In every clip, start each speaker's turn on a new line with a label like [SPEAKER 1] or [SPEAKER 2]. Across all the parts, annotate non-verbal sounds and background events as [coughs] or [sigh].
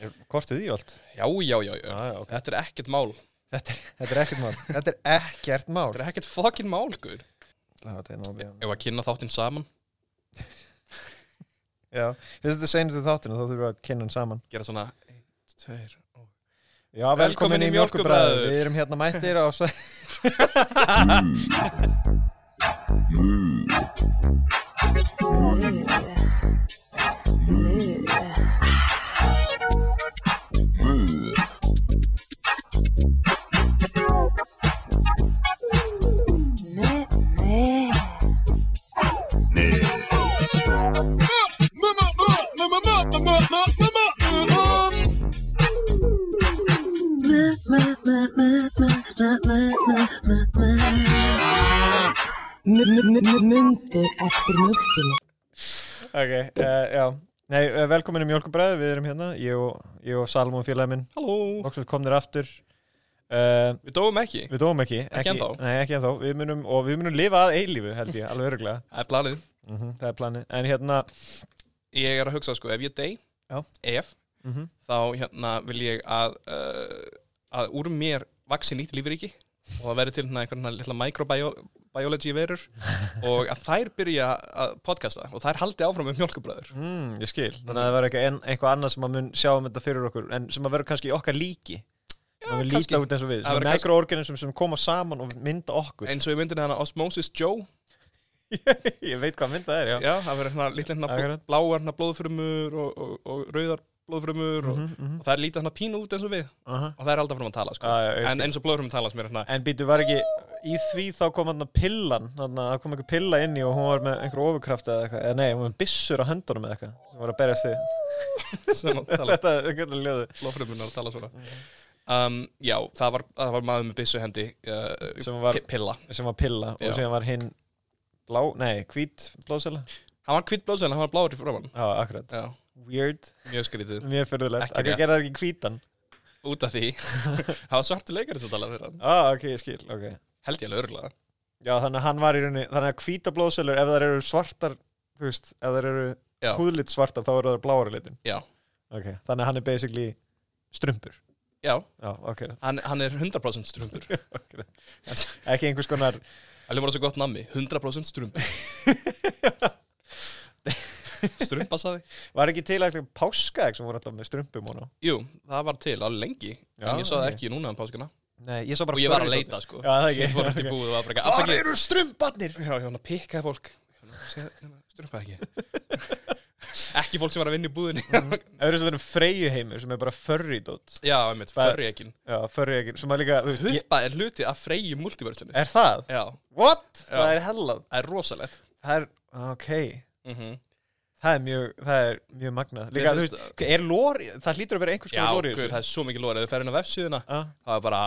[SPEAKER 1] Er kortið í allt? Ah,
[SPEAKER 2] Já, já, já, já.
[SPEAKER 1] Já, já, ok.
[SPEAKER 2] Þetta er ekkert mál.
[SPEAKER 1] Þetta er, þetta er ekkert mál. Þetta er ekkert mál.
[SPEAKER 2] Þetta er ekkert fucking mál, guður.
[SPEAKER 1] Já, þetta er nóg, já.
[SPEAKER 2] Ef að kynna þáttinn saman,
[SPEAKER 1] Já, við þetta segjum þetta þáttinu, þá þurfum við að kynna hann saman.
[SPEAKER 2] gera svona einn, tveir og...
[SPEAKER 1] Já, velkomin,
[SPEAKER 2] Velkomin
[SPEAKER 1] í
[SPEAKER 2] í
[SPEAKER 1] Mjölkubræður.
[SPEAKER 2] Mjólkurbræður.
[SPEAKER 1] Við erum hérna mættir á... svæ-
[SPEAKER 3] Mundu eftir mjölkinu
[SPEAKER 1] [laughs] Ok, uh, já. Nei, eh, velkomin í Mjölkubræður. Við erum hérna, ég og, ég og Salmon félagin minn.
[SPEAKER 2] Halló.
[SPEAKER 1] Lóksins komnir aftur. Uh,
[SPEAKER 2] Við dóum ekki.
[SPEAKER 1] við dóum ekki.
[SPEAKER 2] ennþá.
[SPEAKER 1] Nei, ekki ennþá. Við munum, og við munum lifa að eilífu, held ég, alveg öruglega.
[SPEAKER 2] Það er planið.
[SPEAKER 1] Mm Það er planið. En hérna...
[SPEAKER 2] Ég er að hugsa, sko, ef ég dey,
[SPEAKER 1] Já.
[SPEAKER 2] ef,
[SPEAKER 1] Mm
[SPEAKER 2] þá hérna vil ég að, uh, að úr mér vaksi nýtt lífriki og það verður til hérna einhverjana litla microbiology verur og að þær byrja að podcasta og þær haldi áfram með mjölkubröður.
[SPEAKER 1] Mm, ég skil,
[SPEAKER 2] Mhm.
[SPEAKER 1] þannig að það verður eitthvað, en- eitthvað annað sem að mun sjá um þetta fyrir okkur en sem að verður kannski í okkar líki Já, við
[SPEAKER 2] kannski.
[SPEAKER 1] líta út eins og við,
[SPEAKER 2] Það
[SPEAKER 1] svona
[SPEAKER 2] verður kannski-
[SPEAKER 1] mikroorganism sem koma saman og mynda okkur
[SPEAKER 2] Eins og ég myndin hana Osmosis Joe,
[SPEAKER 1] [laughs] Ég veit hvað mynda það er, já,
[SPEAKER 2] já, það verður hérna litla hérna
[SPEAKER 1] Akkurat.
[SPEAKER 2] bl- bláar hérna blóðfrumur og, og, og rauðar blóðfrumur og,
[SPEAKER 1] Mhm,
[SPEAKER 2] og þær líta hérna pínu út eins og við
[SPEAKER 1] Aha.
[SPEAKER 2] og þær haldi áfram að tala, sko.
[SPEAKER 1] Já, já, ég
[SPEAKER 2] en eins og blóðfrum tala sem er hérna,
[SPEAKER 1] En býtu, var ekki í því þá kom hann að pillan þannig að það kom einhver pilla inn í og hún var með einhver ofurkraft eða eitthvað, eða nei, hún var með byssur á höndunum eða eitthvað, hún var að berjast
[SPEAKER 2] [laughs]
[SPEAKER 1] því
[SPEAKER 2] [laughs] sem að tala.
[SPEAKER 1] [laughs] Þetta er einhvern ljóðu
[SPEAKER 2] blóðfrumunar að tala svona
[SPEAKER 1] Mhm.
[SPEAKER 2] um, Já, það var, það var maður með byssuhendi uh,
[SPEAKER 1] sem var,
[SPEAKER 2] pi- Pilla
[SPEAKER 1] sem var pilla
[SPEAKER 2] Já.
[SPEAKER 1] og síðan var hinn blá, nei, hvít blóðsela
[SPEAKER 2] Hann var hvitt blóðsæðan, hann var bláður í framann
[SPEAKER 1] Já, akkurat,
[SPEAKER 2] Já,
[SPEAKER 1] weird
[SPEAKER 2] mjög skrítið
[SPEAKER 1] Mjög fyrirlegt,
[SPEAKER 2] Ekki
[SPEAKER 1] að
[SPEAKER 2] rétt.
[SPEAKER 1] gera það ekki hvítan
[SPEAKER 2] Út af
[SPEAKER 1] [laughs]
[SPEAKER 2] því Það var svartu leikari sem talaði fyrir hann
[SPEAKER 1] Ah, ok, ég skil, ok
[SPEAKER 2] Held ég alveg örgulega
[SPEAKER 1] Já, þannig að hann var í rauninni, þannig að hvíta blóðsölur ef þær eru svartar, þú veist ef þær eru
[SPEAKER 2] Já.
[SPEAKER 1] húðlitt svartar þá eru þær bláari litin
[SPEAKER 2] Já.
[SPEAKER 1] Ok, þannig að hann er basically strumpur
[SPEAKER 2] Já,
[SPEAKER 1] Já, ok,
[SPEAKER 2] hann, hann er 100% strumpur
[SPEAKER 1] ok
[SPEAKER 2] Það
[SPEAKER 1] Ekki einhvers konar
[SPEAKER 2] ljómar þessu gott nammi 100%
[SPEAKER 1] [laughs]
[SPEAKER 2] strumpur Strumpa saði
[SPEAKER 1] Var ekki til eitthvað páskaegg sem voru alltaf með strumpum og ná
[SPEAKER 2] Jú, það var til alveg lengi
[SPEAKER 1] Já,
[SPEAKER 2] En ég sá
[SPEAKER 1] ok.
[SPEAKER 2] það ekki núna um páskana
[SPEAKER 1] Nei, ég sá bara
[SPEAKER 2] Og ég var að
[SPEAKER 1] furry
[SPEAKER 2] leita sko
[SPEAKER 1] dótið. Já, það ekki
[SPEAKER 2] Ég fór út í
[SPEAKER 1] ok.
[SPEAKER 2] búð og var bara eitthvað,
[SPEAKER 1] Hvar
[SPEAKER 2] "Afsakið,
[SPEAKER 1] eru strumparnir?
[SPEAKER 2] Já, ég var hann að pikkaði fólk Strumpaði ekki Ekki fólk sem var að vinna í búðinni
[SPEAKER 1] [laughs] Það eru svona freyjuheimur sem er bara furry dót
[SPEAKER 2] Já, einmitt,
[SPEAKER 1] Það-
[SPEAKER 2] förri ekki
[SPEAKER 1] Já, furry ekkert, sem að líka, þú veist ég- Eh.
[SPEAKER 2] Huppa er hluti af freyju multiverslinu
[SPEAKER 1] Er það?
[SPEAKER 2] Já,
[SPEAKER 1] What?
[SPEAKER 2] Já.
[SPEAKER 1] Það er hellað
[SPEAKER 2] það er rosalegt
[SPEAKER 1] Það er, ok
[SPEAKER 2] mm
[SPEAKER 1] Mhm. Það er mjög, það er mjög magnað Líka,
[SPEAKER 2] Mér
[SPEAKER 1] þú
[SPEAKER 2] finnst-
[SPEAKER 1] veist, er lóri, það hlýtur að vera einhvers
[SPEAKER 2] Já,
[SPEAKER 1] konar lóri
[SPEAKER 2] guð, það er svo mikið lóri Ef þú fer inn á vefsíðuna
[SPEAKER 1] Ah,
[SPEAKER 2] Það er bara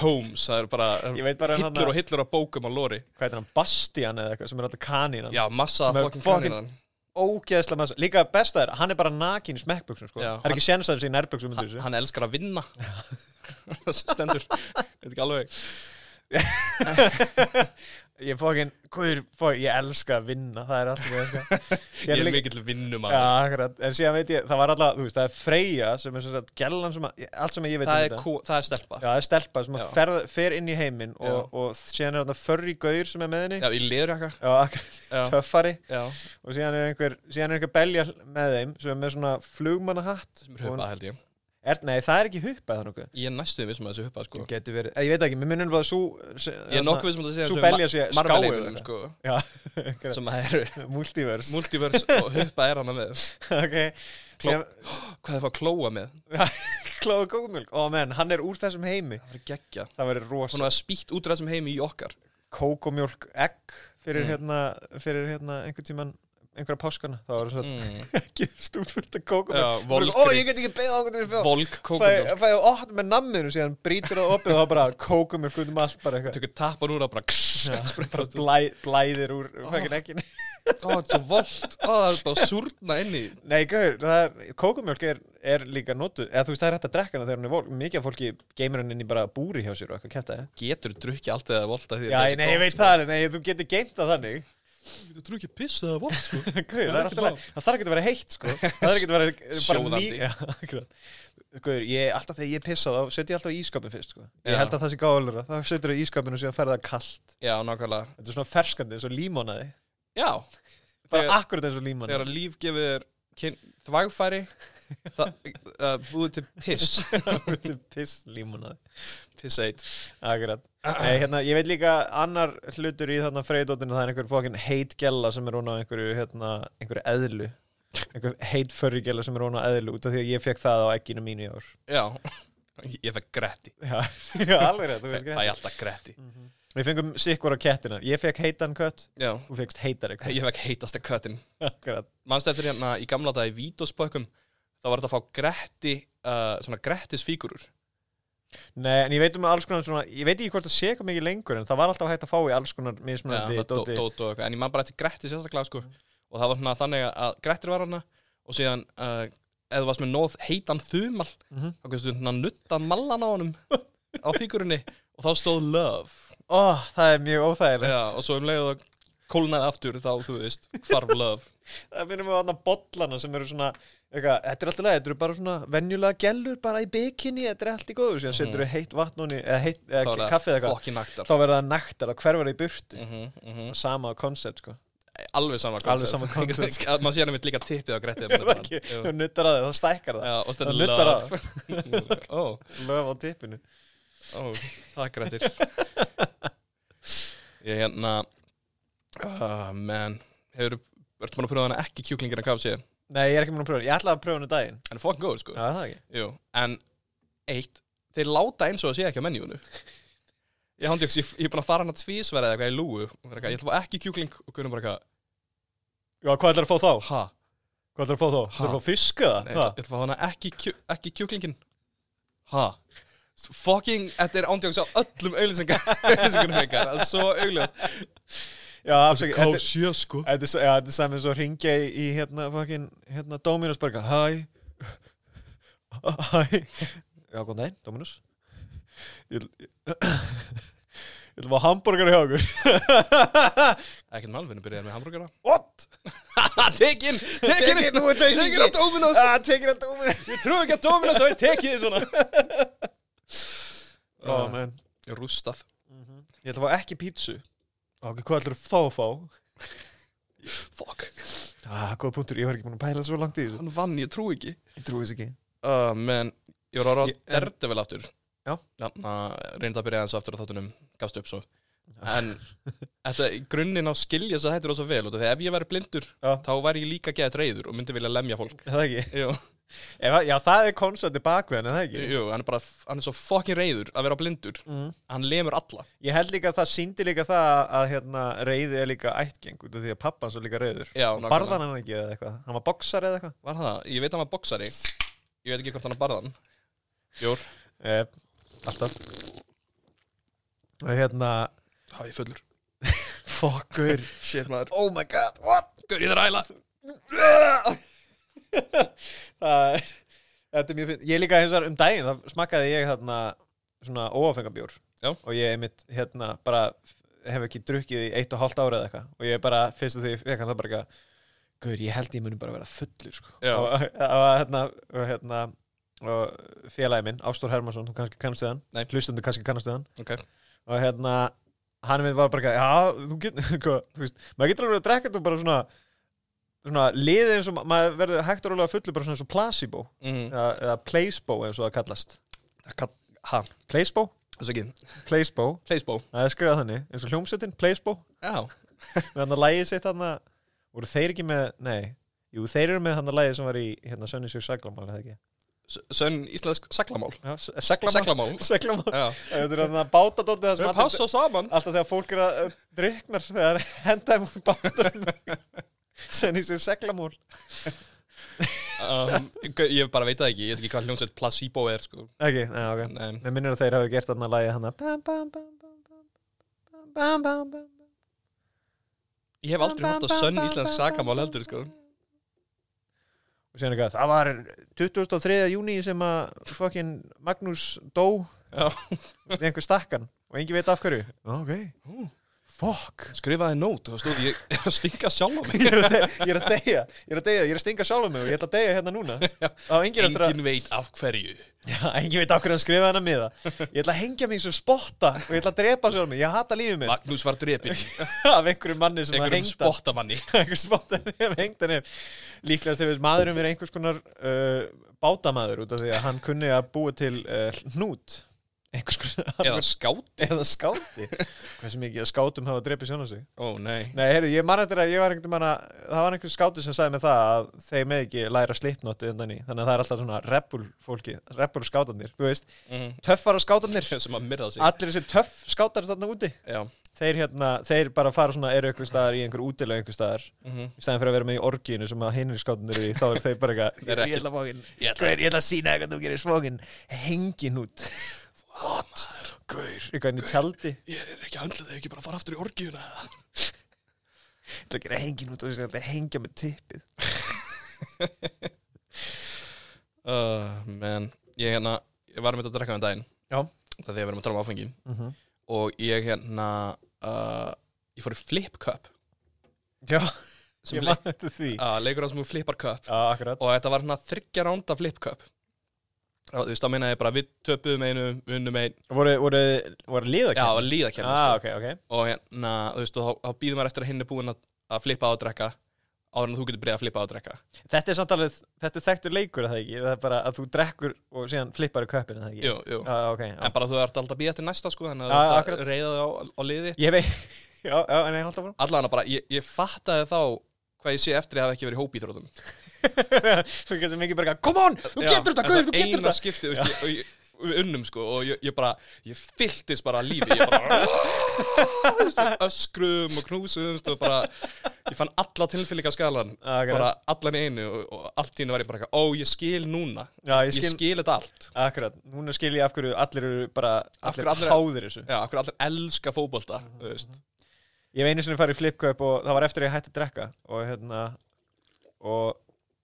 [SPEAKER 2] tóms Það er bara
[SPEAKER 1] Ég veit bara um hana-
[SPEAKER 2] hillur og hillur af bókum á lóri
[SPEAKER 1] hvað heitir hann, Bastian eða eitthvað sem er alltaf kanínan
[SPEAKER 2] Já, massa
[SPEAKER 1] Sem
[SPEAKER 2] af
[SPEAKER 1] er
[SPEAKER 2] fucking
[SPEAKER 1] fucking-
[SPEAKER 2] kanínan
[SPEAKER 1] Ógeðslega massa, líka besta er, hann er bara nakin í smekkbuksum sko
[SPEAKER 2] Já,
[SPEAKER 1] Það er ekki séns að þessi í nærbuksum undir þessu
[SPEAKER 2] Hann elskar að vinna [laughs] Það stendur Þetta er ekki alveg
[SPEAKER 1] Ég fókin, guður, fókin, ég elska að vinna, það er alltaf eitthvað
[SPEAKER 2] [laughs] Ég er mikill vinnum
[SPEAKER 1] sko. Hérna Já, akkurat, en síðan veit ég, það var alltaf, þú veist, það er Freyja sem er sem sagt, gellan sem að, allt sem ég veit um
[SPEAKER 2] það, er
[SPEAKER 1] þetta.
[SPEAKER 2] kú- það er stelpa
[SPEAKER 1] Já, það er stelpa sem að
[SPEAKER 2] Já.
[SPEAKER 1] fer, fer inn í heiminn og, og síðan er þarna förri gaur sem er með henni
[SPEAKER 2] Já, í leðurjaka
[SPEAKER 1] Já, akkurat,
[SPEAKER 2] Já,
[SPEAKER 1] töffari
[SPEAKER 2] já
[SPEAKER 1] og síðan er einhver, síðan er einhver belja með þeim sem er með svona flugmannahatt
[SPEAKER 2] sem er huppa held ég
[SPEAKER 1] er, Nei, það er ekki hupað þannig
[SPEAKER 2] Ég er næstuðið vissum að þessi huppa sko
[SPEAKER 1] Getur verið, eða, ég veit ekki, mér munum bara svo
[SPEAKER 2] Ég er nokkuð vissum að þessi
[SPEAKER 1] hérna, Sú belja sé skáu
[SPEAKER 2] marveleifunum
[SPEAKER 1] eða [laughs]
[SPEAKER 2] sko
[SPEAKER 1] Já,
[SPEAKER 2] sem að
[SPEAKER 1] [laughs]
[SPEAKER 2] eru
[SPEAKER 1] multivers
[SPEAKER 2] multiverse og huppa er hana með
[SPEAKER 1] Ok,
[SPEAKER 2] Kló-
[SPEAKER 1] síðan
[SPEAKER 2] Hvað þið fá að klóa með
[SPEAKER 1] Klóa kókumjölk, ó menn, hann er úr þessum heimi
[SPEAKER 2] Það verður geggja
[SPEAKER 1] Það verið rosa
[SPEAKER 2] Svona að spýtt út úr þessum heimi í okkar
[SPEAKER 1] Kókumjölk egg fyrir
[SPEAKER 2] Mm.
[SPEAKER 1] hérna, fyrir hérna einhvern tíman einhverja páskana, það var svona
[SPEAKER 2] mm.
[SPEAKER 1] ekki stútfullt að kókumjölk
[SPEAKER 2] Já,
[SPEAKER 1] Ó,
[SPEAKER 2] volgri
[SPEAKER 1] ég get ekki beðið ákvæmdur í fjóð
[SPEAKER 2] Volg kókumjólk
[SPEAKER 1] Fæði ótt með namminu, síðan brýtur það opið og þá bara kókumjölk út um allt bara eitthvað
[SPEAKER 2] Tökur tappan úr að bara
[SPEAKER 1] [laughs] bara
[SPEAKER 2] Spreytast út
[SPEAKER 1] blæ, blæðir úr fækir ekkinu
[SPEAKER 2] Ó, þetta er volt Ó, það er bara súrna inn í
[SPEAKER 1] [laughs] Nei, gaur, það er, kókumjólk er, er líka notu, eða þú veist, það er hægt að drekka hana þegar hún er volk, mikið af fólki geymir hann inn í bara búri hjá sér og eitthvað kæta
[SPEAKER 2] Getur drukki allt eða volta því sko?
[SPEAKER 1] Já, nei, ég veit það, alveg, nei, þú getur geymt það þannig [laughs]
[SPEAKER 2] Ég getur ekki pissað að vort, sko.
[SPEAKER 1] Guður,
[SPEAKER 2] Það
[SPEAKER 1] það, er
[SPEAKER 2] er ekkert
[SPEAKER 1] alltaf leið- það þarf ekki að vera heitt sko. það þarf ekki að vera bara ný
[SPEAKER 2] Sjóðandi.
[SPEAKER 1] Já, [laughs] akkurat. Guður, ég, alltaf þegar ég pissa þá setjum ég alltaf í ískapin fyrst sko.
[SPEAKER 2] Já.
[SPEAKER 1] ég held að það sé gáðalur þá setjum það í ískapin og síðan ferða það kalt
[SPEAKER 2] Já, nákvæmlega.
[SPEAKER 1] þetta er svona ferskandi, eins og límonaði
[SPEAKER 2] Já.
[SPEAKER 1] bara
[SPEAKER 2] Þegar-
[SPEAKER 1] akkurat eins og límonaði
[SPEAKER 2] Þegar að líf gefur þér kyn- þvagfæri, [laughs] það uh, búið til piss.
[SPEAKER 1] Þetta er piss límonaði
[SPEAKER 2] Piss eitt.
[SPEAKER 1] akkurat Nei, hérna, ég veit líka annar hlutur í þarna freyðdóttinu það er einhver fókin heitgella sem er hún á einhverju, hérna, einhverju eðlu einhver heitförrigella sem er hún á eðlu út af því að ég fekk það á ekkinu mínu í ár
[SPEAKER 2] Já. Ég ég fekk gretti.
[SPEAKER 1] Já, [laughs] já alveg rétt, þú
[SPEAKER 2] Það
[SPEAKER 1] veist Mhm.
[SPEAKER 2] er alltaf gretti.
[SPEAKER 1] Við fengum sikkur á kettina. Ég fekk heitan kött,
[SPEAKER 2] Já.
[SPEAKER 1] þú fekkst heitari kött.
[SPEAKER 2] Ég fekk heitasta köttin.
[SPEAKER 1] [laughs] Akkurat.
[SPEAKER 2] Manstu eftir hérna í gamla daga í vítospökkum, þá var þetta að fá gretti, uh, svona grettisfígurur.
[SPEAKER 1] Nei, en ég veit um alls konar svona, ég veit ekki hvort það sé eitthvað mikið lengur, en það var alltaf hægt að fá í alls konar mismunandi
[SPEAKER 2] Já, dóti.
[SPEAKER 1] dóti.
[SPEAKER 2] dóti og eitthvað, en ég man bara eftir Gretti sérstaklega sko. og það var svona þannig að Grettir var hana og síðan uh, eða varst með nóð heitan þumal
[SPEAKER 1] Mhm.
[SPEAKER 2] þá kannski svona nuttað mallan á honum á fígurinni og þá stóð love
[SPEAKER 1] Ó, það er mjög óþægilegt.
[SPEAKER 2] Já, og svo um leiðu það kólnaði aftur þá, þú veist, farf love
[SPEAKER 1] Það minnum við þarna bollana sem eru svona, eitthvað, þetta er alltaf leið, þetta eru bara svona venjulega gellur bara í bikini, þetta er allt í góðu, síðan setur við heitt vatn honni, eða heitt,
[SPEAKER 2] Mhm. þá
[SPEAKER 1] [laughs] eða
[SPEAKER 2] er
[SPEAKER 1] kaffið eða
[SPEAKER 2] það sko.
[SPEAKER 1] eitthvað,
[SPEAKER 2] fokkin naktar
[SPEAKER 1] þá verður það nægtar og hverfur það í burtu.
[SPEAKER 2] mm
[SPEAKER 1] Sama koncept, sko.
[SPEAKER 2] Alveg sama
[SPEAKER 1] Alveg sama
[SPEAKER 2] [laughs]
[SPEAKER 1] concept,
[SPEAKER 2] koncept Maður sér nefnitt líka tippið á
[SPEAKER 1] [laughs]
[SPEAKER 2] Gretti
[SPEAKER 1] Er það ekki? Þú nuttar að þig, þá stækkar það.
[SPEAKER 2] Já, og stendur
[SPEAKER 1] Það nuddaði
[SPEAKER 2] love [laughs] Ó,
[SPEAKER 1] Löf á tippinu.
[SPEAKER 2] Ó, takk rættir Ég hérna ah, Man Hefur, ertu maður að pröfa hana ekki kjúklingina KFC
[SPEAKER 1] Nei, ég er ekki múin að pröfa. Ég ætlaði að pröfa henni daginn.
[SPEAKER 2] En er fokkin góður sko
[SPEAKER 1] Já, það ekki.
[SPEAKER 2] Jú, en eitt Þeir láta eins og það sé ekki á menjúinu Ég hann tjóks, ég, ég er búin að fara hana tvísverið eða eitthvað í lúgu og vera eitthvað, Ég ætla að fá ekki kjúkling og kunum bara eitthvað
[SPEAKER 1] Já, hvað ætlar að fá þá?
[SPEAKER 2] Ha?
[SPEAKER 1] Hvað ætlar að fá þá?
[SPEAKER 2] Ha?
[SPEAKER 1] Það er að fá fisk eða?
[SPEAKER 2] Nei, ég ætla- ég ætla að fá hana ekki, kjú, ekki kjúklingin Ha? Fucking, þetta er ándjóks á öllum [laughs] auðlýsingar auðlýsingunum ykkar, það er svo auðljóst
[SPEAKER 1] Já, afsakið. þetta er-
[SPEAKER 2] KFC sko
[SPEAKER 1] Þetta er s- já, þetta er saman svo ringja í, í hérna, fucking, hérna, Dominus bara, [laughs] hæ, hæ, já, góðan daginn, Dominus. Ég ætl- ég- ég ætla að fá hambúrgar hjá okkur.
[SPEAKER 2] Ekkert málvinni byrjaði með hambúrgara
[SPEAKER 1] [laughs] What?
[SPEAKER 2] Tekin, tekin,
[SPEAKER 1] Tekin, þú ert auðvitað.
[SPEAKER 2] tekin á Dominos
[SPEAKER 1] Ah, tekir að Dominus.
[SPEAKER 2] Ég trúi ekki að Dominos hafi tekið þið
[SPEAKER 1] [laughs]
[SPEAKER 2] svona
[SPEAKER 1] Ó, menn.
[SPEAKER 2] Ég er rústað
[SPEAKER 1] Ég ætla að fá ekki pítsu. Ok, hvað ætlar þá að fá?
[SPEAKER 2] Fuck,
[SPEAKER 1] Ah, góð punktur, ég var ekki búin að pæla svo langt í þessu.
[SPEAKER 2] hann vann, ég trúi ekki
[SPEAKER 1] Ég trúi þess ekki.
[SPEAKER 2] uh, Men, ég var ára
[SPEAKER 1] Ég- en-
[SPEAKER 2] Daredevil aftur
[SPEAKER 1] Já.
[SPEAKER 2] Þarna reyndi að byrja eins aftur á þáttunum Gafst upp svo En þetta, í grunninn á skilja þess að þetta er ósa vel út af Því að ef ég væri blindur,
[SPEAKER 1] Já.
[SPEAKER 2] þá væri ég líka geðið reyður Og myndi vilja lemja fólk
[SPEAKER 1] Er Það ekki.
[SPEAKER 2] Jú,
[SPEAKER 1] Ef, að- já, það er konstantið bakveðan, er það ekki?
[SPEAKER 2] jú hann er bara, hann er svo fucking reyður Að vera blindur,
[SPEAKER 1] Mm.
[SPEAKER 2] hann lemur alla
[SPEAKER 1] Ég held líka að það síndi líka það að hérna, reyði er líka ættgeng út af því að pappan svo líka reyður.
[SPEAKER 2] Já,
[SPEAKER 1] Og
[SPEAKER 2] nákvæmlega.
[SPEAKER 1] barðan hann ekki eða eitthvað. Hann var boksar eða eitthvað.
[SPEAKER 2] Var það? Ég veit að hann var boksari Ég veit ekki hvort hann var barðan Jór
[SPEAKER 1] Eh, alltaf. Og hérna,
[SPEAKER 2] Há ég fullur
[SPEAKER 1] fokkur.
[SPEAKER 2] Shit maður
[SPEAKER 1] [laughs] oh my god, what? [laughs]
[SPEAKER 2] Gaur ég þar æla
[SPEAKER 1] það er, þetta er mjög finn. Ég líka hins vegar um daginn, þá smakkaði ég hérna svona óáfengabjór.
[SPEAKER 2] Já.
[SPEAKER 1] Og ég mitt hérna bara hef ekki drukkið í eitt og hálft ára eða eitthvað. Og ég bara, fyrst að því ég fekk hann það bara eitthvað, Guður, ég held ég muni bara vera fullur, sko.
[SPEAKER 2] Já.
[SPEAKER 1] Og, og, hérna, og hérna, og félagi minn, Ástór Hermansson, þú kannski kannast við hann.
[SPEAKER 2] Nei.
[SPEAKER 1] Hlustundu kannski kannast við hann.
[SPEAKER 2] Ok
[SPEAKER 1] Og hérna, hann minn var bara eitthvað, já, þú getur, [laughs] hvað, þú veist, maður getur alveg að drekka þú bara svona, svona liðið eins og ma- maður verður hægt og rólega fullur bara svona eins og placebo
[SPEAKER 2] mm.
[SPEAKER 1] eða, eða placebo eins og það kallast
[SPEAKER 2] Ha
[SPEAKER 1] placebo,
[SPEAKER 2] Þessu ekki
[SPEAKER 1] placebo,
[SPEAKER 2] Placebo
[SPEAKER 1] það er skrifað þannig eins og hljómsettin, placebo
[SPEAKER 2] Já
[SPEAKER 1] með hann að lægi sitt hann að voru þeir ekki með, nei, jú þeir eru með hann að lægi sem var í hérna Sönni Sjö Saglamál eða ekki,
[SPEAKER 2] S- Sönn íslensk saklamál
[SPEAKER 1] já, S- Saglamál [laughs]
[SPEAKER 2] Saklamál
[SPEAKER 1] Saglamál,
[SPEAKER 2] Já
[SPEAKER 1] þetta er hann að báta það sem
[SPEAKER 2] Þau passa saman
[SPEAKER 1] alltaf þegar fólk er að uh, driknar þegar hendaði múið bátunum [laughs] senni sér seglamól
[SPEAKER 2] um, gau- Ég bara veit það ekki Ég veit ekki hvað hljómsveit placebo er sko
[SPEAKER 1] ekki, já, ok
[SPEAKER 2] Nei
[SPEAKER 1] mér minnir að þeir hafi gert þarna lagið hann að bam bam bam bam bam bam bam bam bam
[SPEAKER 2] Ég hef aldrei hótt á sönn íslensk saklamál heldur sko
[SPEAKER 1] og síðan eitthvað, það var 2003. júni sem að fokkin Magnús dó
[SPEAKER 2] Já
[SPEAKER 1] við einhver stakkan og engin veit af hverju ok, fuck [laughs]
[SPEAKER 2] skrifaði nót og stóð [laughs] ég er að stinga sjálf á mig
[SPEAKER 1] ég er að de- ég er að deyja, ég er að deyja, ég er að stinga sjálfum mig og ég ætla að deyja hérna núna á engin eftir að,
[SPEAKER 2] engin veit af hverju
[SPEAKER 1] já, engin veit okkur hann skrifaði hana miða ég ætla að hengja mig sem spotta og ég ætla að drepa sjálfum mig, ég hata lífið mitt
[SPEAKER 2] Magnús var drepinn
[SPEAKER 1] [laughs] af einhverjum manni sem að
[SPEAKER 2] einhverjum
[SPEAKER 1] hengta [laughs]
[SPEAKER 2] [laughs] spottamanni
[SPEAKER 1] einhver [laughs] spottan hef hengt hann hef líklegast hefur maðurum verið einhvers konar uh, bátamaður út af því að hann kunni að búa til uh, hnút einhvers konar
[SPEAKER 2] eða skátt
[SPEAKER 1] eða skáti hversu mikið að skátum hafa drepið sjónu sig
[SPEAKER 2] ó nei
[SPEAKER 1] Nei, heyrðu, ég man eftir að ég var einhvern manna það var einhvers skáti sem sagði með það að þeir með ekki læra slipnóti undan í þannig að það er alltaf svona reppul fólki reppul skátarnir, þú veist,
[SPEAKER 2] mm, [laughs]
[SPEAKER 1] töffara skátarnir
[SPEAKER 2] sem að myrða sig
[SPEAKER 1] allir þessi töff skátar þarna úti
[SPEAKER 2] já
[SPEAKER 1] þeir hérna, þeir bara fara svona eru einhver staðar í einhver útilega einhver staðar
[SPEAKER 2] Mhm.
[SPEAKER 1] í staðin fyrir að vera með í orginu sem að hinir skátunir eru í, þá er þeir bara
[SPEAKER 2] Þeir
[SPEAKER 1] eitthvað
[SPEAKER 2] eru ekki-
[SPEAKER 1] ætla fókin,
[SPEAKER 2] Ég ætla-
[SPEAKER 1] ég ætla að sína eitthvað þú gerir svókin, hengin út What? Gaur Eitthvað inn í tjaldi,
[SPEAKER 2] ég er ekki að höndla þig ekki bara að fara aftur í orgiðuna
[SPEAKER 1] ég ætla að gera hengin út og þess að þetta hengja með tippið
[SPEAKER 2] uh, menn ég hérna ég var með þetta að drekka um daginn
[SPEAKER 1] Já.
[SPEAKER 2] það þegar við erum að tala um áfengi
[SPEAKER 1] mm -hmm.
[SPEAKER 2] og ég hérna uh, ég fór í flip cup
[SPEAKER 1] Já,
[SPEAKER 2] sem
[SPEAKER 1] ég
[SPEAKER 2] le
[SPEAKER 1] man eftir því Já,
[SPEAKER 2] uh, leikur á sem við flippar cup
[SPEAKER 1] akkurat
[SPEAKER 2] og þetta var hérna þryggja ránda flip cup og þú veist þá meina ég bara við töpuðum einu við unnum einu
[SPEAKER 1] Voru, voru, voru
[SPEAKER 2] já,
[SPEAKER 1] liðakenn?
[SPEAKER 2] og líðakerni
[SPEAKER 1] ah, ok, ok
[SPEAKER 2] sko. og hérna, þú veist, og þá, þá býðum maður eftir að hinn er búinn að, að flippa á að drekka áður en þú getur byrjað að flippa á að drekka
[SPEAKER 1] Þetta er samt alveg, þetta er þekktur leikur er það ekki, það er bara að þú drekkur og síðan flippar í köppinu það ekki
[SPEAKER 2] jú, jú.
[SPEAKER 1] ah, okay, já.
[SPEAKER 2] en bara þú ert alltaf að býða eftir næsta sko þannig
[SPEAKER 1] Já,
[SPEAKER 2] að þú ert
[SPEAKER 1] akkurat.
[SPEAKER 2] að reyða þig á, á liði
[SPEAKER 1] Ég veit, [laughs] já, já, en ég haldi áfram
[SPEAKER 2] allan að bara, ég, ég fattaði þá hvað ég sé eftir að hafa ekki verið í hópíþrótum
[SPEAKER 1] [laughs] Svo ekki sem ekki bara eitthvað, come on, þú getur þetta, gauður, þú getur
[SPEAKER 2] eina
[SPEAKER 1] þetta
[SPEAKER 2] skipti, þú veist, ég, og ég, við unnum sko og ég, ég bara, ég fylltist bara af lífi ég bara [laughs] þú veist, öskrum og knúsum og bara, ég fann alla tilfélika skalan
[SPEAKER 1] Akkurat.
[SPEAKER 2] bara allan í einu og, og allt í einu var ég bara, eitthvað, ó, ég skil núna
[SPEAKER 1] Já, ég
[SPEAKER 2] ég
[SPEAKER 1] skil,
[SPEAKER 2] skil þetta allt
[SPEAKER 1] akkurat, núna skil ég af hverju allir eru bara,
[SPEAKER 2] Af
[SPEAKER 1] allir,
[SPEAKER 2] hverju allir-
[SPEAKER 1] háðir þessu
[SPEAKER 2] Já, akkur allir elska fótbolta þú veist.
[SPEAKER 1] Ég hef einu sinni farið í flipköp og það var eftir að ég hætti að drekka og hérna, og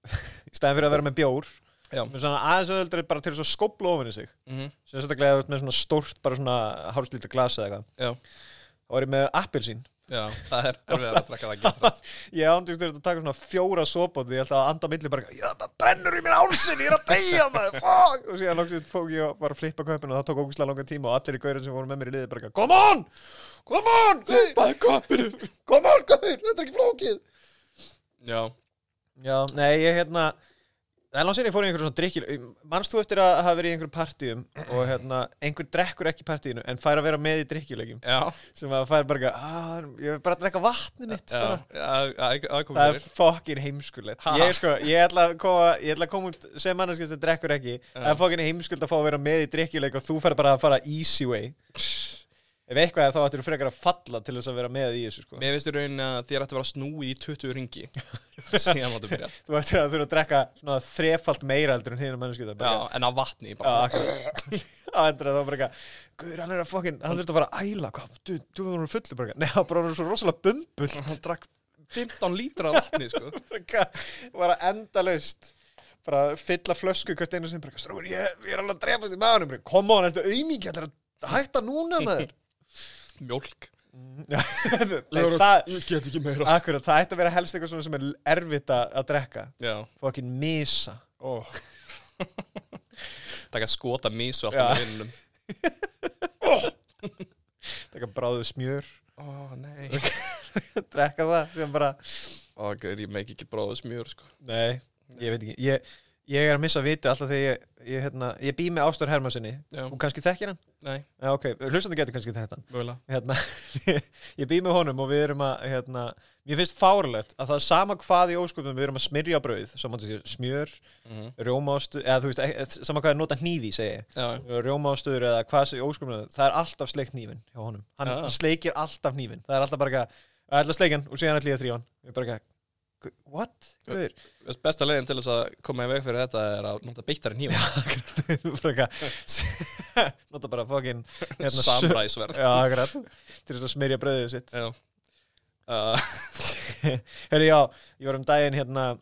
[SPEAKER 1] [laughs] í staðin fyrir að vera með bjór
[SPEAKER 2] Já.
[SPEAKER 1] með svona aðeins öðuldri bara til þess að skopla ofinu sig
[SPEAKER 2] Mhm.
[SPEAKER 1] sem sérstaklega þú ert með svona stórt, bara svona hálfslítur glasa eða eitthvað
[SPEAKER 2] Já.
[SPEAKER 1] þá var ég með appelsín
[SPEAKER 2] Já, það er erfið að drekka það ekki
[SPEAKER 1] Ég ándugst þér að taka svona fjóra sopot Ég held að anda á milli bara Já, það brennur í mér álsin, ég er að deyja maður Fuck Og síðan loksist fók ég og bara að flippa köpun Og það tók ógustlega langan tíma Og allir í gaurin sem voru með mér í liði bara Come on, come on, flippaði köpunu Come on, gaur, þetta er ekki flókið
[SPEAKER 2] Já,
[SPEAKER 1] Já, nei, ég hérna Það er langsinn ég fór í einhverjum svona drikkil Manst þú eftir að hafa verið í einhverjum partíum Og hérna, einhver drekkur ekki í partíinu En fær að vera með í drikkilegjum
[SPEAKER 2] já,
[SPEAKER 1] Sem að fær bara, ah, ég er bara að drekka vatni mitt
[SPEAKER 2] já,
[SPEAKER 1] bara.
[SPEAKER 2] já, já, já komið
[SPEAKER 1] Það er
[SPEAKER 2] fyrir
[SPEAKER 1] fokkin heimskulegt
[SPEAKER 2] Ha?
[SPEAKER 1] ég, sko, ég, ætla að koma, ég ætla að koma út sem manneskist að drekkur ekki Það er fokkin heimskult að fá að vera með í drikkjuleik og þú fer bara að fara easy way Ef eitthvað þá ættir þú frekar að falla til þess að vera með í þessu sko.
[SPEAKER 2] Mér finnst í raunin að þér ætti að vera snúi í 20 ringi
[SPEAKER 1] [laughs]
[SPEAKER 2] síðan máttu byrja
[SPEAKER 1] Þú ættir að þurfa að drekka svona þrefalt meira heldur en hinn manneskist að
[SPEAKER 2] Já, en af vatni bara.
[SPEAKER 1] Það endur að það bara eitthvað Guður, hann er að fokkin, hann þurft að fara að æla Hvað, du, du var hann fullu bara eitthvað." Nei, hann bara var svo rosalega bumbull
[SPEAKER 2] Hann drakk 15 lítra af vatni sko.
[SPEAKER 1] bara endalaust bara fylla flösku hvert einu sem bara, strókur, ég, ég er alveg að drepa því maður koma á hann, þetta auðmíkja, þetta er að hætta núna [laughs] maður
[SPEAKER 2] Mjólk
[SPEAKER 1] Já, Nei, það,
[SPEAKER 2] Ég get ekki meira
[SPEAKER 1] akkurat, það ætti að vera helst eitthvað svona sem er erfitt að að drekka
[SPEAKER 2] Já,
[SPEAKER 1] fokkin misa
[SPEAKER 2] ó [laughs] Takk að skota mísu
[SPEAKER 1] Já.
[SPEAKER 2] alltaf með vinnunum
[SPEAKER 1] taka bráðu smjör,
[SPEAKER 2] Ó, nei
[SPEAKER 1] drekka það sem bara,
[SPEAKER 2] Ó, gauð, ég meik ekki bróðu smjör sko.
[SPEAKER 1] nei, ég veit ekki ég, ég er að missa vitu alltaf þegar ég, ég, hérna, ég bý með Ástór Hermansinni
[SPEAKER 2] Já.
[SPEAKER 1] og kannski þekkir hann
[SPEAKER 2] Nei,
[SPEAKER 1] Já, ok, hlustandi getur kannski þekkt hann
[SPEAKER 2] mögulega
[SPEAKER 1] hérna, [laughs] ég býð með honum og við erum að hérna, mér finnst fárlegt að það er sama hvað í ósköpum við erum að smyrja brauð saman til því smjör,
[SPEAKER 2] Mhm.
[SPEAKER 1] rjómástu eða þú veist, e- e- sama hvað er nota hnífi segi ég
[SPEAKER 2] Já,
[SPEAKER 1] rjómástuður eða hvað sem í ósköpum það er alltaf sleikt hnífin hjá honum hann
[SPEAKER 2] Já.
[SPEAKER 1] sleikir alltaf hnífin, það er alltaf bara eitthvað, "Ég ætla að sleikja hann og síðan ætla ég að þrýja hann ég bara eitthvað, "Gu- what? [laughs] Guður,
[SPEAKER 2] Veist, Besta leiðin til þess að koma í veg fyrir þetta er að nota beittari nýjum
[SPEAKER 1] bara eitthvað [laughs] nota bara fokkin hérna, sö- [laughs]
[SPEAKER 2] Samræðisverð
[SPEAKER 1] Já, akkurat, til þess að smyrja brauðið sitt
[SPEAKER 2] Já. Uh,
[SPEAKER 1] Herri, já, ég var um daginn hérna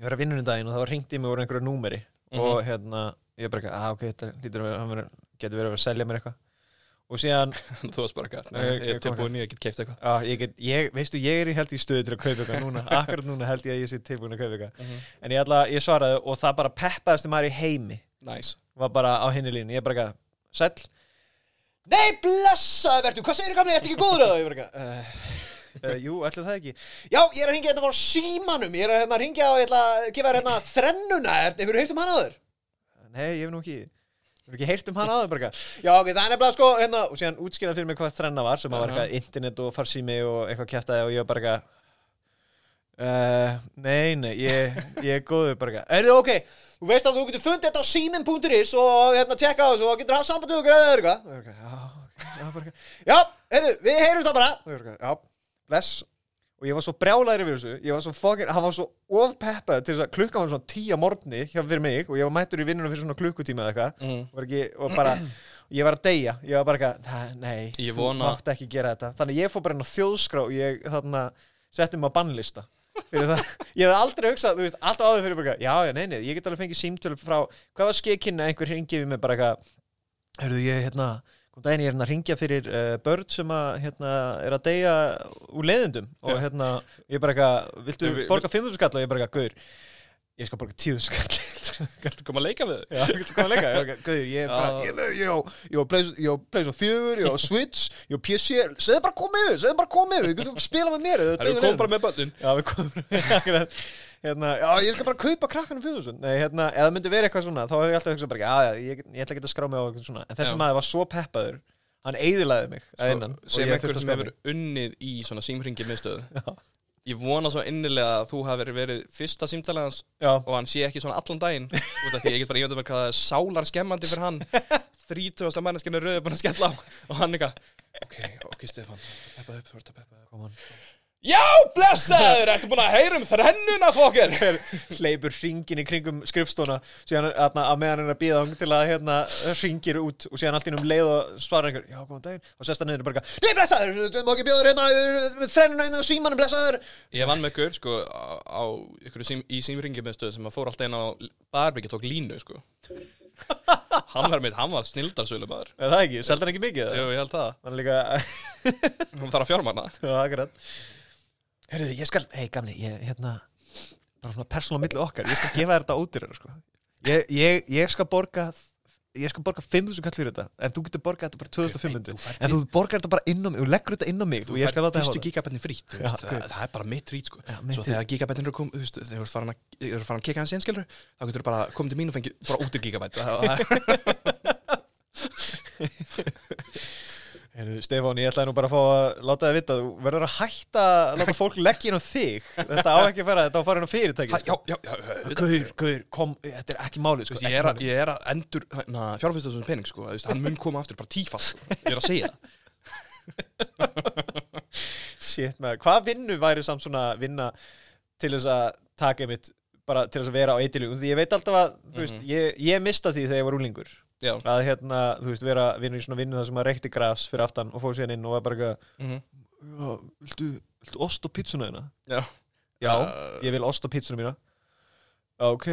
[SPEAKER 1] Ég var að vinna um daginn og það var hringt í mig úr einhverju númeri
[SPEAKER 2] Mhm.
[SPEAKER 1] "Ah, Og hérna, ég bara, að ok, þetta lítur að vera- hann verið, getur verið að vera að selja mér eitthvað Og og síðan [laughs]
[SPEAKER 2] þú varst bara eitthvað,
[SPEAKER 1] Ég-
[SPEAKER 2] ég
[SPEAKER 1] ég
[SPEAKER 2] er tilbúin í að geta keift eitthvað
[SPEAKER 1] Já, ég get, ég, veistu, ég er í held í stöðu til að kaupa eitthvað núna, akkurat núna held ég að ég sé tilbúin að kaupa eitthvað en ég, ætla, ég svaraði og það bara peppaðist maður í heimi
[SPEAKER 2] Nice.
[SPEAKER 1] var bara á hinni línu, ég bara eitthvað sæll Nei, blessaði verður, hvað segir þú gamlega, ertu ekki góður að það? Ég bara eitthvað, [laughs] uh, uh, jú, ætla það ekki Já, ég er að hringja þetta var símanum ég er að hérna, hringja og ég ætla að gefa þér hérna þrennuna, er, hefur þú heyrt um hann áður? Nei, ég hef nú ekki Hefur ekki heyrt um hann áður, bara eitthvað Já, ok, það er nefnilega sko, hérna og síðan útskýra fyrir mig hvað þrenna var sem að var
[SPEAKER 2] Aha.
[SPEAKER 1] eitthvað internet og farsími og eitthvað kjæftaði og ég var bara eitthvað Uh, nei, nei, ég, ég er góður bara Er þið ok? Þú veist að þú getur fundið þetta á símin.is og hérna tjekka á þessu og getur hafa samband við okkur eða eitthvað Og ég bara, Já, ok, já, bara eitthvað. Já, heyrðu, við heyrjum það bara Og ég bara, Já, bless Og ég var svo brjálæri við þessu Ég var svo fokin, hann var svo ofpeppað til þess að klukka hann svona tíu að morgni hjá fyrir mig og ég var mættur í vinnunum fyrir svona klukkutíma eða eitthvað
[SPEAKER 2] Mm.
[SPEAKER 1] var ekki, og bara, ég var að deyja ég var bara eitthvað, "Það- nei,
[SPEAKER 2] Ég
[SPEAKER 1] þú
[SPEAKER 2] vona-
[SPEAKER 1] mátt ekki gera þetta þannig að ég fór bara inn á þjóðskrá og ég þarna setti mig á bannlista fyrir það, [laughs] ég hef aldrei hugsað, þú veist, alltaf áður fyrir bara, eitthvað, já, já, nei, nei, ég get alveg fengið símtölu frá, hvað var skekinn að einhver hringi við mig bara eitthvað, hörðu ég, hérna kom daginn ég er hérna að ringja fyrir uh, börn sem að, hérna, er að deyja úr leiðindum og hérna, ég bara eitthvað,
[SPEAKER 2] Við-
[SPEAKER 1] viltu
[SPEAKER 2] við-
[SPEAKER 1] borga 5.000 skall og ég bara eitthvað, gaur, ég skal borga 10.000 skall [laughs]
[SPEAKER 2] Gætu koma að leika við þau?
[SPEAKER 1] Já, getur komið að leika Já, ok, Gauður, ég er bara
[SPEAKER 2] Já.
[SPEAKER 1] Ég ég- ég á- ég á Plays- ég á Playstation 4, ég á Switch Ég á PC, segðu bara komið Segðu bara komið, við getum spilað með mér hérna.
[SPEAKER 2] Það eru komið bara með börnin
[SPEAKER 1] Já, við komum [laughs] bara Hérna, já, ég skal bara kaupa krakkanum 4000 Nei, hérna, ef það myndi verið eitthvað svona þá hef ég alltaf hugsað bara, já, já, ég, ég ætla ekki að skrá mig á eitthvað svona En þessi
[SPEAKER 2] Já.
[SPEAKER 1] maður var svo peppaður Hann eiðilaði mig að innan Sko, og
[SPEAKER 2] Sem
[SPEAKER 1] ég
[SPEAKER 2] einhver
[SPEAKER 1] þurfti að
[SPEAKER 2] sem
[SPEAKER 1] skrá
[SPEAKER 2] hefur
[SPEAKER 1] mig.
[SPEAKER 2] unnið í svona símringi miðstöðu
[SPEAKER 1] Já.
[SPEAKER 2] Ég vona svo innilega að þú hafir verið fyrsta símtalaðans
[SPEAKER 1] Já,
[SPEAKER 2] og hann sé ekki svona allan daginn út af því ég get bara ímyndað mér hvað það er sálar skemmandi fyrir
[SPEAKER 1] [laughs]
[SPEAKER 2] hann 30. manneskinu rauði búin að skella á og hann eitthvað ok, ok Stefan, peppa upp, þú ert að peppa upp
[SPEAKER 1] Kom hann.
[SPEAKER 2] Já, blessaður, ertu búin að heyra um þrennuna fokkar
[SPEAKER 1] hleypur ringin í kringum skrifstóna síðan aðna, að meðan hann er að býða hann til að hérna ringir út og síðan allt í um leið og svarar einhver, já, góðan daginn og sest hann niður og bara, eitthvað, nei, blessaður, þú má ekki bjóður hérna þrennuna inn á símanum, blessaður
[SPEAKER 2] Ég vann með gaur, sko, á, á ykkur sím, í símringi með stöð sem að fór alltaf inn á barbeki og tók línu, sko Hann var mitt, hann var snildarsölu maður
[SPEAKER 1] eða það ekki, seldi hann ekki mikið
[SPEAKER 2] Jú, ég held það,
[SPEAKER 1] hann líka,
[SPEAKER 2] hann þarf að fjármanna
[SPEAKER 1] já, akkurat herruðu, ég skal, hei, gamli, ég, hérna bara svona persónlega milli okkar, ég skal gefa þér þetta ódýrar, sko ég, ég, ég skal borga ég skal borga 5.000 kall fyrir þetta en þú getur borgað þetta bara 2500
[SPEAKER 2] Nei, þú færð
[SPEAKER 1] en þú borgar þetta bara inn á mig, þú leggur þetta inn á mig og ég skal láta þig hafa
[SPEAKER 2] fyrstu
[SPEAKER 1] það.
[SPEAKER 2] gigabætni frýtt
[SPEAKER 1] Já,
[SPEAKER 2] það,
[SPEAKER 1] guð.
[SPEAKER 2] það er bara mitt frýtt sko
[SPEAKER 1] Já, mitt
[SPEAKER 2] svo þegar gigabætnir eru kom þú veist, þegar þú ert farin að, þú ert farin að kika hans einskjálur þá getur þú bara komið til mín og fengið bara út í gigabæt Það- það-
[SPEAKER 1] Heyrðu, Stefán, ég ætlaði nú bara að fá að láta þið vita, þú verður að hætta að láta fólk leggja inn á þig þetta á ekki að fara, þetta á að fara inn á sko. fyrirtæki
[SPEAKER 2] það- já, já, já auðvitað.
[SPEAKER 1] Guður, guður, kom, þetta er ekki málið
[SPEAKER 2] Þú
[SPEAKER 1] sko,
[SPEAKER 2] veist, ég, er að, ég er að endur hérna, fjárfæstu þessum pening sko þú veist, hann mun koma aftur bara tífall sko. ég er að
[SPEAKER 1] [laughs]
[SPEAKER 2] segja það.
[SPEAKER 1] Shit, maður, hvað vinnu væri samt svona vinna til þess að taka mitt bara til þess að vera á eitilug því ég veit alltaf að, þú
[SPEAKER 2] Mhm.
[SPEAKER 1] veist, ég, ég mista því þegar ég var úlingur
[SPEAKER 2] já,
[SPEAKER 1] að hérna, þú veist, vera vinnu í svona vinnu þar sem maður reykti gras fyrir aftan og fór síðan inn og var bara eitthvað,
[SPEAKER 2] mhm,
[SPEAKER 1] "Já, viltu, viltu ost og pítsuna þina?
[SPEAKER 2] já.
[SPEAKER 1] Já,
[SPEAKER 2] Uh,
[SPEAKER 1] ég vil ost á pítsuna mína Já, Ok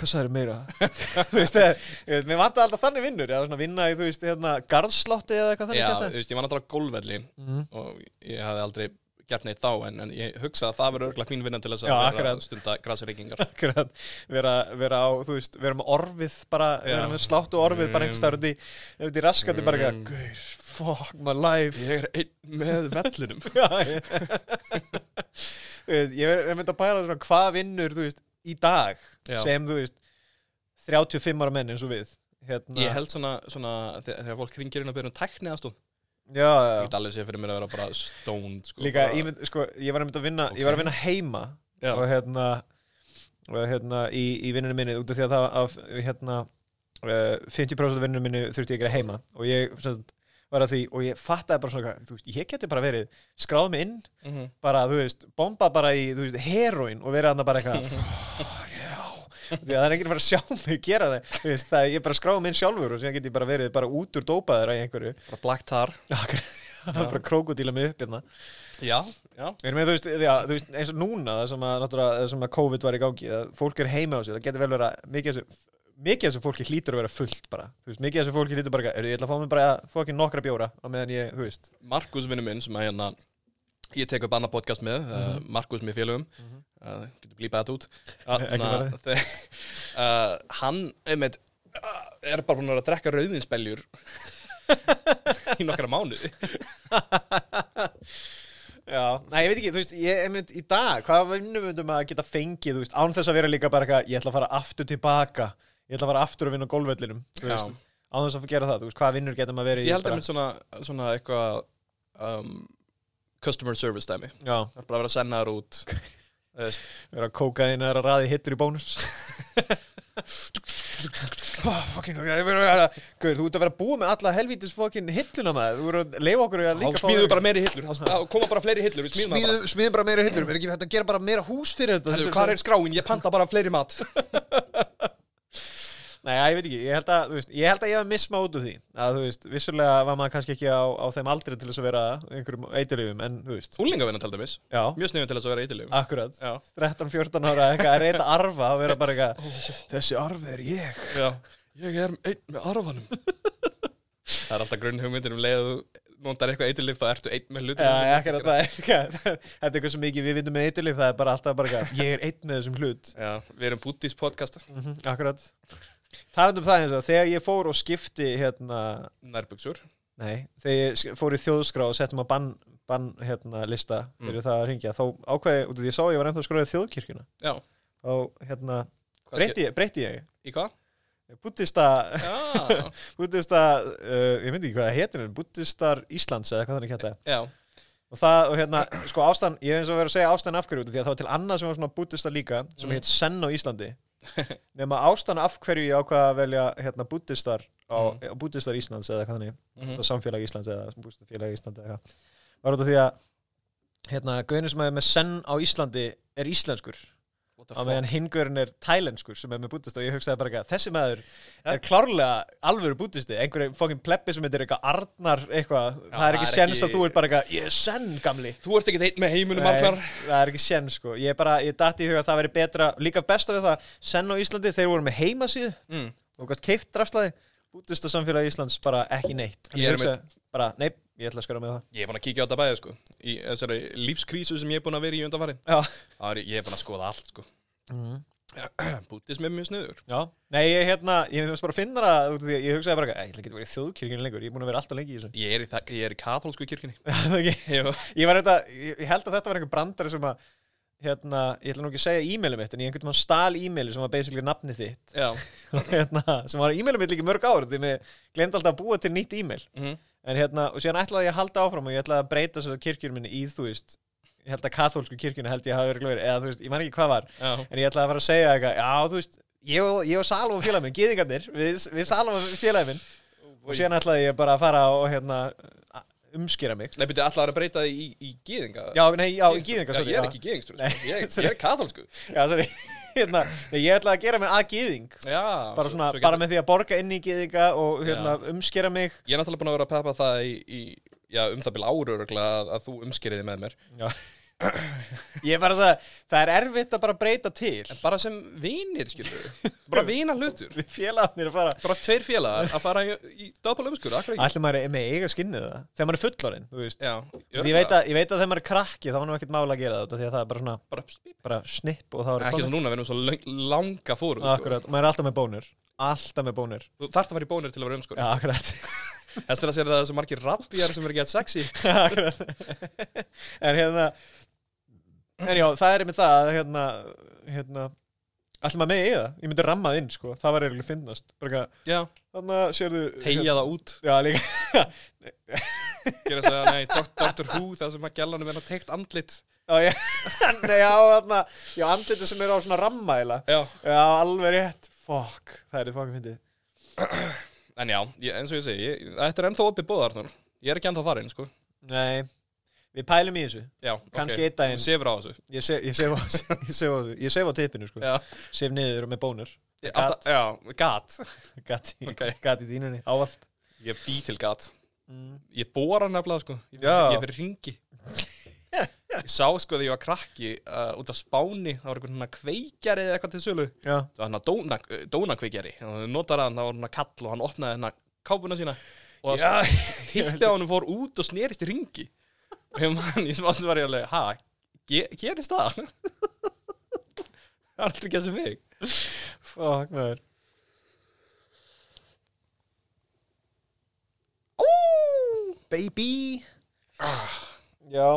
[SPEAKER 1] Hvað sagði meira? [laughs] þú veist, eða, ég veit, mér vantar alltaf þannig vinnur eða svona vinna í, þú veist, hérna, garðslátti eða eitthvað
[SPEAKER 2] já,
[SPEAKER 1] þannig
[SPEAKER 2] þú veist, ég var náttúrulega á gólvelli
[SPEAKER 1] Mhm.
[SPEAKER 2] og ég hafði aldrei gert neitt þá en, en ég hugsa að það verður örgulega fín vinna til þess að
[SPEAKER 1] Já,
[SPEAKER 2] vera
[SPEAKER 1] akkurat.
[SPEAKER 2] að stunda grasreikingar
[SPEAKER 1] Akkurat, vera, vera á, þú veist, vera með orfið bara,
[SPEAKER 2] Já.
[SPEAKER 1] vera með sláttu orfið bara
[SPEAKER 2] Mm.
[SPEAKER 1] einhvers staðar út í, út í raskandi bara eitthvað,
[SPEAKER 2] Mm.
[SPEAKER 1] gaur, fuck my life
[SPEAKER 2] [laughs] ég er einn með vellinum
[SPEAKER 1] [laughs] Já, ég [laughs] Þú veist, ég er- er myndi að pæla svona hvað vinnur, þú veist, í dag
[SPEAKER 2] Já.
[SPEAKER 1] sem, þú veist, 35 ára menn eins og við hérna,
[SPEAKER 2] [laughs] Ég held svona, svona þegar, þegar fólk ringir inn og byrja um tækni aðstóð
[SPEAKER 1] já, já,
[SPEAKER 2] Ég
[SPEAKER 1] já.
[SPEAKER 2] get alveg séð fyrir mér að vera bara stónd sko,
[SPEAKER 1] Líka,
[SPEAKER 2] bara,
[SPEAKER 1] ég, mynd, sko, ég var einmitt að vinna Ég var að vinna heima
[SPEAKER 2] Já.
[SPEAKER 1] Og hérna, og hérna í, í vinnunum minni Út af því að það af, hérna, uh, 50% af vinnunum minni þurfti ég að gera heima Og ég sem sagt, var að því Og ég fattaði bara svona eitthvað, þú veist, Ég geti bara verið, skráð mig inn
[SPEAKER 2] Mhm.
[SPEAKER 1] Bara, þú veist, bomba bara í, þú veist, heroin Og verið hann bara eitthvað Já Því að það er enginn að fara að sjá mig gera það, þú veist, það ég bara skráði mig inn sjálfur og síðan get ég bara verið bara út úr dópaður í einhverju
[SPEAKER 2] bara black tar
[SPEAKER 1] [laughs] bara krókudíla mig upp hérna
[SPEAKER 2] Já, já,
[SPEAKER 1] Ég meina, þú veist, já, þú veist, eins og núna það sem að, náttúrulega, það sem að COVID var í gangi það, fólk er heima á sig, það getur vel verið að mikið af þessu mikið af þessu fólki hlýtur að vera fullt bara þú veist, mikið af þessu fólki hlýtur bara er, ég ætla að fá mig bara fokkin nokkra bjóra á meðan ég, þú veist
[SPEAKER 2] Markus vinnu minn sem að hérna ég tek upp annað podcast með, mm Markus með félögum mm
[SPEAKER 1] Mhm.
[SPEAKER 2] getur blípað þetta út
[SPEAKER 1] [laughs] Ekki
[SPEAKER 2] Þarna, [laughs] þe- uh, hann einmitt, uh, er bara búin að vera að drekka rauðinsbeljur [laughs] í nokkra mánuði
[SPEAKER 1] Já, nei, ég veit ekki, þú veist, ég er mynd í dag, hvað vinnum myndum að geta fengið, þú veist, án þess að vera líka bara eitthvað, ég ætla að fara aftur tilbaka, ég ætla að fara aftur að vinna á golfvellinum, þú
[SPEAKER 2] Já.
[SPEAKER 1] veist, án þess að gera það, þú veist, hvað vinnur getum að vera í
[SPEAKER 2] ég held
[SPEAKER 1] bara-
[SPEAKER 2] einmitt svona, svona eitthvað um, customer service dæmi
[SPEAKER 1] Já,
[SPEAKER 2] það er bara að vera sennar
[SPEAKER 1] [laughs]
[SPEAKER 2] út þú veist,
[SPEAKER 1] vera að kóka þín að raði hittur í bónus. oh, fucking, ég verður að vera, gaur, þú ert að vera búið með alla helvítis fucking hilluna maður, þú verður að leifa okkur í að
[SPEAKER 2] þá
[SPEAKER 1] líka
[SPEAKER 2] smíðum við bara meiri hillur þá þá koma bara fleiri hillur við smíðum það bara
[SPEAKER 1] Smíðu, smíðu bara meira hillur, er ekki hægt að gera bara meira hús fyrir þetta?
[SPEAKER 2] Herðu,
[SPEAKER 1] Þetta
[SPEAKER 2] hvað er skráin, ég panta bara fleiri mat [laughs]
[SPEAKER 1] Nei, já, ég veit ekki, ég held að, þú veist, ég held að ég var misma út úr því að, þú veist, vissulega var maður kannski ekki á, á þeim aldrei til þess að vera einhverjum eiturlífum, en, þú veist,
[SPEAKER 2] úlingavinnan til dæmis,
[SPEAKER 1] já,
[SPEAKER 2] mjög sniðum til þess að vera eitthilum
[SPEAKER 1] akkurat
[SPEAKER 2] já,
[SPEAKER 1] 13-14 ára, eitthvað, að reyta arfa og vera bara eitthvað, þessi arfi er ég
[SPEAKER 2] já, ég er einn með arfanum það er alltaf grunn hugmyndin um leið að þú notar eitthvað eitthilif þá ertu einn með hlutum
[SPEAKER 1] Já, akkurat, það er eitthvað, [laughs] þetta er eitthvað sem ekki við vitum með eiturlíf, það er bara alltaf bara eitthvað, ég er einn með þessum hlut,
[SPEAKER 2] já, við erum búttis podcast
[SPEAKER 1] mm akkurat Talandi um það eins og, þegar ég fór og skipti, hérna,
[SPEAKER 2] nærbuksur
[SPEAKER 1] Nei, þegar ég sk- fór í þjóðskrá og settum að bann, bann hérna, lista fyrir það að ringja, þá ákveði, út af því ég sá að ég var ennþá skráðið þjóðkirkjuna
[SPEAKER 2] já,
[SPEAKER 1] og hérna,
[SPEAKER 2] hvað
[SPEAKER 1] breytti ég, breytti ég
[SPEAKER 2] ske- í hvað?
[SPEAKER 1] búttista, [laughs]
[SPEAKER 2] já,
[SPEAKER 1] búttista uh, ég myndi ekki hvað það heitir, búttistar Íslands eða hvað þannig kæta
[SPEAKER 2] já,
[SPEAKER 1] og það, og hérna, sko ástæðan, ég hef eins og verið að segja ástæðan af hverju út af því að það var til annað sem var svona búttista líka, sem
[SPEAKER 2] Mm.
[SPEAKER 1] heit Senn á
[SPEAKER 2] [laughs]
[SPEAKER 1] Íslandi nema ástæðan af hverju ég ákvað að velja hérna búttistar á, mm. búttistar Íslands eða hvað þannig
[SPEAKER 2] mhm,
[SPEAKER 1] það samfélag Íslands eða bústafélag Íslandi eða eitthvað var út af því að hérna, gauðin sem er með senn á Íslandi er íslenskur
[SPEAKER 2] what the
[SPEAKER 1] á
[SPEAKER 2] fuck
[SPEAKER 1] meðan hingurinn er tælenskur sem er með bútist og ég hugsaði bara eitthvað, þessi maður er klárlega alvöru bútisti einhverju fókin pleppi sem heitir eitthvað Arnar eitthvað,
[SPEAKER 2] Já,
[SPEAKER 1] það er ekki sens að þú ert bara eitthvað ég er senn gamli
[SPEAKER 2] þú ert ekkert einn með heiminum
[SPEAKER 1] Nei,
[SPEAKER 2] Arnar
[SPEAKER 1] það er ekki sén sko ég bara, ég datti í huga að það veri betra líka besta við það, senn á Íslandi þeir voru með heimasíð
[SPEAKER 2] mm.
[SPEAKER 1] og gott keift drafslaði bútist að samfélagi Íslands bara ekki neitt
[SPEAKER 2] Ég er
[SPEAKER 1] hugsa bara, nei, ég ætla að skara með það
[SPEAKER 2] ég er búin að kíkja á þetta bæði sko í þessari lífskrísu sem ég er búin að vera í undanfari
[SPEAKER 1] Já,
[SPEAKER 2] ég er búin að skoða allt sko [clears throat] búttis með mjög sniður
[SPEAKER 1] já. Mhm. Nei, ég, hérna, ég finnst bara að finna það út af því að ég hugsaði bara, eitthvað, "Æ, ég ætla ekki að vera í þjóðkirkjunni lengur, ég er búin að vera alltaf lengi í
[SPEAKER 2] [laughs]
[SPEAKER 1] þessu
[SPEAKER 2] ég er í, þa- ég er í katholsku [laughs] kirkjunni
[SPEAKER 1] Það er ekki-
[SPEAKER 2] ég,
[SPEAKER 1] Ég var þetta, ég ég held að þetta var einhver brandari sem að hérna, ég ætla nú ekki að segja e-mailum mitt en ég einhvern veginn stal e-maili sem var basically nafni þitt
[SPEAKER 2] já,
[SPEAKER 1] Og [laughs] hérna, sem var e-mailum mitt líka í mörg ár því mig glemd alltaf að búa til nýtt e-mail
[SPEAKER 2] mhm,
[SPEAKER 1] en hérna, og síðan ætlaði ég að halda áfram og ég ætlaði að breyta svo kirkjunum minni í þú veist ég held að katholsku kirkjunni held ég hafa verið glöður eða þú veist, ég man ekki hvað var
[SPEAKER 2] já
[SPEAKER 1] en ég ætlaði að fara að segja eitthvað já, þú veist, ég og, ég og Salomon félagin minn, gýðingarnir við, við Salomon félagin minn
[SPEAKER 2] Oh,
[SPEAKER 1] og síðan ætlaði ég bara að fara og hérna a- umskýra mig
[SPEAKER 2] Nei, byrju, allar að breyta því í, í gýðinga
[SPEAKER 1] já, nei, já, gýðingar
[SPEAKER 2] Já, ég er ekki gýðingstur,
[SPEAKER 1] Nei,
[SPEAKER 2] sko. ég, ég
[SPEAKER 1] sorry.
[SPEAKER 2] er katholsku
[SPEAKER 1] já, sorry, [laughs] hérna, nei, ég ætlaði að gera mig að gýðing
[SPEAKER 2] Já,
[SPEAKER 1] bara, svona, bara með því að borga inn í gýðinga og hérna, umskýra mig
[SPEAKER 2] Ég er náttúrulega búin að vera að peppa það í, í já, um það byrja áru örgulega að, að þú umskeriði með mér
[SPEAKER 1] já. [clears throat] ég er bara að segja, það er erfitt að bara breyta til
[SPEAKER 2] En bara sem vinir, skilur við
[SPEAKER 1] [laughs]
[SPEAKER 2] Bara vina hlutur
[SPEAKER 1] við félagarnir að fara
[SPEAKER 2] Bara tveir félagar að fara í, í doppel umskur, akkur ekki
[SPEAKER 1] Ætli maður er með eiga skinnið það þegar maður er fullorinn, þú veist
[SPEAKER 2] Já,
[SPEAKER 1] ég veit, að, ég veit að þegar maður er krakki þá var nú ekkert mála að gera það út af því að það er bara svona
[SPEAKER 2] Bara, ekki
[SPEAKER 1] bara snipp og þá er
[SPEAKER 2] svo núna, við erum svo löng, langa fórum
[SPEAKER 1] Akkurat, maður er alltaf með bónir Alltaf með bónir
[SPEAKER 2] Þú þarft að fara í bónir til að vera umskur
[SPEAKER 1] Já, akkurat, [laughs]
[SPEAKER 2] Þess vegna sér það þessu margir rappjar sem er ekki að sexy
[SPEAKER 1] akkurat. En hérna En já, það er með það að hérna, hérna Alltaf maður með í það Ég myndi ramma það inn, sko, það var eiginlega finnast Bara eitthvað,
[SPEAKER 2] Já,
[SPEAKER 1] þannig að sérðu
[SPEAKER 2] tegja það út
[SPEAKER 1] Já, líka
[SPEAKER 2] gera þess að, nei, Dr. Dr. Who það sem að gælanum er að teikt andlit
[SPEAKER 1] Já, ég, [laughs] nei, já, þarna Já, andliti sem eru á svona ramma eiginlega
[SPEAKER 2] já.
[SPEAKER 1] Já, alveg rétt, fuck Það er þið fucking fyndið
[SPEAKER 2] en já, ég, eins og ég segi ég, þetta er ennþá opið bóðar Arnur. ég er ekki ennþá farin, sko
[SPEAKER 1] Nei, við pælum í þessu
[SPEAKER 2] já,
[SPEAKER 1] Kannski einn daginn.
[SPEAKER 2] þú sefur á þessu
[SPEAKER 1] Ég sef, ég sef, á, [laughs] ég sef, á, ég sef á tippinu, sko
[SPEAKER 2] já,
[SPEAKER 1] Sef niður með bónir
[SPEAKER 2] ég,
[SPEAKER 1] Gat.
[SPEAKER 2] alltaf, já gat
[SPEAKER 1] Gat í,
[SPEAKER 2] Ok.
[SPEAKER 1] gat í dýninni, ávallt
[SPEAKER 2] ég bý til gat
[SPEAKER 1] mm.
[SPEAKER 2] ég bóra nefnilega, sko ég,
[SPEAKER 1] Já.
[SPEAKER 2] ég fyrir ringi Ég sá sko þegar ég var krakki uh, út af spáni, það var einhvern svona kveikjari eða eitthvað til sölu.
[SPEAKER 1] já,
[SPEAKER 2] Það var hann að dóna, dónakveikjari. Þannig að notar hann, það var hann að kall og hann opnaði hann að kápuna sína. Og það
[SPEAKER 1] já,
[SPEAKER 2] hitti á hann fór út og snerist í ringi. Og ég mann, ég smást var ég alveg, ha, ge gerist það? það er aldrei gæst sem mig.
[SPEAKER 1] fuck maður
[SPEAKER 2] Baby!
[SPEAKER 1] Ah, já,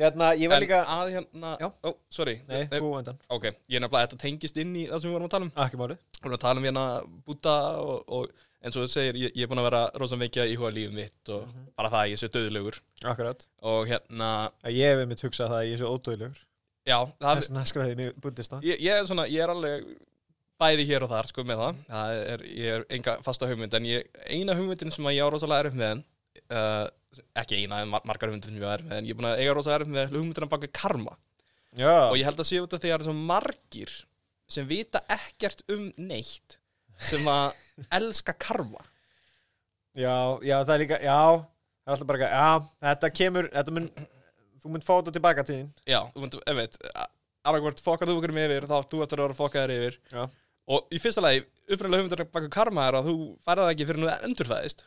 [SPEAKER 1] hérna, ég var
[SPEAKER 2] En
[SPEAKER 1] líka
[SPEAKER 2] að hérna,
[SPEAKER 1] Já.
[SPEAKER 2] ó, sorry.
[SPEAKER 1] nei,
[SPEAKER 2] Nei,
[SPEAKER 1] þú undan,
[SPEAKER 2] Ok, ég er nefnilega, þetta tengist inn í það sem við vorum að tala um.
[SPEAKER 1] ekki máli
[SPEAKER 2] Við erum að tala um hérna búta og, og eins og þú segir, ég, ég er búin að vera rosa mikið í huga lífið mitt og
[SPEAKER 1] Mhm.
[SPEAKER 2] bara það að ég sé döðlugur
[SPEAKER 1] akkurat,
[SPEAKER 2] og hérna,
[SPEAKER 1] að ég hef einmitt hugsað það að ég sé ódöðlegur
[SPEAKER 2] já, það,
[SPEAKER 1] þess vegna skræði mig búndist það
[SPEAKER 2] ég, ég er svona, ég er alveg bæði hér og þar, sko, með það, það er, ég er enga fasta hugmynd, en ég, eina hugmyndin sem að ég á rosalega erf með, uh, ekki eina, en mar- margar hugmyndir sem ég á erf með, en ég er búin að eiga rosalega erf með hugmyndina baka karma og
[SPEAKER 1] já,
[SPEAKER 2] ég held að sé út af því að það eru svo margir sem vita ekkert um neitt sem að elska karma
[SPEAKER 1] já, já, það er líka, já það er alltaf bara, eitthvað, já, þetta kemur þetta mun, þú mun fá þetta tilbaka til þín
[SPEAKER 2] Já, þú myndir, ef veit Aragvart fokkar þú okkur með yfir, þá átt þú eftir að vera fokkaður yfir
[SPEAKER 1] Já.
[SPEAKER 2] Og í fyrsta lagi, uppræðilega hugmyndur baka karma er að þú færði það ekki fyrir nú það endurfæðist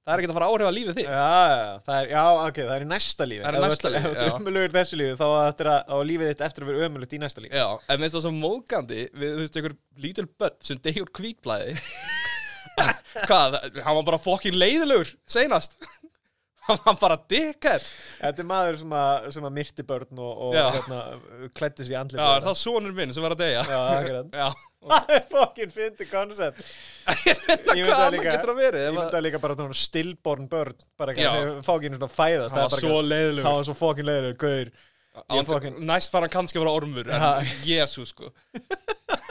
[SPEAKER 2] Það er ekki að fara að áhrifa lífið þig
[SPEAKER 1] Já, já, það er, já, ok, það er í næsta lífi
[SPEAKER 2] Það er í
[SPEAKER 1] Ef þú
[SPEAKER 2] næsta
[SPEAKER 1] ert-
[SPEAKER 2] lífi,
[SPEAKER 1] Ef þú
[SPEAKER 2] já.
[SPEAKER 1] ert ömulugur þessu lífi, þá á eftir að- á lífið þitt eftir að vera ömulugt í næsta lífi
[SPEAKER 2] Já, en minnst það svo móðgandi við, þú veist, einhver lítil börn sem deyjur kvítblæði
[SPEAKER 1] [laughs]
[SPEAKER 2] Hvað, það- hann var bara fokkin leiðilegur, seinast [laughs] Hann var bara dickhead
[SPEAKER 1] Þetta er maður sem að, sem að myrti börn og, og
[SPEAKER 2] Já.
[SPEAKER 1] hérna, klætti sér í andli
[SPEAKER 2] Já, er það sonur minn sem var að deyja
[SPEAKER 1] Já, akkurat
[SPEAKER 2] [laughs] Já,
[SPEAKER 1] Það er fokkin fyndi koncept Ég veit
[SPEAKER 2] hvað
[SPEAKER 1] það
[SPEAKER 2] annað
[SPEAKER 1] líka-
[SPEAKER 2] getur að verið
[SPEAKER 1] Ég
[SPEAKER 2] ef
[SPEAKER 1] myndi
[SPEAKER 2] að-
[SPEAKER 1] að líka bara svona stillborn börn bara ekki
[SPEAKER 2] Já.
[SPEAKER 1] að þau fá ekki einu svona fæðast
[SPEAKER 2] Hann var
[SPEAKER 1] það er bara
[SPEAKER 2] svo
[SPEAKER 1] ekki-
[SPEAKER 2] leiðilegur
[SPEAKER 1] Það var svo fokkin leiður, gauður Ég
[SPEAKER 2] Ég
[SPEAKER 1] fucking-
[SPEAKER 2] Næst fara hann kannski að vera ormur
[SPEAKER 1] Ha.
[SPEAKER 2] En jésu sko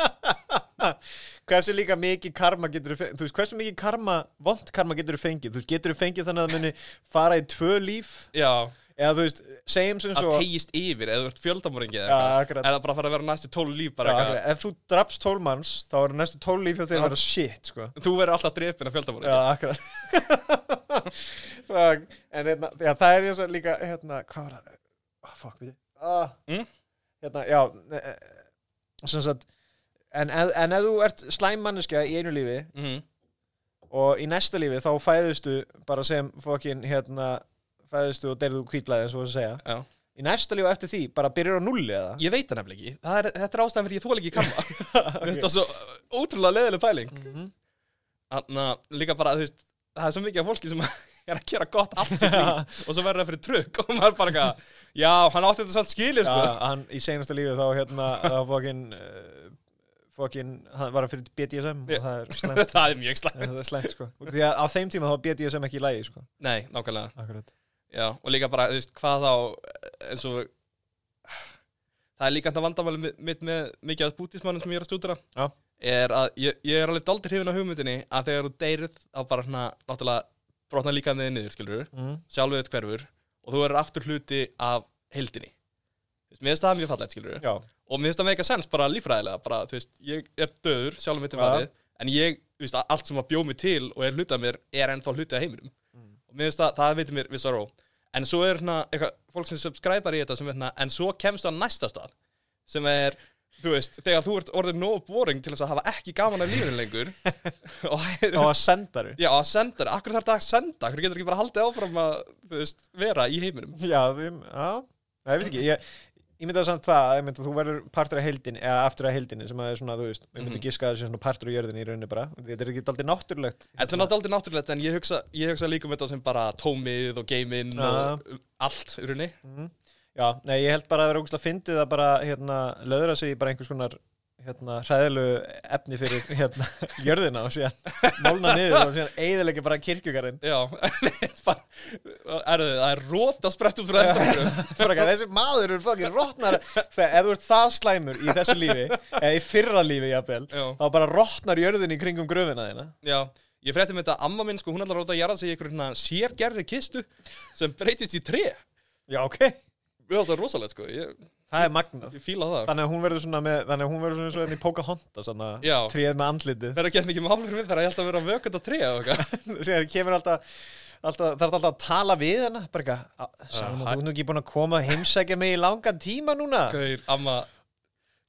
[SPEAKER 1] [laughs] Hversu líka mikið karma getur þú fengið Þú veist, hversu mikið karma, vond karma getur þú fengið Þú veist, getur þú fengið þannig að það muni fara í tvö líf
[SPEAKER 2] Já,
[SPEAKER 1] Eða þú veist, segjum sem
[SPEAKER 2] að
[SPEAKER 1] svo
[SPEAKER 2] tegist yfir Eða þú ert fjöldamoringi
[SPEAKER 1] Já,
[SPEAKER 2] eða eitthvað
[SPEAKER 1] akkurat.
[SPEAKER 2] Er það bara að fara að vera næstu tól líf
[SPEAKER 1] Já,
[SPEAKER 2] bara eitthvað
[SPEAKER 1] akkurat. Ef þú drapst tólmanns, þá eru næstu tól líf hjá þér
[SPEAKER 2] Já.
[SPEAKER 1] að vera shit, sko
[SPEAKER 2] Þú verður alltaf drepin af fjöldamoringi
[SPEAKER 1] Já, akkurat [laughs] Fuck. En hérna, já, það er eins og líka hérna, hvað var það? Oh, fuck, við ah,
[SPEAKER 2] Mm?
[SPEAKER 1] Hérna, já ne- eh, sem sagt en, ef- en ef þú ert slæm manneskja í einu lífi
[SPEAKER 2] Mhm.
[SPEAKER 1] og í næsta lífi þá fæðustu bara sem fokkin hérna fæðustu og deyrðu kvítlaði svo að segja
[SPEAKER 2] Já.
[SPEAKER 1] í næsta lífi og eftir því bara byrjar á nulli eða
[SPEAKER 2] Ég veit það nefnilega ekki Það er- Þetta er ástæðan fyrir ég þóla ekki
[SPEAKER 1] [laughs]
[SPEAKER 2] kamma Mér
[SPEAKER 1] okay.
[SPEAKER 2] finnst það svo uh, ótrúlega leiðileg pæling
[SPEAKER 1] Mhm.
[SPEAKER 2] Þannig að líka bara þú veist Það er svo mikið af fólki sem [laughs] er að gera gott allt sitt líf Og svo verður það fyrir trukk [laughs] Og maður bara eitthvað Já, hann átti þetta samt skilið
[SPEAKER 1] Já,
[SPEAKER 2] sko
[SPEAKER 1] hann í senasta lífi þá hérna þá fokkin uh, fokkin, hann var hann fyrir BDSM og það er slæmt
[SPEAKER 2] [laughs] [laughs] Það er mjög slæmt
[SPEAKER 1] það er slæmt sko því að á þeim tíma þá bjöti ég sem ekki í lægi sko
[SPEAKER 2] Nei, nákvæmlega
[SPEAKER 1] akkurat
[SPEAKER 2] Já, og líka bara, þú veist, hvað þá eins og það er líka þetta vandamáli mitt með, með mikið af bútismannum sem ég er að stúdera
[SPEAKER 1] Já.
[SPEAKER 2] er að ég, ég er alveg daldir hrifin á hugmyndinni að þegar þú deyrið þá bara hérna, náttúrulega brotna líka með niður, skilur
[SPEAKER 1] mm.
[SPEAKER 2] sjálfið þitt hverfur og þú er aftur hluti af heildinni Þú veist, mér finnst það mjög fallet, skilur
[SPEAKER 1] já
[SPEAKER 2] og mér finnst það meika sens bara lífræðilega bara, þú veist, ég er döður, sjálfum mitt er
[SPEAKER 1] Já.
[SPEAKER 2] farið en ég, þú veist, allt sem að bjó mig til og er hluti af mér er ennþá hluti af heiminum
[SPEAKER 1] Mm.
[SPEAKER 2] og mér finnst það, það veitir mér vissar ró en svo er hérna, eitthvað, fólk sem subscribar í þetta sem er hérna, en svo kemst það næsta stað sem er, þú veist, þegar þú ert orðin nóg boring til þess að hafa ekki gaman af
[SPEAKER 1] [laughs]
[SPEAKER 2] lífinu lengur og
[SPEAKER 1] og
[SPEAKER 2] þú veist,
[SPEAKER 1] að sendaru
[SPEAKER 2] já, að senda, akkur þarf það að senda akkur getur ekki bara haldið áfram að, þú veist, vera í heiminum
[SPEAKER 1] já því já Nei, ég veit ekki ég ég myndi að samt það ég myndi að þú verður partur af heildin eða aftur af heildinni sem að er svona þú veist ég myndi
[SPEAKER 2] Mhm.
[SPEAKER 1] að giska að það sé svona partur af jörðinni í rauninni bara þetta er ekki aldrei náttúrulegt
[SPEAKER 2] Þetta er náttúrulega náttúrulegt en ég hugsa, ég hugsa líka um þetta sem bara tómið og geiminn og um, allt, í rauninni.
[SPEAKER 1] Mhm. já nei ég held bara að vera ógust að fyndi það bara hérna löðra sig í bara einhvers konar hérna hræðilu efni fyrir hérna [laughs] jörðina og síðan mólna niður og síðan eiðilega bara kirkjugarinn
[SPEAKER 2] Já, [laughs] Bara- er þið, það er rót að spretta út frá þessum.
[SPEAKER 1] Fraka, þessi maður er fucking rotnar þegar ef þú ert það slæmur í þessu lífi eða í fyrra lífi jafnvel
[SPEAKER 2] Já,
[SPEAKER 1] þá bara rotnar jörðin í kringum gröfina þína
[SPEAKER 2] já. Ég frétti með þetta amma minn, sko, hún ætlar að róta að gera sig í einhverjum hérna sérgerri kistu sem breytist í tre.
[SPEAKER 1] já ok
[SPEAKER 2] Mér finnst það rosalegt sko, ég,
[SPEAKER 1] það er magnað
[SPEAKER 2] ég fíla það
[SPEAKER 1] þannig að hún verður svona með þannig að hún verður svona eins og henni í Pocahontas svona,
[SPEAKER 2] Já,
[SPEAKER 1] tríð með andlitið [laughs]
[SPEAKER 2] verður að geta mikið málur við þegar ég held að vera vökund að trea og eitthvað
[SPEAKER 1] Sér, kemur alltaf, alltaf það er alltaf að tala við hana bara eitthvað Salma,
[SPEAKER 2] Ah,
[SPEAKER 1] þú
[SPEAKER 2] hæ-
[SPEAKER 1] ert nú ekki búin að koma að heimsækja mig í langan tíma núna
[SPEAKER 2] Gaur, amma,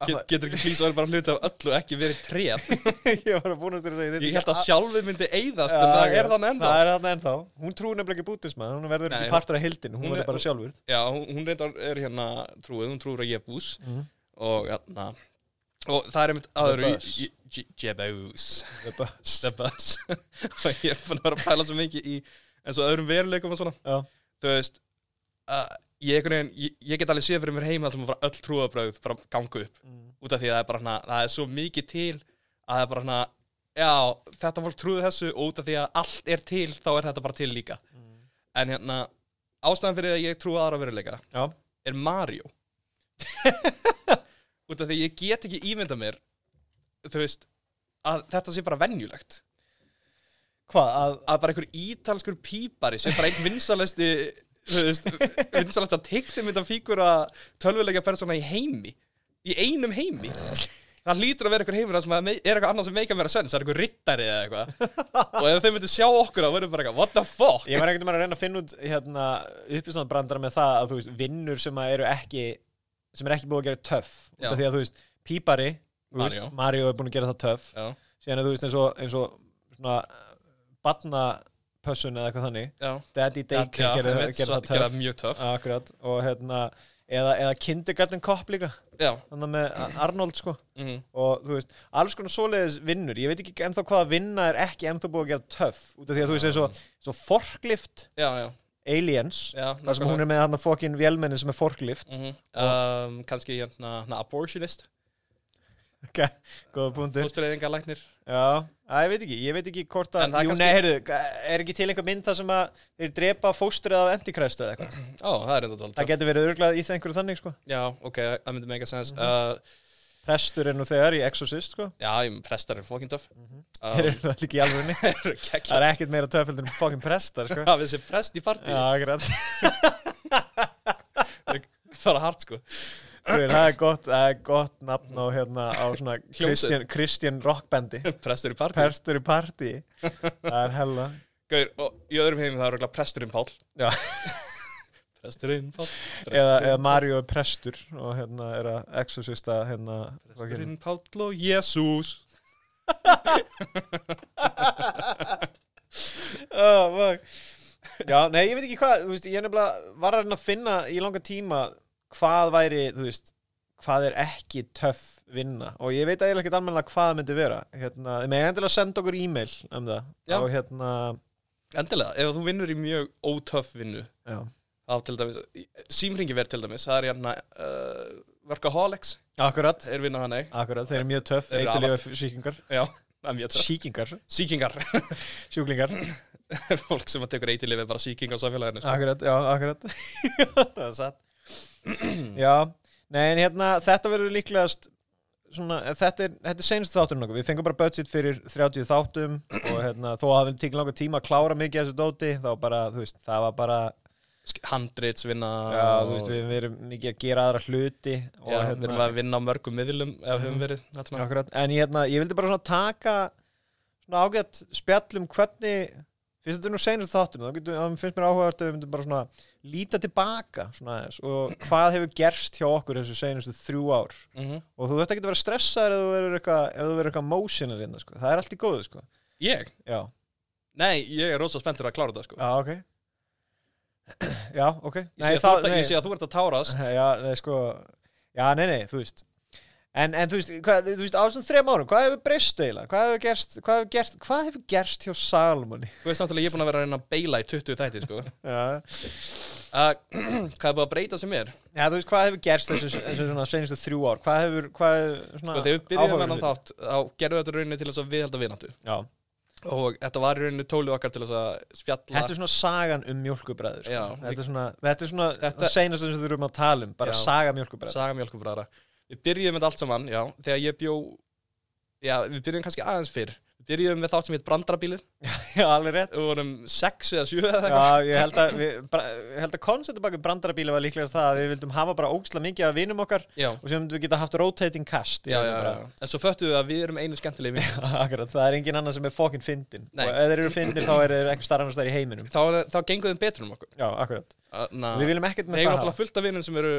[SPEAKER 2] get,
[SPEAKER 1] Amma-
[SPEAKER 2] getur ekki flýs og er bara hluti af öllu ekki verið treð
[SPEAKER 1] [laughs] [laughs] ég var að búin að segja þetta
[SPEAKER 2] Ég held að sjálfið myndi eyðast en
[SPEAKER 1] Já,
[SPEAKER 2] það er þann enda
[SPEAKER 1] það er þarna ennþá hún trúi nefnilega ekki bútisma, hún verður
[SPEAKER 2] Nei,
[SPEAKER 1] ekki partur af hildin hún,
[SPEAKER 2] hún er-
[SPEAKER 1] verður bara sjálfur
[SPEAKER 2] Já, hún, hún reyndar er hérna trúið, hún trúir að ég er bús
[SPEAKER 1] Mhm.
[SPEAKER 2] og, na, og það er einmitt aður
[SPEAKER 1] The bus.
[SPEAKER 2] Jebús
[SPEAKER 1] The bus.
[SPEAKER 2] The bus [laughs] og ég er fann að vera að pæla svo mikið í eins og öðrum veruleikum og svona
[SPEAKER 1] Já.
[SPEAKER 2] þú veist uh, ég, einhvern veginn- ég, ég get alveg séð fyrir mér heima þar sem að fara öll trúabröð bara ganga upp út af því að það er bara hana, það er svo mikið til að það er bara hana, já, þetta fólk trúði þessu og út af því að allt er til þá er þetta bara til líka en hérna, ástæðan fyrir að ég trú aðra veruleika
[SPEAKER 1] Já.
[SPEAKER 2] er Mario út af því að ég get ekki ímynda mér þú veist, að þetta sé bara venjulegt
[SPEAKER 1] hvað, að,
[SPEAKER 2] að bara einhver ítalskur pípari sem bara einn vinsalæsti vinsalæsta teiknumynda fígura tölvuleika persóna í heimi í einum heimi það hlýtur að vera einhver heimur þar sem að me- er eitthvað annað sem meika vera sens, það er einhver rittari eða eitthvað og ef þeir myndu sjá okkur þá verður bara eitthvað what the fuck
[SPEAKER 1] Ég var ekkert um að reyna að finna út hérna, upplýsnaðbrandara með það að þú veist, vinnur sem að eru ekki sem er ekki búið að gera töff út
[SPEAKER 2] Já.
[SPEAKER 1] af því að þú veist, pípari þú veist,
[SPEAKER 2] Mario.
[SPEAKER 1] Mario er búin að gera það töff
[SPEAKER 2] já,
[SPEAKER 1] síðan er þú veist eins og, eins og svona barnapössun eða eitthvað þannig
[SPEAKER 2] já,
[SPEAKER 1] Daddy
[SPEAKER 2] já,
[SPEAKER 1] Daycare
[SPEAKER 2] já,
[SPEAKER 1] gerir það-
[SPEAKER 2] einmitt,
[SPEAKER 1] gerir
[SPEAKER 2] svo-
[SPEAKER 1] það
[SPEAKER 2] gera
[SPEAKER 1] töff
[SPEAKER 2] mjög töff
[SPEAKER 1] akkurat, og hérna eða, eða Kindergarten Cop líka
[SPEAKER 2] já,
[SPEAKER 1] þannig með A- Arnold sko
[SPEAKER 2] mhm,
[SPEAKER 1] og þú veist, alls konar svoleiðis vinnur ég veit ekki ennþá hvaða vinna er ekki ennþá búið að gera töff út af því að þú veist eins og, eins og forklift
[SPEAKER 2] já, já,
[SPEAKER 1] Aliens
[SPEAKER 2] já
[SPEAKER 1] Það sem hún er með hann að fokkin vélmenni sem er forklift
[SPEAKER 2] mm um, kannski hérna na, abortionist,
[SPEAKER 1] Ok,
[SPEAKER 2] Mm.
[SPEAKER 1] Góða punktur
[SPEAKER 2] fóstureyðingalæknir
[SPEAKER 1] Já, að, ég veit ekki, ég veit ekki hvort að
[SPEAKER 2] En það er
[SPEAKER 1] Jú,
[SPEAKER 2] kannski-
[SPEAKER 1] nei, heyrðu, er ekki til einhver mynd það sem að þeir drepa fóstrið af endikræstu eða eitthvað
[SPEAKER 2] ó, það er enda dálítið
[SPEAKER 1] Það getur verið örglað í það einhverju þannig, sko
[SPEAKER 2] já, ok, það myndi mega sens
[SPEAKER 1] Mhm.
[SPEAKER 2] uh,
[SPEAKER 1] Prestur er nú þegar í Exorcist, sko
[SPEAKER 2] Já, ég meina, prestar eru fokkin töff
[SPEAKER 1] Þeir [laughs]
[SPEAKER 2] um, [laughs]
[SPEAKER 1] eru það líka í alvörunni
[SPEAKER 2] Eru
[SPEAKER 1] Það
[SPEAKER 2] kekkja
[SPEAKER 1] er ekkert meira töfveldur en fokkin prestar,
[SPEAKER 2] [laughs]
[SPEAKER 1] sko
[SPEAKER 2] Það við sem prest í partí
[SPEAKER 1] Já, akkurat
[SPEAKER 2] Það er hart sko
[SPEAKER 1] Þú veist, Það er gott, það er gott nafn á, hérna, á svona
[SPEAKER 2] Hljómsveit.
[SPEAKER 1] Christian, Christian
[SPEAKER 2] [laughs]
[SPEAKER 1] rockbandi
[SPEAKER 2] Prestur í partí
[SPEAKER 1] Prestur í partí Það er hella
[SPEAKER 2] Gaur, og í öðrum heimi það er regla presturinn Pál
[SPEAKER 1] Já.
[SPEAKER 2] [laughs] Presturinn Pál presturinn
[SPEAKER 1] eða, eða
[SPEAKER 2] Pál,
[SPEAKER 1] Mario er prestur og hérna er að exorcista hérna
[SPEAKER 2] Presturinn Pál og Jésús [laughs]
[SPEAKER 1] oh, já, nei, ég veit ekki hvað þú veist, ég er nefnilega var að reyna að finna í langa tíma hvað væri, þú veist hvað er ekki töff vinna og ég veit eiginlega ekkert almennilega hvað það myndi vera hérna, ég með endilega senda okkur e-mail um það
[SPEAKER 2] Já.
[SPEAKER 1] og hérna
[SPEAKER 2] Endilega, ef þú vinnur í mjög ótöff vinnu
[SPEAKER 1] já,
[SPEAKER 2] Það til dæmis Símringi verð til dæmis, það er hérna uh, Workaholics,
[SPEAKER 1] akkurat
[SPEAKER 2] er vinnað þannig
[SPEAKER 1] akkurat, þeir eru mjög töff,
[SPEAKER 2] Þeir eru
[SPEAKER 1] eitthvað sýkingar
[SPEAKER 2] Já, það er mjög töff
[SPEAKER 1] sýkingar,
[SPEAKER 2] Sýkingar, [laughs]
[SPEAKER 1] sjúklingar
[SPEAKER 2] fólk sem að tekur eitilif er bara sýking á samfélaginu sko.
[SPEAKER 1] Akkurat, já, akkurat [laughs] Það er satt [clears throat] Já, nei, en hérna, þetta verður líklegast svona, þetta er, þetta er senast þátturinn okkur, við fengum bara budget fyrir 30 þáttum og hérna, þó hafum við tekið langar tíma að klára mikið af þessu dóti, þá bara, þú veist, það var bara
[SPEAKER 2] Handrits vinna
[SPEAKER 1] já, þú veist, við við erum mikið að gera aðra hluti og
[SPEAKER 2] Já, við erum
[SPEAKER 1] hérna,
[SPEAKER 2] að vinna á mörgum miðlum ef við höfum verið þarna.
[SPEAKER 1] akkurat, en ég, hérna, ég vildi bara svona taka svona ágætt spjall um hvernig finnst þetta er nú senast þátturinn, þá getum, þá finnst mér áhugavert að við myndum bara svona líta tilbaka svona aðeins og hvað hefur gerst hjá okkur þessu senastu þrjú ár
[SPEAKER 2] Mhm.
[SPEAKER 1] og þú þurft ekki að vera stressaður ef þú verður eitthvað ef þú verður eitthvað emotional innan sko. það er allt í góðu sko.
[SPEAKER 2] Ég?
[SPEAKER 1] já,
[SPEAKER 2] Nei, ég er rosa spenntur að klára þetta sko.
[SPEAKER 1] já, ok [clears throat] já, ok
[SPEAKER 2] Ég sé,
[SPEAKER 1] þá-
[SPEAKER 2] að, nei. ég sé að þú ert að tárast
[SPEAKER 1] [laughs] já, nei, sko já, nei, nei, þú veist en, en þú veist, hvað, þú veist á þessum þrem árum hvað hefur breyst eiginlega, hvað hefur gerst hvað hefur gerst, hvað hefur gerst hjá Salmoni
[SPEAKER 2] Þú veist náttúrulega ég er búin að vera að reyna að beila í 20 þætti sko.
[SPEAKER 1] já.
[SPEAKER 2] uh, Hvað er búin að [clears throat] breyta sem er?
[SPEAKER 1] já, þú veist, hvað hefur gerst þessu, þessu svona senastu þrjú ár hvað hefur, hvað hefur svona
[SPEAKER 2] Sko, þegar við byrjuðum
[SPEAKER 1] áhugaverðir
[SPEAKER 2] ennan
[SPEAKER 1] hlutir?
[SPEAKER 2] þátt þá gerðum við þetta rauninni til þess að viðhalda vináttu
[SPEAKER 1] já,
[SPEAKER 2] og þetta var í rauninni tólið okkar til þess að spjalla
[SPEAKER 1] Þetta er svona sagan um mjölkubræður sko.
[SPEAKER 2] Já.
[SPEAKER 1] þetta, er svona, þetta er svona
[SPEAKER 2] Þetta-
[SPEAKER 1] það seinast sem við þurfum að tala um bara
[SPEAKER 2] Já.
[SPEAKER 1] saga mjölkubræður
[SPEAKER 2] saga mjölkubræðra Við byrjuðum þetta allt saman, já, þegar ég bjó Já, við byrjuðum kannski aðeins fyrr Við byrjuðum með þátt sem heit brandarabílið
[SPEAKER 1] já, alveg rétt
[SPEAKER 2] Við vorum sex eða sjö eða eitthvað.
[SPEAKER 1] Já, ég held að, við, bara, ég held að konceptu bakið brandarabíla var líklegast það að við vildum hafa bara ógsla mikið af vinum okkar
[SPEAKER 2] Já,
[SPEAKER 1] og sem við geta haft rotating cast í
[SPEAKER 2] já, já,
[SPEAKER 1] alveg bara.
[SPEAKER 2] já. En svo föttu við að við erum einu skemmtilegi vinir.
[SPEAKER 1] [laughs] Akkurat, það er engin annar sem er fokkin fyndin
[SPEAKER 2] Nei.
[SPEAKER 1] og ef þeir eru fyndin þá er þeir einhver starfnast þær í heiminum
[SPEAKER 2] Þá, þá gengur þeim betur um okkur.
[SPEAKER 1] Já, akkurat,
[SPEAKER 2] Na,
[SPEAKER 1] við viljum ekkert
[SPEAKER 2] Við
[SPEAKER 1] með
[SPEAKER 2] eigum
[SPEAKER 1] það
[SPEAKER 2] náttúrulega fullt af vinnum sem eru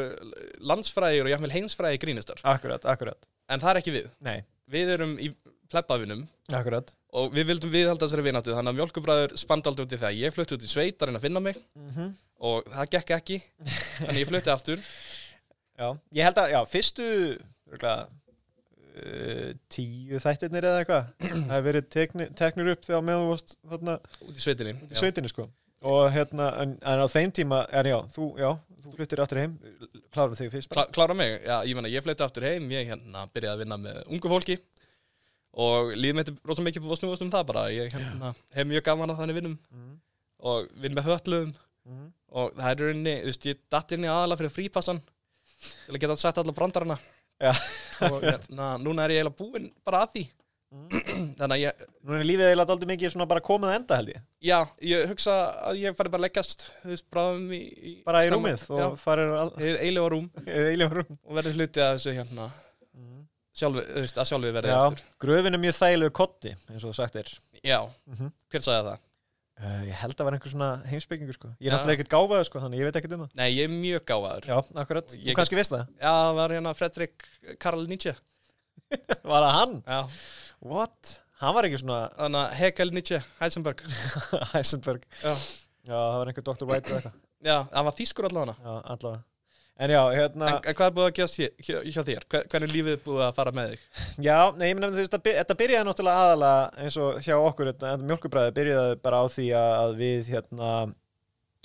[SPEAKER 2] landsfræðir og jafnvel heimsfræðir grínistar.
[SPEAKER 1] hafa Akkurat, akkurat,
[SPEAKER 2] En það er ekki við.
[SPEAKER 1] nei,
[SPEAKER 2] Við erum í plebbavinum
[SPEAKER 1] akkurat
[SPEAKER 2] og við vildum viðhalda þessari vináttu. Þannig að mjölkubræður spandi aldrei út í það. Ég flutti út í sveit að reyna að finna mig
[SPEAKER 1] mm
[SPEAKER 2] og það gekk ekki. Þannig ég flutti aftur.
[SPEAKER 1] Já, ég held að, já, fyrstu rúkla, uh, tíu þættirnir eða eitthvað
[SPEAKER 2] [clears throat]
[SPEAKER 1] það hefur verið tekni, teknir upp þegar meðan þú varst þarna
[SPEAKER 2] Út í sveitinni.
[SPEAKER 1] í sveitinni sko og hérna, en, en á þeim tíma en já, þú, já, þú fluttir aftur heim klárum þig fyrst bara
[SPEAKER 2] Klá, klára mig, já, ég meina, ég fleiti aftur heim, ég hérna byrjaði að vinna með ungu fólki og líðum eitthvað rosa mikið búið að snúast um það bara, ég hérna hef mjög gaman að þannig vinnum
[SPEAKER 1] mm,
[SPEAKER 2] og vinn með höllum
[SPEAKER 1] mm,
[SPEAKER 2] og það er í rauninni, þú veist, ég datt inn í aðalega fyrir frípassan til að geta sett alla brandarana
[SPEAKER 1] Já.
[SPEAKER 2] og hérna, núna er ég eiginlega búinn bara að því
[SPEAKER 1] mm.
[SPEAKER 2] [clears throat] þannig að ég,
[SPEAKER 1] Nú er lífið eiginlega aldrei mikið svona bara komið að enda held ég
[SPEAKER 2] já, ég hugsa að ég fari bara að leggjast, þú veist, bráðum í, í
[SPEAKER 1] bara í
[SPEAKER 2] snemma.
[SPEAKER 1] rúmið
[SPEAKER 2] Já,
[SPEAKER 1] og farir [laughs] al-
[SPEAKER 2] í eiginlega rúm
[SPEAKER 1] eiginlega rúm
[SPEAKER 2] og verður hluti að þessu hérna
[SPEAKER 1] mm.
[SPEAKER 2] sjálfi, þú veist, að sjálfi verði
[SPEAKER 1] Já,
[SPEAKER 2] aftur
[SPEAKER 1] gröfin er mjög þægilegu kotti eins og sagt er
[SPEAKER 2] Já,
[SPEAKER 1] mm -hmm.
[SPEAKER 2] hver sagði það?
[SPEAKER 1] Eh, Ég held að vera einhver svona heimsbyggingur sko Ég er
[SPEAKER 2] Já.
[SPEAKER 1] náttúrulega ekkert gáfaður sko, þannig ég veit ekkert um það
[SPEAKER 2] Nei, ég er mjög gáfaður. Já,
[SPEAKER 1] Já, akkurat,
[SPEAKER 2] Ég
[SPEAKER 1] þú kannski veist [laughs] það
[SPEAKER 2] það var hérna Fredrik Karl Nietzsche.
[SPEAKER 1] Var það hann?
[SPEAKER 2] Já.
[SPEAKER 1] What? Hann var ekki svona [laughs]
[SPEAKER 2] Þannig að Hegel Nietzsche, Heisenberg.
[SPEAKER 1] Heisenberg
[SPEAKER 2] Já.
[SPEAKER 1] Já, það var einhver Dr. White og eitthvað
[SPEAKER 2] Já, hann var þýskur allavega.
[SPEAKER 1] Já, allavega En já, hérna
[SPEAKER 2] En, en hvað er búið að gerast hér- hjá, hjá þér? Hver- Hvernig er lífið búið að fara með þig?
[SPEAKER 1] Já, nei, ég meina þú veist, að by- þetta byrjaði náttúrulega aðalega eins og hjá okkur, þetta mjölkubræði byrjaði bara á því að að við hérna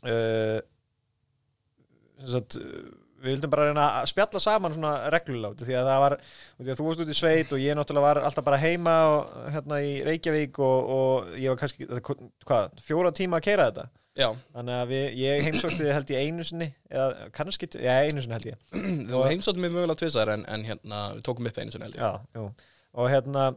[SPEAKER 1] uh, sem sagt, uh, við vildum bara reyna að spjalla saman svona reglulátt því að það var, út af því að þú varst út í sveit og ég náttúrulega var alltaf bara heima og, hérna í Reykjavík og, og ég var kannski, hvað, fjóra tíma að keira þetta
[SPEAKER 2] [clears throat] Já,
[SPEAKER 1] þannig að við, ég heimsótti þig held ég einu sinni eða kannski, t- já, einu sinni held ég
[SPEAKER 2] þú heimsóttum mig mögulega tvisar en, en hérna, við tókum upp einu sinni held ég.
[SPEAKER 1] já, jú. og hérna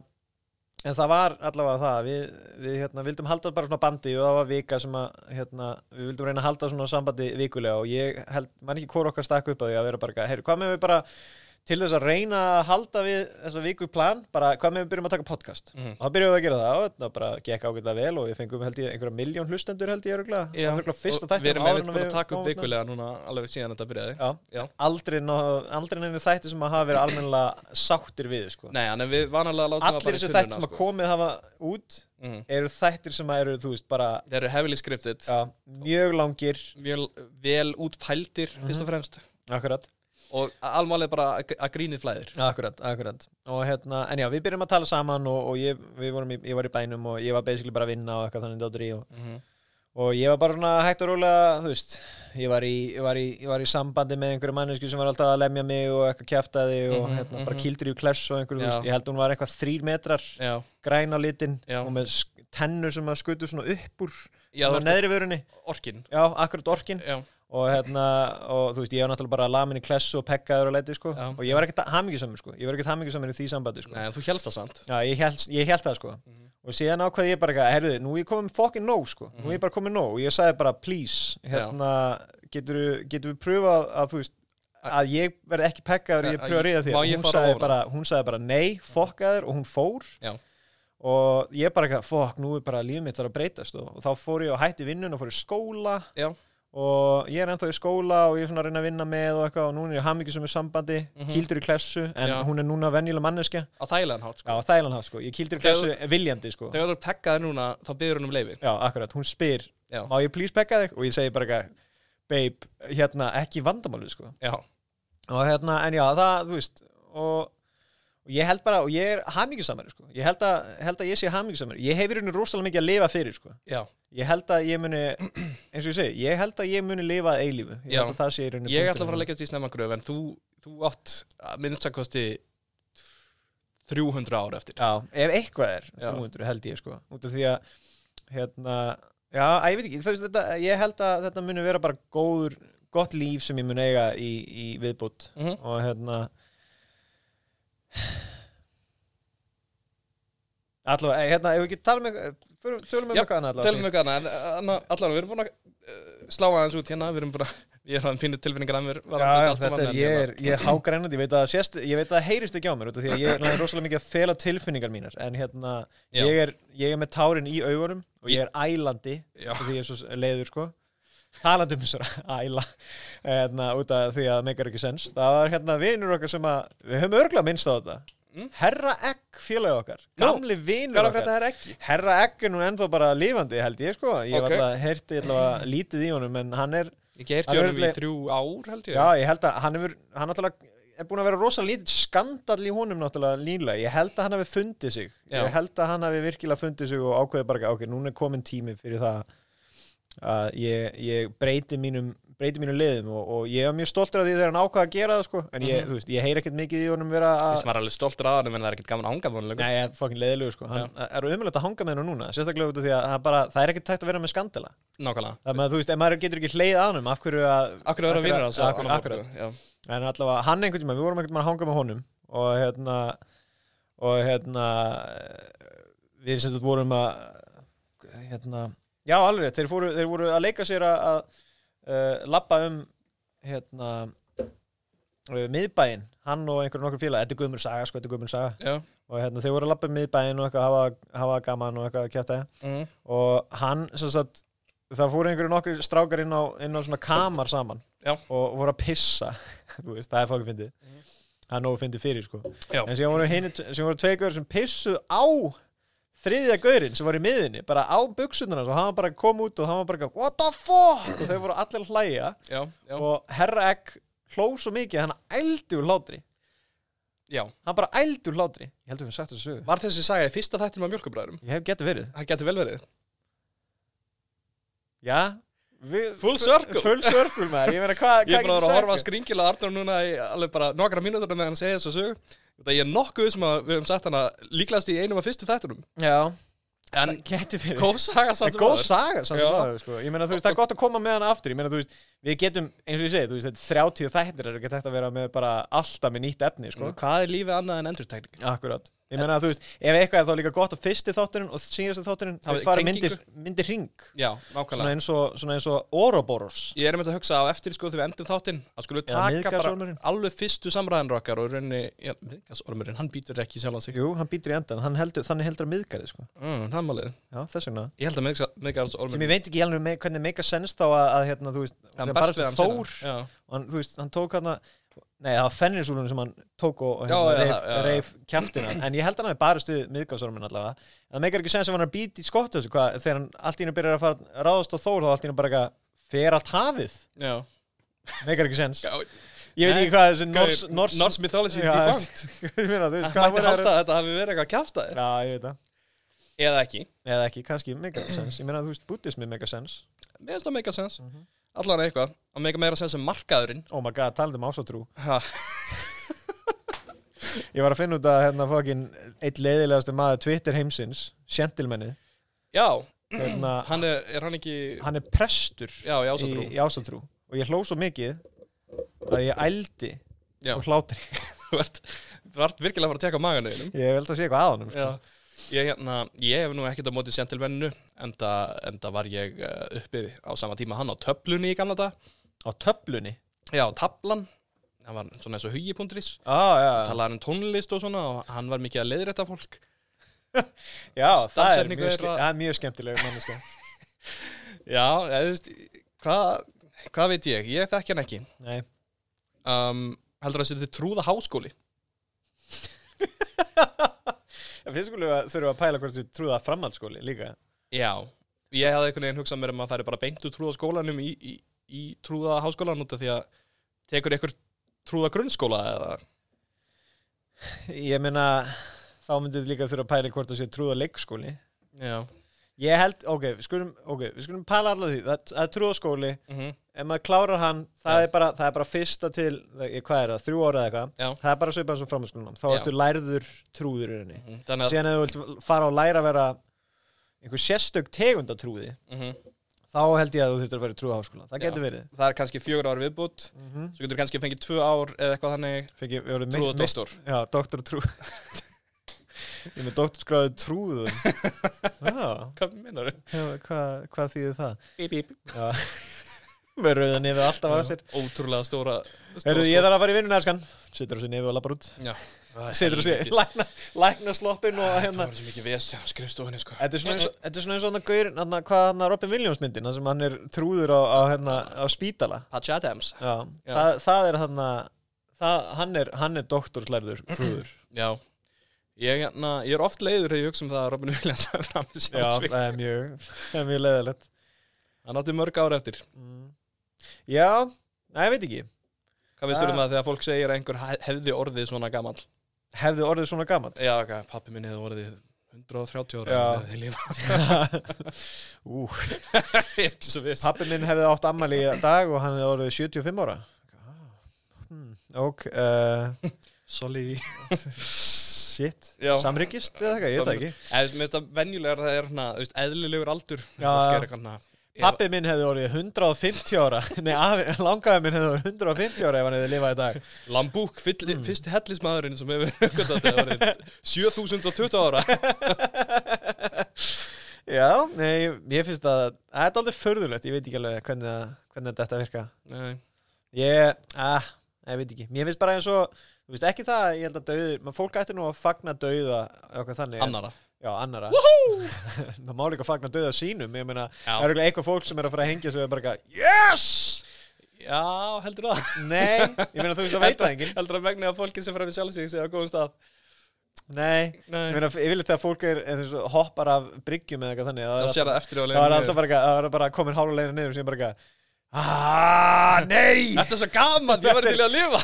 [SPEAKER 1] en það var allavega það við, við hérna, vildum halda bara svona bandi og það var vika sem að hérna, við vildum reyna að halda svona sambandi vikulega og ég held, mann ekki hvort okkar stakk upp að því að vera bara, heyr, hvað með við bara til þess að reyna að halda við þessa viku í plan, bara hvað með við byrjum að taka podcast
[SPEAKER 2] Mhm.
[SPEAKER 1] og þá byrjum við að gera það og það bara gekk ágætlega vel og við fengum held ég einhverja miljón hlustendur held ég öruglega, það var örugglega fyrsta
[SPEAKER 2] og við
[SPEAKER 1] þættinum
[SPEAKER 2] erum
[SPEAKER 1] áður
[SPEAKER 2] með
[SPEAKER 1] en
[SPEAKER 2] búin að
[SPEAKER 1] náum
[SPEAKER 2] taka upp
[SPEAKER 1] þarna.
[SPEAKER 2] vikulega núna alveg síðan þetta byrjaði.
[SPEAKER 1] Já.
[SPEAKER 2] Já.
[SPEAKER 1] aldrei, ná- aldrei nefnir þætti sem að hafa verið almennilega sáttir við sko.
[SPEAKER 2] Nei, en við vanalega látum það
[SPEAKER 1] allir
[SPEAKER 2] bara sko.
[SPEAKER 1] þessi þættir sem að komið hafa út
[SPEAKER 2] Mhm.
[SPEAKER 1] eru þættir sem að eru, þú veist, bara
[SPEAKER 2] Þeir eru heavily scripted,
[SPEAKER 1] já, mjög langir
[SPEAKER 2] mjög vel útpældir fyrst og fremst
[SPEAKER 1] akkurat,
[SPEAKER 2] og alvarlega bara að- að grínið flæðir.
[SPEAKER 1] akkurat, akkurat og hérna, en já, við byrjum að tala saman og, og ég, við vorum, í, ég var í bænum og ég var basically bara að vinna og eitthvað þannig dóttur í og,
[SPEAKER 2] Mhm.
[SPEAKER 1] og ég var bara svona hægt og rólega, þú veist ég var í, ég var í, ég var í sambandi með einhverju mannesku sem var alltaf að lemja mig og eitthvað kjaftaði og
[SPEAKER 2] Mhm,
[SPEAKER 1] hérna, bara
[SPEAKER 2] mhm.
[SPEAKER 1] kildur í kless og einhverju, þú
[SPEAKER 2] Já.
[SPEAKER 1] veist, ég held hún var eitthvað þrýr metrar
[SPEAKER 2] Já,
[SPEAKER 1] græn á litin
[SPEAKER 2] Já.
[SPEAKER 1] og með sk- tennur sem að skutu svona upp úr
[SPEAKER 2] já
[SPEAKER 1] svona
[SPEAKER 2] þú ert
[SPEAKER 1] neðri vörunni,
[SPEAKER 2] orkin.
[SPEAKER 1] já, akkurat orkin
[SPEAKER 2] Já,
[SPEAKER 1] og hérna, og þú veist, ég var náttúrulega bara lamin í klessu og pekkaður og leiti, sko
[SPEAKER 2] Já.
[SPEAKER 1] og ég var ekkert hamingisamur, sko, ég var ekkert hamingisamur í því sambandi, sko
[SPEAKER 2] Nei, Mhm. en þú helst það samt.
[SPEAKER 1] Já, ég held, ég held það, sko og síðan ákvað ég bara, eitthvað, heyrðu, nú er ég komið fokkin nóg, sko, nú er
[SPEAKER 2] Mhm.
[SPEAKER 1] ég bara komið nóg og ég sagði bara, please, hérna getur, getur við pröfað að, þú veist að ég verði ekki pekkaður og ég
[SPEAKER 2] Að- að
[SPEAKER 1] pröfa að ríða
[SPEAKER 2] ég-
[SPEAKER 1] þér
[SPEAKER 2] má
[SPEAKER 1] og
[SPEAKER 2] ég
[SPEAKER 1] hún
[SPEAKER 2] fara
[SPEAKER 1] sagði,
[SPEAKER 2] ofan á? Mhm.
[SPEAKER 1] bara, hún sagði bara nei, fokkaður og hún fór
[SPEAKER 2] Já.
[SPEAKER 1] og ég bara, eitthvað, fokk, nú er bara lífið mitt þar að breytast og, og þá fór ég og hætti vinnun og fór í skóla
[SPEAKER 2] Já.
[SPEAKER 1] og ég er ennþá í skóla og ég er svona að reyna að vinna með og eitthvað og núna er ég hamingi sem er sambandi
[SPEAKER 2] Mhm.
[SPEAKER 1] kýldur í klessu en
[SPEAKER 2] Já.
[SPEAKER 1] hún er núna venjuleg manneskja
[SPEAKER 2] Á þægilegan
[SPEAKER 1] Já,
[SPEAKER 2] hátt, sko.
[SPEAKER 1] þælan hátt sko, ég kýldur í klessu viljandi sko
[SPEAKER 2] Þegar þú er pekkaði núna, þá byrður hún um leifi.
[SPEAKER 1] Já, akkurat, hún spyr,
[SPEAKER 2] Já.
[SPEAKER 1] má ég please pekka þig? Og ég segi bara eitthvað, babe, hérna, ekki vandamálið sko
[SPEAKER 2] Já.
[SPEAKER 1] og hérna, en já, það, þú veist og, og ég held bara, og ég er hamingjusamari, sko, ég held að, held að ég sé hamingjusamari, ég hefur henni rosalega mikið að lifa fyrir, sko,
[SPEAKER 2] Já.
[SPEAKER 1] ég held að ég muni eins og ég segi, ég held að ég muni lifa að eilífu, ég
[SPEAKER 2] Já.
[SPEAKER 1] held að það sé henni
[SPEAKER 2] Ég ætla að fara að leggjast í snemma gröf, en þú, þú átt að minnstakosti 300 ára eftir.
[SPEAKER 1] Já, ef eitthvað er,
[SPEAKER 2] Já.
[SPEAKER 1] 300 held ég, sko út af því að, hérna já, að, ég veit ekki, þú veist, þetta, ég held að þetta muni vera bara góður, gott líf sem ég mun eiga í, í viðbútt
[SPEAKER 2] Mhm.
[SPEAKER 1] og hérna allavega, eh, hérna, ef við ekki tala um eitthvað- förum, tölum um
[SPEAKER 2] Já,
[SPEAKER 1] eitthvað annað allavega
[SPEAKER 2] Tölum við gana, en anna- allavega, við erum búin að uh, slá aðeins út hérna, við erum búin að, [laughs] ég er að finna tilfinningar að mér
[SPEAKER 1] Já, já, þetta er,
[SPEAKER 2] hérna.
[SPEAKER 1] ég er, ég er hágrænandi, ég veit að, það sést, ég veit að það heyrist ekki á mér, út af því að ég er náttúrulega rosalega mikið að fela tilfinningar mínar, en hérna,
[SPEAKER 2] Já.
[SPEAKER 1] ég er, ég er með tárin í augunum og ég er ælandi,
[SPEAKER 2] Já.
[SPEAKER 1] af því ég er svo leiður, sko, talandi um þessar æla, hérna, út af því að það meikar ekki sens, það var hérna vinur okkar sem að, við höfum örgla minnst á þetta,
[SPEAKER 2] Mm.
[SPEAKER 1] Herra Egg félagi okkar,
[SPEAKER 2] Nú,
[SPEAKER 1] gamli vinur
[SPEAKER 2] [laughs] Hvað er
[SPEAKER 1] okkar,
[SPEAKER 2] að frétta það er ekki?
[SPEAKER 1] Herra Egg er nú ennþá bara lifandi, held ég, sko, ég
[SPEAKER 2] Ok.
[SPEAKER 1] okay. var alltaf heyrti, ég alltaf lítið í honum, en hann er,
[SPEAKER 2] Ég gert
[SPEAKER 1] Það er
[SPEAKER 2] jörnum í
[SPEAKER 1] örugglega-
[SPEAKER 2] þrjú ár, held ég.
[SPEAKER 1] Já, ég held að hann hefur, hann náttúrulega er búin að vera rosalega lítið skandall í honum náttúrulega nýlega, ég held að hann hafi fundið sig
[SPEAKER 2] Já.
[SPEAKER 1] ég held að hann hafi virkilega fundið sig og ákveðið bara, ok, núna er komin tími fyrir það að ég, ég breyti mínum, breyti mínum liðum og, og ég er mjög stoltur af því þegar hann ákvað að gera það sko, en ég, þú veist, ég heyr ekkert mikið í honum vera
[SPEAKER 2] Ég
[SPEAKER 1] að,
[SPEAKER 2] sem var alveg stoltur að hann, en það er ekkert gaman ángað vonulega.
[SPEAKER 1] nei, ég er fokkin leiðilegu sko hann er umjöld að hanga með hennu núna, sérstaklega út af því að hann bara, það er ekkert tækt að vera með skandala
[SPEAKER 2] Nákvæmlega.
[SPEAKER 1] það með, þú veist, ef maður getur ekki hleið að honum af hverju að,
[SPEAKER 2] Akkur að vera vinnur hans.
[SPEAKER 1] akkur, akkur, en allavega hann einhvern tíma, við vorum einhvern tíma að hanga með honum og hérna og hérna við sem þetta vorum að hérna, já alveg rétt, þeir, fóru, þeir voru að leika sér að, að uh, lappa um hérna uh, miðbæinn, hann og einhverjum nokkur félag þetta er Guðmur Saga, sko, þetta er Guðmur Saga
[SPEAKER 2] Já.
[SPEAKER 1] og hérna, þeir voru að lappa um miðbæinn og eitthvað að hafa, hafa gaman og eitthvað að kjáta
[SPEAKER 2] Mm.
[SPEAKER 1] og hann sem sagt það fóru einhverju nokkur strákar inn á, inn á svona kamar saman
[SPEAKER 2] Já.
[SPEAKER 1] og voru að pissa [laughs] þú veist, það er fólk fyndið það er nógu fyndið fyrir sko
[SPEAKER 2] Já.
[SPEAKER 1] en síðan voru, hinu, síðan voru tvei gaur sem pissuð á þriðja gaurinn sem var í miðinni bara á buksunarnas og hann bara kom út og hann var bara eitthvað, what the fuck og þau voru allir að hlæja
[SPEAKER 2] Já, já,
[SPEAKER 1] og herra ekk hló svo mikið að hann ældi úr hlátri
[SPEAKER 2] já.
[SPEAKER 1] hann bara ældi úr hlátri ég heldur við sagt þessu sögu
[SPEAKER 2] Var þessi saga í fyrsta þættinum af mjölkubræðurum?
[SPEAKER 1] ég hef getið verið
[SPEAKER 2] Það getur vel verið.
[SPEAKER 1] Já við,
[SPEAKER 2] Full circle.
[SPEAKER 1] Full circle maður, ég meina hvað
[SPEAKER 2] Ég er bara að vera að horfa að
[SPEAKER 1] sko?
[SPEAKER 2] skringila Arnur núna í alveg bara nokkra mínútur meðan hann segja þessu sög. Það ég er nokkuð sem að við höfum sagt hana líklegast í einum af fyrstu þættunum.
[SPEAKER 1] Já,
[SPEAKER 2] En
[SPEAKER 1] geti fyrir
[SPEAKER 2] góð saga
[SPEAKER 1] Það
[SPEAKER 2] samt
[SPEAKER 1] er
[SPEAKER 2] sem
[SPEAKER 1] góð
[SPEAKER 2] áður.
[SPEAKER 1] saga samt
[SPEAKER 2] Já.
[SPEAKER 1] sem aður sko. Ég meina þú veist, það er gott að koma með hann aftur Ég meina þú veist, við getum, eins og ég segi Þú veist, þetta er 30 þættir Það er ekki þetta að vera með bara alltaf með nýtt efni sko.
[SPEAKER 2] Mm, Hvað er lífið annað en endurtekning?
[SPEAKER 1] Akkurat Ég meina þú veist, ef eitthvað er þá líka gott á fyrsti þátturinn og síðasta þátturinn
[SPEAKER 2] Hafa
[SPEAKER 1] þau fara
[SPEAKER 2] tengingu.
[SPEAKER 1] myndir, myndir ring
[SPEAKER 2] Já,
[SPEAKER 1] svona
[SPEAKER 2] nákvæmlega.
[SPEAKER 1] eins, og, svona eins og Ouroboros
[SPEAKER 2] Ég er einmitt að hugsa á eftir sko þegar við endum þáttinn að skulum
[SPEAKER 1] Eða
[SPEAKER 2] taka bara
[SPEAKER 1] miðgarðsormurinn.
[SPEAKER 2] alveg fyrstu samræðanur okkar og í rauninni, já, miðgasormurinn, hann býtur ekki sjálf á sig.
[SPEAKER 1] Jú, hann býtur í endan, hann heldur, þannig heldur að miðgæði sko.
[SPEAKER 2] Mm, það er málið.
[SPEAKER 1] Já, þess vegna
[SPEAKER 2] Ég held að
[SPEAKER 1] sem
[SPEAKER 2] miðgasormurinn...
[SPEAKER 1] ég veit ekki alveg me- hvernig meika sens þá að, að hérna, þú veist, þegar barist við Þór
[SPEAKER 2] Já,
[SPEAKER 1] og hann, þú veist, hann tók hann nei, það var fennisúlunum sem hann tók og, og
[SPEAKER 2] Já,
[SPEAKER 1] hérna,
[SPEAKER 2] já,
[SPEAKER 1] reif,
[SPEAKER 2] já, já.
[SPEAKER 1] reif kjæftina en ég held að hann hafi barist við miðgásormin allavega en það meikar ekki sens að hann er být í skottu hvað, þegar hann allt í hennu byrjar að fara að ráðast á Þór þá allt í hennu bara eitthvað fer allt hafið
[SPEAKER 2] já.
[SPEAKER 1] meikar ekki sens
[SPEAKER 2] Já,
[SPEAKER 1] ég veit ekki hvað þessi Nors, Nors,
[SPEAKER 2] Norse mythology
[SPEAKER 1] Já,
[SPEAKER 2] er [laughs] bangt
[SPEAKER 1] [laughs] ég meina, þú veist, hvað
[SPEAKER 2] Mætti
[SPEAKER 1] voru
[SPEAKER 2] halda að þetta hafi verið eitthvað kjaftaði
[SPEAKER 1] já, ég veit það
[SPEAKER 2] Eða ekki
[SPEAKER 1] eða ekki, kannski meikar ekki sens ég meina, þú veist, buddhismi meikar sens
[SPEAKER 2] Mér finnst það meika sens
[SPEAKER 1] Mhm.
[SPEAKER 2] Allan eitthvað Og meika meira sens en markaðurinn
[SPEAKER 1] oh my god, talandi um ásatrú
[SPEAKER 2] Ha,
[SPEAKER 1] Ég var að finna út að hérna fokkin eitt leiðilegasti maður Twitter heimsins, Sjentilmennið
[SPEAKER 2] Já,
[SPEAKER 1] hérna,
[SPEAKER 2] hann er, er hann ekki
[SPEAKER 1] hann er prestur
[SPEAKER 2] Já, já, svo
[SPEAKER 1] í,
[SPEAKER 2] trú
[SPEAKER 1] í ásatrú og ég hló svo mikið að ég ældi
[SPEAKER 2] Já.
[SPEAKER 1] og hlátri
[SPEAKER 2] [laughs]
[SPEAKER 1] [laughs]
[SPEAKER 2] Þú ert Þú ert virkilega að fara að teka á maganu þínum
[SPEAKER 1] Ég held að sé eitthvað að honum sko.
[SPEAKER 2] Já Ég, hérna, ég hef nú ekkert á móti sentilmenninu enda, enda var ég uh, uppi á sama tíma hann á töflunni í gamla dag
[SPEAKER 1] á töflunni
[SPEAKER 2] Já, tablan Það var svona eins og hugi.ris
[SPEAKER 1] ah, já.
[SPEAKER 2] Talaði hann um tónlist og svona og hann var mikið að leiðrætta fólk
[SPEAKER 1] já, það er
[SPEAKER 2] Stafsetningu
[SPEAKER 1] mjög,
[SPEAKER 2] er
[SPEAKER 1] ske
[SPEAKER 2] að-
[SPEAKER 1] það er mjög skemmtileg manneska
[SPEAKER 2] Já, eða, þú veist, hvað hva veit ég? Ég þekki hann ekki.
[SPEAKER 1] Nei,
[SPEAKER 2] Um, heldur það að þetta er trúða háskóli?
[SPEAKER 1] En við skulum að þurfum að pæla hvort þú trúða framhaldsskóli líka
[SPEAKER 2] Já. Ég hafði einhvern veginn hugsað mér um að færi bara beint úr trúða skólanum í, í, í trúða háskólan út af því að tekur einhver trúða grunnskóla eða...
[SPEAKER 1] Ég meina, þá myndið líka þurfa að pæla hvort þú sé trúða leikskóli
[SPEAKER 2] Já.
[SPEAKER 1] Ég held, ok, við skulum, okay, við skulum pæla allar því, það það er trúðaskóli
[SPEAKER 2] Mm
[SPEAKER 1] ef maður klárar hann, það,
[SPEAKER 2] Já.
[SPEAKER 1] er bara, það er bara fyrsta til, eh, hvað er það, þrjú ára eða
[SPEAKER 2] Já.
[SPEAKER 1] eitthvað það er bara svipað eins og framhaldsskólanám, þá
[SPEAKER 2] Já.
[SPEAKER 1] ertu lærður trúður í rauninni,
[SPEAKER 2] mhm, Þannig að...
[SPEAKER 1] síðan ef þú vilt fara og læra að vera einhver sérstök tegund af trúði,
[SPEAKER 2] mhm.
[SPEAKER 1] þá held ég að þú þurftur að vera í trúðaháskóla, það
[SPEAKER 2] Já.
[SPEAKER 1] getur verið
[SPEAKER 2] Það er kannski fjögur ár viðbútt,
[SPEAKER 1] mm -hmm.
[SPEAKER 2] svo getur kannski fengið tvö ár eða eitthvað þannig
[SPEAKER 1] Fekki, við vorum
[SPEAKER 2] trúða
[SPEAKER 1] mist,
[SPEAKER 2] doktor.
[SPEAKER 1] já, doktor og trú [laughs] Ég er með doktorskráði [laughs] trúðum Já,
[SPEAKER 2] Hvað meinar þau?
[SPEAKER 1] hvað hva, hva þýðir það?
[SPEAKER 2] Bíp, bíp.
[SPEAKER 1] Já [laughs] Með rauðan nefið alltaf á sér
[SPEAKER 2] Ótrúlega stóra, stóra
[SPEAKER 1] Herðu, ég þarf að fara í vinnuna, elskan Setur á sér nefið og lappar út
[SPEAKER 2] Já.
[SPEAKER 1] Setur á sér lækna, lækna sloppin og
[SPEAKER 2] Það
[SPEAKER 1] hérna
[SPEAKER 2] var svo mikið vesi á skrifstofunni sko
[SPEAKER 1] Þetta er svona eins og- þetta er svona eins og hann gaur, hann hvað hann Robin Williams myndin, hann sem hann er trúður á, á, hérna, á spítala.
[SPEAKER 2] Patch Adams
[SPEAKER 1] Já,
[SPEAKER 2] Já.
[SPEAKER 1] Það, það er hann það, hann er, hann er [clears throat] doktorslærður trúður.
[SPEAKER 2] Já Ég, na, ég er oft leiður þegar ég hugsa um það að Robin Williams [laughs] hafi fram
[SPEAKER 1] Já,
[SPEAKER 2] í sjálfsvík
[SPEAKER 1] það er mjög, það er mjög leðalegt.
[SPEAKER 2] Hann átti mörg ára eftir
[SPEAKER 1] Mm. Já, næ, ég veit ekki.
[SPEAKER 2] Hvað veist þú um
[SPEAKER 1] Ah.
[SPEAKER 2] það þegar fólk segir að einhver he- hefði orðið svona gamal
[SPEAKER 1] Hefði orðið svona [laughs] gaman.
[SPEAKER 2] Já, okay, pappi minn hefði orðið 130 ára
[SPEAKER 1] Já.
[SPEAKER 2] ef þið lifa.
[SPEAKER 1] Ú,
[SPEAKER 2] Ég er ekki svo viss
[SPEAKER 1] pappi minn hefði átt ammali í dag og hann hefði orðið 75 ára. Hmm, ok, uh,
[SPEAKER 2] Sorry
[SPEAKER 1] shit,
[SPEAKER 2] Já.
[SPEAKER 1] samryggist eða eitthvað, ég veit það ekki.
[SPEAKER 2] Eða, þú veist, að venjulegar það er hana, þú veist, eðlilegur aldur
[SPEAKER 1] Já,
[SPEAKER 2] Fólk
[SPEAKER 1] já.
[SPEAKER 2] er eitthvað hana
[SPEAKER 1] Pappi minn hefði orðið 150 ára [laughs] Nei, afi, langaði minn hefði orðið 150 ára ef hann hefði lifað í
[SPEAKER 2] [laughs]
[SPEAKER 1] dag
[SPEAKER 2] Lambúk, fyll,
[SPEAKER 1] Mm.
[SPEAKER 2] fyrsti hellismadurinn sem hefur [laughs] uppgötast eða orðið 7020 ára
[SPEAKER 1] Já, nei, ég- ég finnst að að Þetta er aldrei förðulegt, ég veit ekki alveg hvernig, það- hvernig þetta virka
[SPEAKER 2] Nei,
[SPEAKER 1] Ég, að, ég veit ekki Mér finnst bara eins og, þú veist ekki það Ég held að dauði, mann fólk ætti nú að fagna dauða eða Eitthvað þannig
[SPEAKER 2] annara
[SPEAKER 1] Já, annara
[SPEAKER 2] Woohoo!
[SPEAKER 1] [laughs] Það má líka fagna dauða sínum Ég meina, það
[SPEAKER 2] Já,
[SPEAKER 1] eru eitthvað fólk sem er að fara að hengja Svo er bara eitthvað, yes!
[SPEAKER 2] já heldur það
[SPEAKER 1] Nei, ég meina þú veist að veita það enginn
[SPEAKER 2] Heldur að megnið að fólki sem fremur sjálf sig sé á góðum stað
[SPEAKER 1] Nei, Ég
[SPEAKER 2] Nei,
[SPEAKER 1] meina, ég vil þegar fólk er, er þessu, hoppar af bryggjum eða eitthvað þannig,
[SPEAKER 2] þá
[SPEAKER 1] það
[SPEAKER 2] sér
[SPEAKER 1] er
[SPEAKER 2] það eftir á
[SPEAKER 1] alltaf, það er
[SPEAKER 2] leiðinu
[SPEAKER 1] alltaf bara, eitthvað- það er bara komin hálfa leiðina niður og síðan bara eitthvað, aaaah, nei,
[SPEAKER 2] Þetta er svo gaman, ég var til í að lifa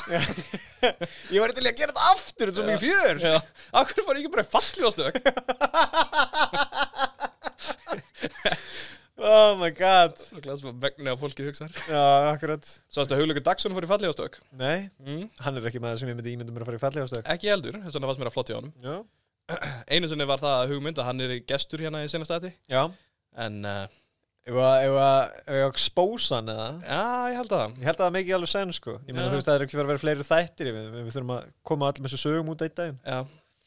[SPEAKER 1] [laughs] ég var til í að gera þetta aftur, þetta er svo mikið fjör.
[SPEAKER 2] Já, af hverju fór ég ekki bara fallið á [laughs] stök
[SPEAKER 1] Oh my god,
[SPEAKER 2] Svo glæðast maður megnið að fólki hugsa
[SPEAKER 1] já, akkurat,
[SPEAKER 2] Svo að hugleikur Dagsson fór í fallið á stök
[SPEAKER 1] nei,
[SPEAKER 2] mm.
[SPEAKER 1] hann er ekki maður sem ég myndi ímynda mér að fara í fallega ástök.
[SPEAKER 2] Ekki heldur, þess vegna fannst mér að flott í honum
[SPEAKER 1] Já,
[SPEAKER 2] Einu sinni var það að hugmynd að hann er gestur hérna í senastæti
[SPEAKER 1] já,
[SPEAKER 2] En, uh,
[SPEAKER 1] ef að, ef að, ef að expose hann eða,
[SPEAKER 2] já, ég held að
[SPEAKER 1] ég held að það mikið alveg senn sko, ég meina
[SPEAKER 2] Já.
[SPEAKER 1] þú veist það er ekki fyrir að vera fleiri þættir, við, við þurfum að koma allir með þessu sögum út eitt daginn.
[SPEAKER 2] Já,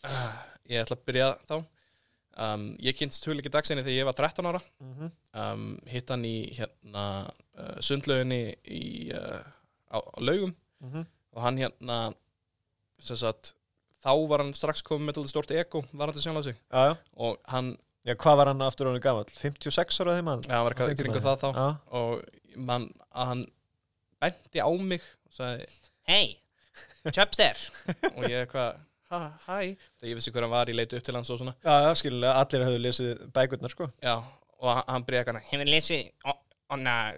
[SPEAKER 2] Ah, ég ætla að byrja þá um, Ég kynst hugleiki dagsinni þegar ég var 13 ára
[SPEAKER 1] Mm
[SPEAKER 2] um, Hitt hann í hérna, uh, sundlauginni í, uh, á, á laugum
[SPEAKER 1] mhm.
[SPEAKER 2] og hann hérna sem sagt, þá var hann strax komið með dálítið stórt ego varandi sjálf á sig
[SPEAKER 1] Já, já.
[SPEAKER 2] og hann,
[SPEAKER 1] Já, hvað var hann aftur honum gamall? 56 ára þeim hann?
[SPEAKER 2] já, hann var eitthvað
[SPEAKER 1] Fengur
[SPEAKER 2] kringu
[SPEAKER 1] maður.
[SPEAKER 2] það þá
[SPEAKER 1] Já.
[SPEAKER 2] og man, að hann benti á mig og sagði Hei, tjöpster [laughs] og ég eitthvað, "Ha, hæ þegar ég vissi hver hann var, ég leiti upp til hans og svona
[SPEAKER 1] Já, já, skilulega, allir hafðu lesið bækurnar, sko.
[SPEAKER 2] Já, og hann- hann bregði hann Hefur lesið, ó- onna,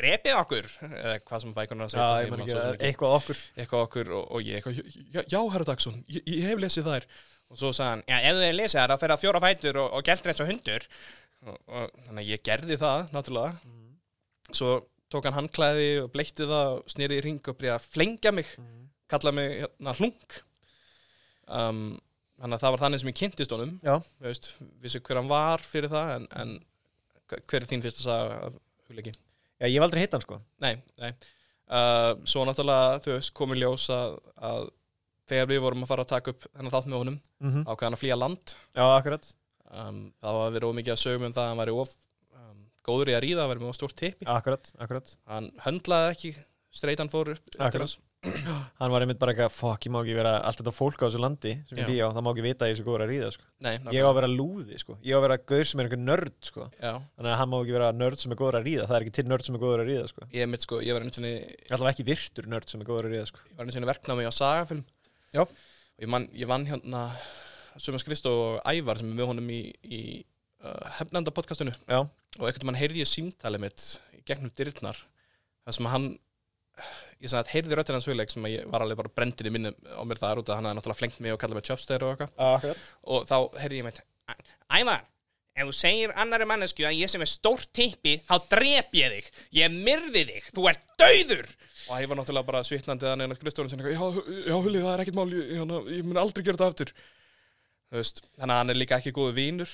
[SPEAKER 2] drepið okkur Eða hvað sem bækunar að
[SPEAKER 1] Já,
[SPEAKER 2] segja
[SPEAKER 1] ég man ekki,
[SPEAKER 2] svo sem
[SPEAKER 1] það er eitthvað okkur.
[SPEAKER 2] Eitthvað okkur og, og ég eitthvað Já, já herra Dagsson, ég, ég hef lesið þær Og svo sagði hann, já, ef þið hefur lesið þær þá fer það fjóra fætur og, og gert eins og hundur og, og þannig að ég gerði það, náttúrulega Svo tók hann handklæði og bleitti það og snýri í ring og bregði að flengja mig
[SPEAKER 1] Mhm.
[SPEAKER 2] Kallaði mig hérna hlung um, Þannig að það var þannig sem ég kynntist honum
[SPEAKER 1] Já,
[SPEAKER 2] þú veist, vissi hver hann var fyrir það en, en hver- hver er þín fyrsta saga af hugleiki?
[SPEAKER 1] já, ég hef aldrei hitt hann, sko.
[SPEAKER 2] Nei, nei uh, Svo náttúrulega, þú veist, komið ljós að, að þegar við vorum að fara að taka upp þennan þátt með honum,
[SPEAKER 1] -hmm.
[SPEAKER 2] ákveð hann að flýja land
[SPEAKER 1] Já, akkurat.
[SPEAKER 2] um, það var að vera ómikið að sögum um það að hann væri of um, góður í að ríða, hann væri með of stórt tippi
[SPEAKER 1] Akkurat, akkurat.
[SPEAKER 2] hann höndlaði ekki, streitan fór upp upp til
[SPEAKER 1] Akkurat.
[SPEAKER 2] hans.
[SPEAKER 1] Hann var einmitt bara eitthvað, fuck, ég má ekki vera allt þetta fólk á þessu landi sem
[SPEAKER 2] Já.
[SPEAKER 1] ég býja á, það má ekki vita að ég sé góður að ríða, sko.
[SPEAKER 2] Nei,
[SPEAKER 1] Ég á að vera lúði, sko. Ég á að vera gaur sem er einhver nörd, sko.
[SPEAKER 2] Já,
[SPEAKER 1] Þannig að hann má ekki vera nörd sem er góður að ríða, það er ekki til nörd sem er góður að ríða, sko.
[SPEAKER 2] ég mitt sko, ég var einu sinni
[SPEAKER 1] Allavega ekki virtur nörd sem er góður að ríða, sko.
[SPEAKER 2] ég var einu sinni verknámi á sagafilm
[SPEAKER 1] Já.
[SPEAKER 2] og ég, man, ég vann hérna Sumas Kristó og Ævar sem er með honum í, í uh, hefnenda podcastinu
[SPEAKER 1] Já.
[SPEAKER 2] og einhvern veginn heyrði ég símtalið mitt í gegnum dyrnar þar sem hann ég sem að heyrði röttin hans hugleik sem að ég var alveg bara brendir í minni á mér þar út að hann hefði náttúrulega flengt mig og kallað mig chopster og eitthvað
[SPEAKER 1] Akkurat.
[SPEAKER 2] og þá heyrði ég mitt Ævar, ef þú segir annari mannesku að ég sem er stórt tippi þá drep ég þig, ég myrði þig þú ert dauður og ég var náttúrulega bara svitnandi að neina skrifstofan sinni já, já, Hulli, það er ekkert mál, ég, ég, ég mun aldrei gera þetta aftur Þú veist, þannig að hann er líka ekki góðu vínur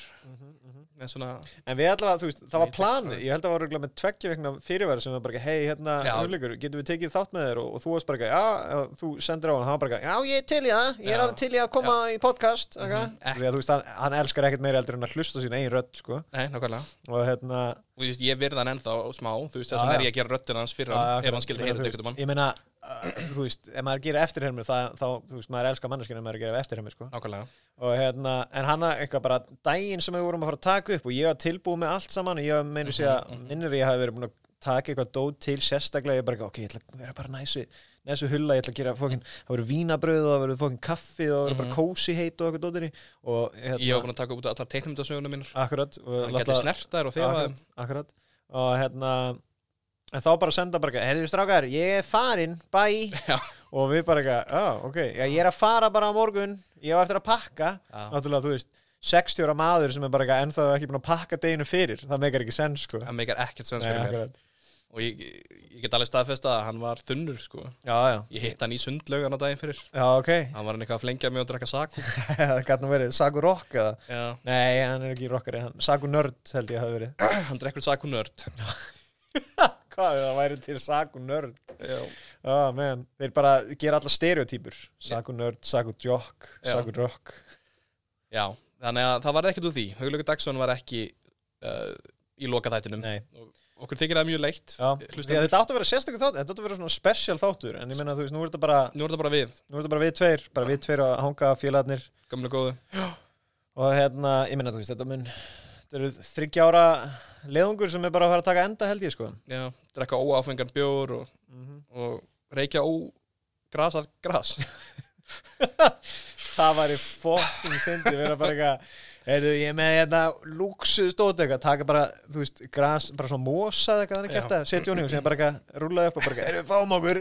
[SPEAKER 2] en svona,
[SPEAKER 1] En við allavega, þú veist, það var
[SPEAKER 2] Ég tek
[SPEAKER 1] planið
[SPEAKER 2] það.
[SPEAKER 1] Ég held að það var örugglega með tveggja vegna fyrirværi sem var bara, hei, hérna,
[SPEAKER 2] Já.
[SPEAKER 1] hugleikur, getum við tekið þátt með þér og, og þú varst bara, já, eh, þú sendir á hann, hann var bara, já, ég er til í það, ég er
[SPEAKER 2] Já.
[SPEAKER 1] alveg til í að koma í podcast, mm
[SPEAKER 2] Mhm. Ekki.
[SPEAKER 1] Því að þú veist, hann, hann elskar ekkert meira eldur en að hlusta sín eigin rödd, sko,
[SPEAKER 2] nei, nákvæmlega
[SPEAKER 1] og hérna,
[SPEAKER 2] og þú veist, ég virði hann ennþá smá þú veist, þess
[SPEAKER 1] Já,
[SPEAKER 2] vegna
[SPEAKER 1] já.
[SPEAKER 2] er ég að gera röddina hans fyrir
[SPEAKER 1] Já,
[SPEAKER 2] hann
[SPEAKER 1] akkurat.
[SPEAKER 2] ef hann skildi
[SPEAKER 1] Ég meina,
[SPEAKER 2] heyra
[SPEAKER 1] þú
[SPEAKER 2] þetta
[SPEAKER 1] veist,
[SPEAKER 2] mann
[SPEAKER 1] Ég meina, uh, þú veist, ef maður gerir eftirhermur það, þá, þú veist, maður elskar manneskinu ef maður gerir eftirhermur, sko
[SPEAKER 2] nákvæmlega,
[SPEAKER 1] og hérna, en hana eitthvað bara daginn sem við vorum að fara að taka upp og ég var tilbúið með allt saman og ég var meinu sig
[SPEAKER 2] Mhm,
[SPEAKER 1] að minnir ég hafi verið búin að taka eitthvað dót til sérstaklega, ég bara, ok, ég ætla að vera bara næsu, næsu hulla, ég ætla að gera fókin, það voru vínabröð og það voru fókin kaffi og það voru bara
[SPEAKER 2] Mhm.
[SPEAKER 1] kósi heit og eitthvað dótinni og
[SPEAKER 2] ég var
[SPEAKER 1] hérna,
[SPEAKER 2] búin að taka út allar teiknumdasögunum mínar
[SPEAKER 1] akkurat og
[SPEAKER 2] hann
[SPEAKER 1] láta-
[SPEAKER 2] gæti snertar og þegar
[SPEAKER 1] akkurat, akkurat og hérna en þá bara senda bara, heyrðu strákar, ég er farin bæ,
[SPEAKER 2] Já.
[SPEAKER 1] og við bara eitthvað, "Ah, ok, já, ég er að fara bara á morgun ég á eftir að pakka
[SPEAKER 2] það
[SPEAKER 1] náttúrulega, þú veist, 60 ára maður sem er bara eitthvað ennþá ekki búin að pakka deginu fyrir það meikar ekki sens, sko
[SPEAKER 2] meikar ekkert sens
[SPEAKER 1] Nei,
[SPEAKER 2] fyrir mér
[SPEAKER 1] akkurat.
[SPEAKER 2] og ég, ég get alveg staðfesta að hann var þunnur sko.
[SPEAKER 1] já, já,
[SPEAKER 2] ég hitt hann í sundlaugan á daginn fyrir
[SPEAKER 1] já, ok [laughs]
[SPEAKER 2] hann var hann eitthvað að flengja mig og drakka saku
[SPEAKER 1] það gæti nú verið, Saku Rock eða
[SPEAKER 2] Já.
[SPEAKER 1] nei, hann er ekki rockari, hann, Saku Nörd held ég hafi verið
[SPEAKER 2] [laughs] hann drekkur saku nörd
[SPEAKER 1] hvað, ef það væri til Saku Nörd
[SPEAKER 2] Já.
[SPEAKER 1] ah, man, þeir bara gera alla stereotypur Saku Nörd, Saku Jock,
[SPEAKER 2] Já.
[SPEAKER 1] Saku Rock
[SPEAKER 2] Já, þannig að það var ekkert úr því Hauglöku Dagsson var ekki uh, í loka þættinum
[SPEAKER 1] nei,
[SPEAKER 2] okkur þykir það mjög leitt
[SPEAKER 1] já,
[SPEAKER 2] hlustendur.
[SPEAKER 1] Því að þetta áttu að vera sérstöku þáttur þetta áttu að vera svona special þáttur en ég meina, þú veist, nú er þetta bara,
[SPEAKER 2] nú er þetta bara við,
[SPEAKER 1] nú er þetta bara við tveir bara við tveir að hanga félagarnir
[SPEAKER 2] gamla góðu
[SPEAKER 1] og hérna, ég meina þú veist, þetta mun þetta eru þryggja ára leðungur sem er bara að fara að taka enda held ég sko [laughs]
[SPEAKER 2] Já, drekka óáfengan bjór og, og reykja ó gras að gras
[SPEAKER 1] það var í fokkin fyndi vera bara eitthvað, heyrðu, ég er með hérna lúksusdóti eitthvað, taka bara þú veist, gras, bara svona mosa eða eitthvað þannig
[SPEAKER 2] Já.
[SPEAKER 1] kæft að setja hún í og sem bara eitthvað rúlaði upp og bara eitthvað, heyrðu, fáum okkur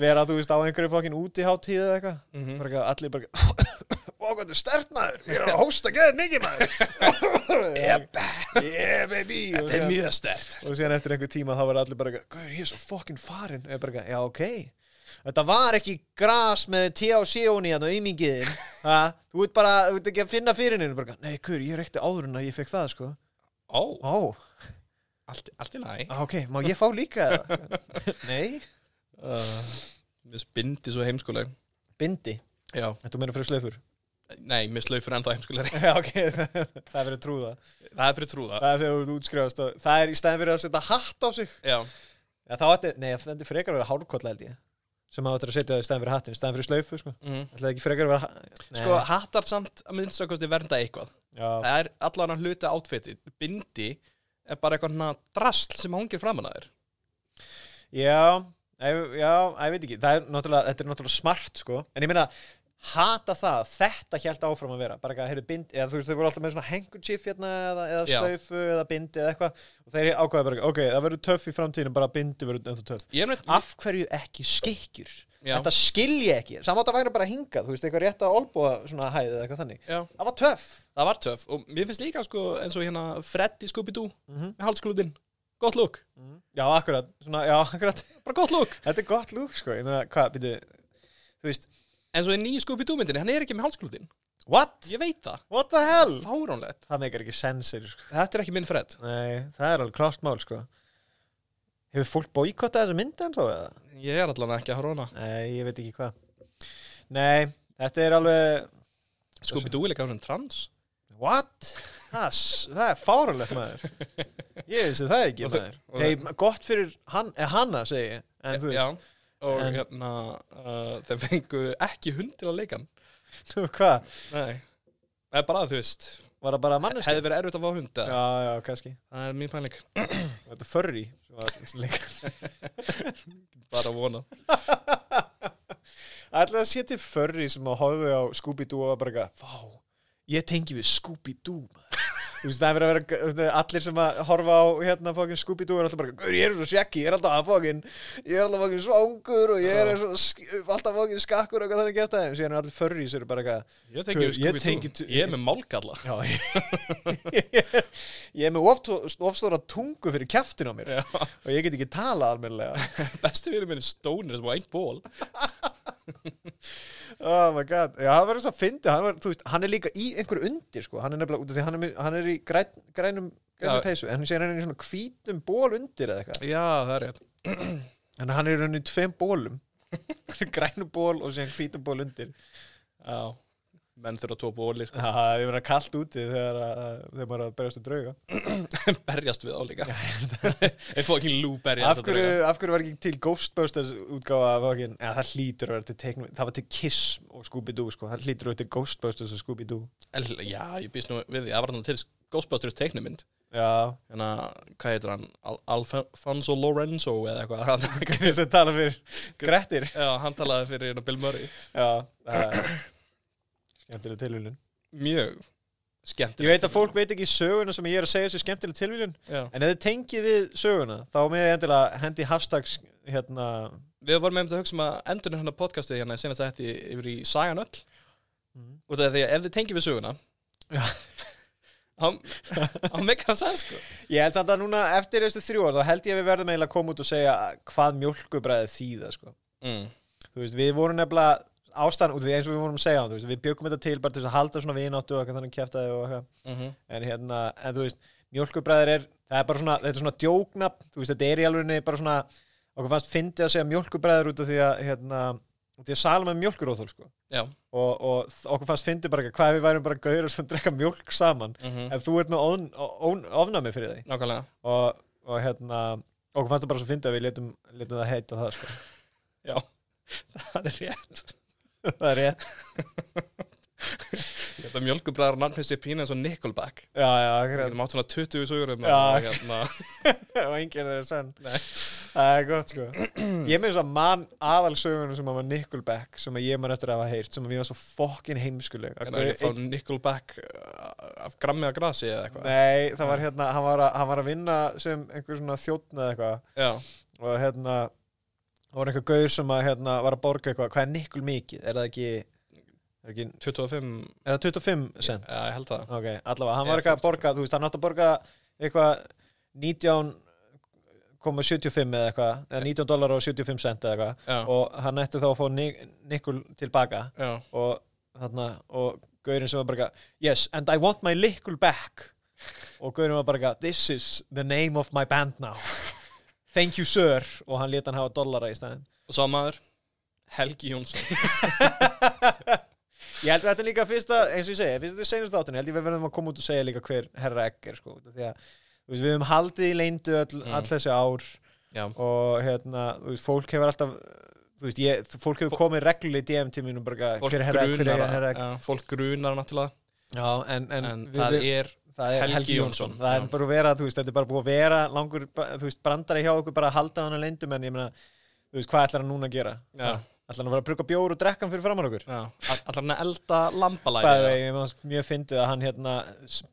[SPEAKER 1] vera, þú veist, á einhverju fokkin úti hátíð eða eitthvað
[SPEAKER 2] mm
[SPEAKER 1] bara eitthvað, allir bara eitthvað [coughs] Vá, hvað þú stert maður, ég er að hósta gæðið mikið maður Yep, yeah baby Og hérna- síðan-
[SPEAKER 2] mjög stert
[SPEAKER 1] og síðan eftir einhver tíma þá var allir bara eitthvað, Guður, ég er svo fokkin farin og ég bara, eitthvað, já, ok Þetta var ekki gras með THC óni hérna [laughs] aumingiðin Þú veit bara, þú veit ekki að finna fyrir henni bara, eitthvað, Nei, Guður, ég reykti áður en að ég fekk það, sko
[SPEAKER 2] Ó,
[SPEAKER 1] Ó,
[SPEAKER 2] allt, allt í næ
[SPEAKER 1] Ah, ok, má ég fá líka [laughs] það? Nei
[SPEAKER 2] uh, Mér spindi svo heimskuleg
[SPEAKER 1] Bindi,
[SPEAKER 2] Já,
[SPEAKER 1] þetta meina fyrir slöfur
[SPEAKER 2] nei, mér slaufur ennþá heimskulegri
[SPEAKER 1] [laughs] Já, ok, það er verið trúða
[SPEAKER 2] [laughs] Það er fyrir trúða
[SPEAKER 1] Það er þegar þú ert útskrifast og það er í stæðin fyrir að setja hatt á sig
[SPEAKER 2] Já,
[SPEAKER 1] Já, þá ætti, nei, þetta er frekar að vera hárkolla held ég sem að þetta að setja í stæðin fyrir hattin, stæðin fyrir slöfu, sko
[SPEAKER 2] mm.
[SPEAKER 1] Ætlaði ekki frekar að vera ha- Nei.
[SPEAKER 2] Sko, hattar samt að minnstakosti vernda eitthvað
[SPEAKER 1] Já,
[SPEAKER 2] Það er allan að hluta átfiti Bindi er bara eitthvað svona drasl sem hangir framan að þér
[SPEAKER 1] já, ég- já, ég veit ekki Það er náttúrulega, þetta er náttúrulega smart sko En ég meina, hata það Þetta hjælt áfram að vera, bara eitthvað, heyrðu bind eða þú veist, þau voru alltaf með svona handkerchief hérna eða, eða
[SPEAKER 2] Já.
[SPEAKER 1] slaufu, eða bindi eða eitthvað og þeir ákvæða bara, ok, það verður töff í framtíðinu bara bindi verður ennþá töff
[SPEAKER 2] Ég er neitt
[SPEAKER 1] Af hverju ekki skikkjur?
[SPEAKER 2] Já.
[SPEAKER 1] Þetta skilji ekki, samátt að væri bara hingað þú veist, eitthvað rétt að olbúa svona hæðið eða eitthvað þannig
[SPEAKER 2] Já,
[SPEAKER 1] Það var töff
[SPEAKER 2] það var töff og mér finnst líka sko eins og hérna Freddy Scooby-Doo
[SPEAKER 1] Mhm.
[SPEAKER 2] með hálsklútin Gott lúk,
[SPEAKER 1] Já, akkurat, svona, já, [laughs] akkurat
[SPEAKER 2] bara gott lúk
[SPEAKER 1] Þetta er gott lúk, sko, ég meina, hvað, byrju Þú veist,
[SPEAKER 2] En svo í nýju Scooby-Doo myndinni, hann er ekki með hálsklútin
[SPEAKER 1] what?
[SPEAKER 2] Ég veit það,
[SPEAKER 1] What the hell?
[SPEAKER 2] fáránlegt
[SPEAKER 1] Það meikar ekki sensir sko.
[SPEAKER 2] Þetta er ekki minn Fred
[SPEAKER 1] Nei, það er alveg klárt mál sko. Hefur fólk boykottað þessa myndi en þó eða?
[SPEAKER 2] Ég er allan ekki að horfa á hana
[SPEAKER 1] Nei, ég veit ekki hvað Nei, þetta er alveg
[SPEAKER 2] Scooby-Doo er líka svona trans
[SPEAKER 1] What? Það, s- það er fáralegt maður Ég vissi það ekki
[SPEAKER 2] Og þau-
[SPEAKER 1] maður
[SPEAKER 2] og
[SPEAKER 1] Nei, gott fyrir hann, eh, hanna segi ég En þú
[SPEAKER 2] Já,
[SPEAKER 1] veist,
[SPEAKER 2] og
[SPEAKER 1] En-
[SPEAKER 2] hérna uh, þeir fengu ekki hund til að leika hann
[SPEAKER 1] nú [laughs] hvað
[SPEAKER 2] Nei Það er bara að þú veist
[SPEAKER 1] Var það bara manneski?
[SPEAKER 2] Hefði verið erfitt að fá hunda
[SPEAKER 1] Já, já, kannski
[SPEAKER 2] Það er mín pæling
[SPEAKER 1] Þetta er furry sem var líka.
[SPEAKER 2] Bara að vona
[SPEAKER 1] Ætli það sé til förri sem að horfðu á Scooby-Doo og var bara eitthvað, vá, ég tengi við Scooby-Doo, maður. Þú veist, það er verið að vera, allir sem að horfa á hérna fókin Scooby-Doo er alltaf bara, gaur, ég er svo sjekki, ég er alltaf að fókin, ég er alltaf fókin svangur og ég er svo, sk- alltaf fókin skakkur og eitthvað þannig gert aðeins. Ég er allir förri sem eru bara eitthvað,
[SPEAKER 2] Ég tengi
[SPEAKER 1] Guð,
[SPEAKER 2] við
[SPEAKER 1] ég tengi
[SPEAKER 2] Scooby-Doo
[SPEAKER 1] tu-
[SPEAKER 2] Ég er með málgalla [laughs]
[SPEAKER 1] já, ég, [laughs] ég er með oft- ofstóra tungu fyrir kjaftin á mér
[SPEAKER 2] Já.
[SPEAKER 1] og ég get ekki tala almennilega.
[SPEAKER 2] Besti vinur minn er stónir sem á einn ból
[SPEAKER 1] Oh my god, já, það verður svo að fyndi hann, var, þú veist, hann er líka í einhverju undir sko. hann er nefnilega, út af því hann er, með- hann er í græn, grænum, grænum
[SPEAKER 2] Já.
[SPEAKER 1] peysu, en hann sé hann er í svona hvítum ból undir eða eitthvað
[SPEAKER 2] Já, það er rétt
[SPEAKER 1] en hann er í rauninni í tveim bólum grænum ból og síðan hvítum ból undir
[SPEAKER 2] Já, menn þurfa að tópa óli sko.
[SPEAKER 1] það er verið kallt úti þegar, að, þegar maður er að berjast um drauga
[SPEAKER 2] [laughs] Berjast við á líka Ég fóð ekki lú berjast
[SPEAKER 1] af hverju, af hverju var ekki til Ghostbusters útgáfa af okkur, eða það hlýtur að vera til teiknum, það var til Kiss og Scooby-Doo sko. það hlýtur að vera til Ghostbusters og Scooby-Doo
[SPEAKER 2] El- Já, ég býst nú við því Það var þannig til Ghostbusters teiknumynd
[SPEAKER 1] [laughs] já,
[SPEAKER 2] Þannig að, hvað heitir hann? Al Alfonso Lorenzo eða eitthvað Hann-
[SPEAKER 1] þess að tala fyrir Grettir
[SPEAKER 2] [laughs] Já, hann talaði fyrir hérna Bill Murray
[SPEAKER 1] [clears throat] Já, það er skemmtileg tilvílun.
[SPEAKER 2] Mjög skemmtilegt
[SPEAKER 1] Ég veit að fólk veit ekki söguna sem ég er að segja þessi skemmtileg tilvílun,
[SPEAKER 2] Já.
[SPEAKER 1] en ef þið tengið við söguna, þá með ég endilega hendi hashtags, hérna,
[SPEAKER 2] Við varum með að hugsa um að endur hérna podcastið hérna senast að hætti yfir í Sagan öll
[SPEAKER 1] Mhm.
[SPEAKER 2] út af því að ef þið tengjum við söguna [laughs]
[SPEAKER 1] Já.
[SPEAKER 2] hann mekkar að segja sko
[SPEAKER 1] ég held samt að núna eftir þessu þrjú ár, þá held ég að við verðum eiginlega að koma út og segja hvað mjölkubræði þýða, sko.
[SPEAKER 2] mm.
[SPEAKER 1] Þú veist, við vorum nefnilega ástæðan út af því eins og við vorum að segja, þú veist, við bjögum þetta til bara til þess að halda svona vináttu og eitthvað þannig kjæftaði og eitthvað.
[SPEAKER 2] Mhm.
[SPEAKER 1] en hérna, en þú veist mjölkubræðir er, það er bara svona, þetta er svona djóknafn, þú veist, þetta er í alveg bara svona, okkur fannst fyndið að segja mjölkubræðir út af því að, hérna, út af því að Salome er mjölkuróþól, sko
[SPEAKER 2] Já.
[SPEAKER 1] og, og þ- okkur fannst fyndið bara ekki hvað ef við værum bara gauður sem [laughs] drekka mjölk saman
[SPEAKER 2] Mhm.
[SPEAKER 1] en þú ert með ofn, ofn, ofnami fyrir því
[SPEAKER 2] Nákvæmlega
[SPEAKER 1] og, og hérna okkur fannst það bara svo fyndið að við letum, letum það heita það, sko, [laughs]
[SPEAKER 2] Já, það er rétt
[SPEAKER 1] það er rétt
[SPEAKER 2] Ég held að mjölkubræðar og nafnist ég pína eins og Nickelback
[SPEAKER 1] já, já,
[SPEAKER 2] Við
[SPEAKER 1] akkurat,
[SPEAKER 2] getum átt svona 20 sögur um
[SPEAKER 1] Já.
[SPEAKER 2] að- hérna.
[SPEAKER 1] [laughs] og enginn þeirra sann
[SPEAKER 2] Nei.
[SPEAKER 1] það er gott sko [clears throat] ég með þess að mann aðalsögunum sem að var Nickelback sem að ég man eftir að hafa heyrt sem að mér var svo fokkin heimskuleg Að
[SPEAKER 2] En að
[SPEAKER 1] gaur-
[SPEAKER 2] ég fá Nickelback uh, af grammi að grasi eða eitthvað
[SPEAKER 1] nei, það var hérna hann var, að, hann var að vinna sem einhver svona þjóttna eða eitthvað
[SPEAKER 2] Já,
[SPEAKER 1] og hérna það var einhver gaur sem að hérna var að borga eitthvað hvað er Nickel mikið, er það ekki er, ekki,
[SPEAKER 2] 25
[SPEAKER 1] er það 25 cent
[SPEAKER 2] Já, ég held það
[SPEAKER 1] ok, allavega, hann
[SPEAKER 2] Eða
[SPEAKER 1] var eitthvað að
[SPEAKER 2] 40.
[SPEAKER 1] borga þú veist, hann átti að borga eitthvað 19,75 eða eitthvað, eða 19 dólar og 75 cent eða eitthvað
[SPEAKER 2] Já,
[SPEAKER 1] og hann ætti þá að fá Ni- Nikul tilbaka
[SPEAKER 2] já
[SPEAKER 1] og þarna og gaurinn sem var bara eitthvað, yes and I want my Nikul back og gaurinn var bara eitthvað, this is the name of my band now thank you sir og hann lét hann hafa dollara í staðin
[SPEAKER 2] Og sá maður Helgi Jónsson
[SPEAKER 1] ég held við þetta líka fyrsta eins og ég segi, fyrst þetta senast áttunni held ég við verðum að koma út og segja líka hver herra ekki er sko, út af því að þú veist, við höfum haldið í leindu all,
[SPEAKER 2] Mm.
[SPEAKER 1] all þessi ár
[SPEAKER 2] Já,
[SPEAKER 1] og hérna, þú veist, fólk hefur alltaf þú veist, ég, fólk hefur
[SPEAKER 2] Fó-
[SPEAKER 1] komið reglulega í DM tíminum bara
[SPEAKER 2] fólk
[SPEAKER 1] hver er herra, hver er
[SPEAKER 2] grunar
[SPEAKER 1] herra
[SPEAKER 2] já, Fólk grunar náttúrulega
[SPEAKER 1] já, en, en,
[SPEAKER 2] En
[SPEAKER 1] við,
[SPEAKER 2] það
[SPEAKER 1] við,
[SPEAKER 2] er
[SPEAKER 1] það er
[SPEAKER 2] Helgi
[SPEAKER 1] Helgi Jónsson
[SPEAKER 2] Jónsson,
[SPEAKER 1] það
[SPEAKER 2] já.
[SPEAKER 1] er bara að vera, þú veist, þetta er bara búið að vera langur, ba- þú veist, brandari hjá okkur bara að halda hann að leyndum, en ég meina þú veist, hvað ætlar hann núna að gera?
[SPEAKER 2] Já.
[SPEAKER 1] ætlar hann að vera að bruka bjór og drekka hann fyrir framann [laughs] okkur?
[SPEAKER 2] Já, all- allar hann að elda lambalæði
[SPEAKER 1] Bæði, ég meðan mjög fyndið að hann hérna,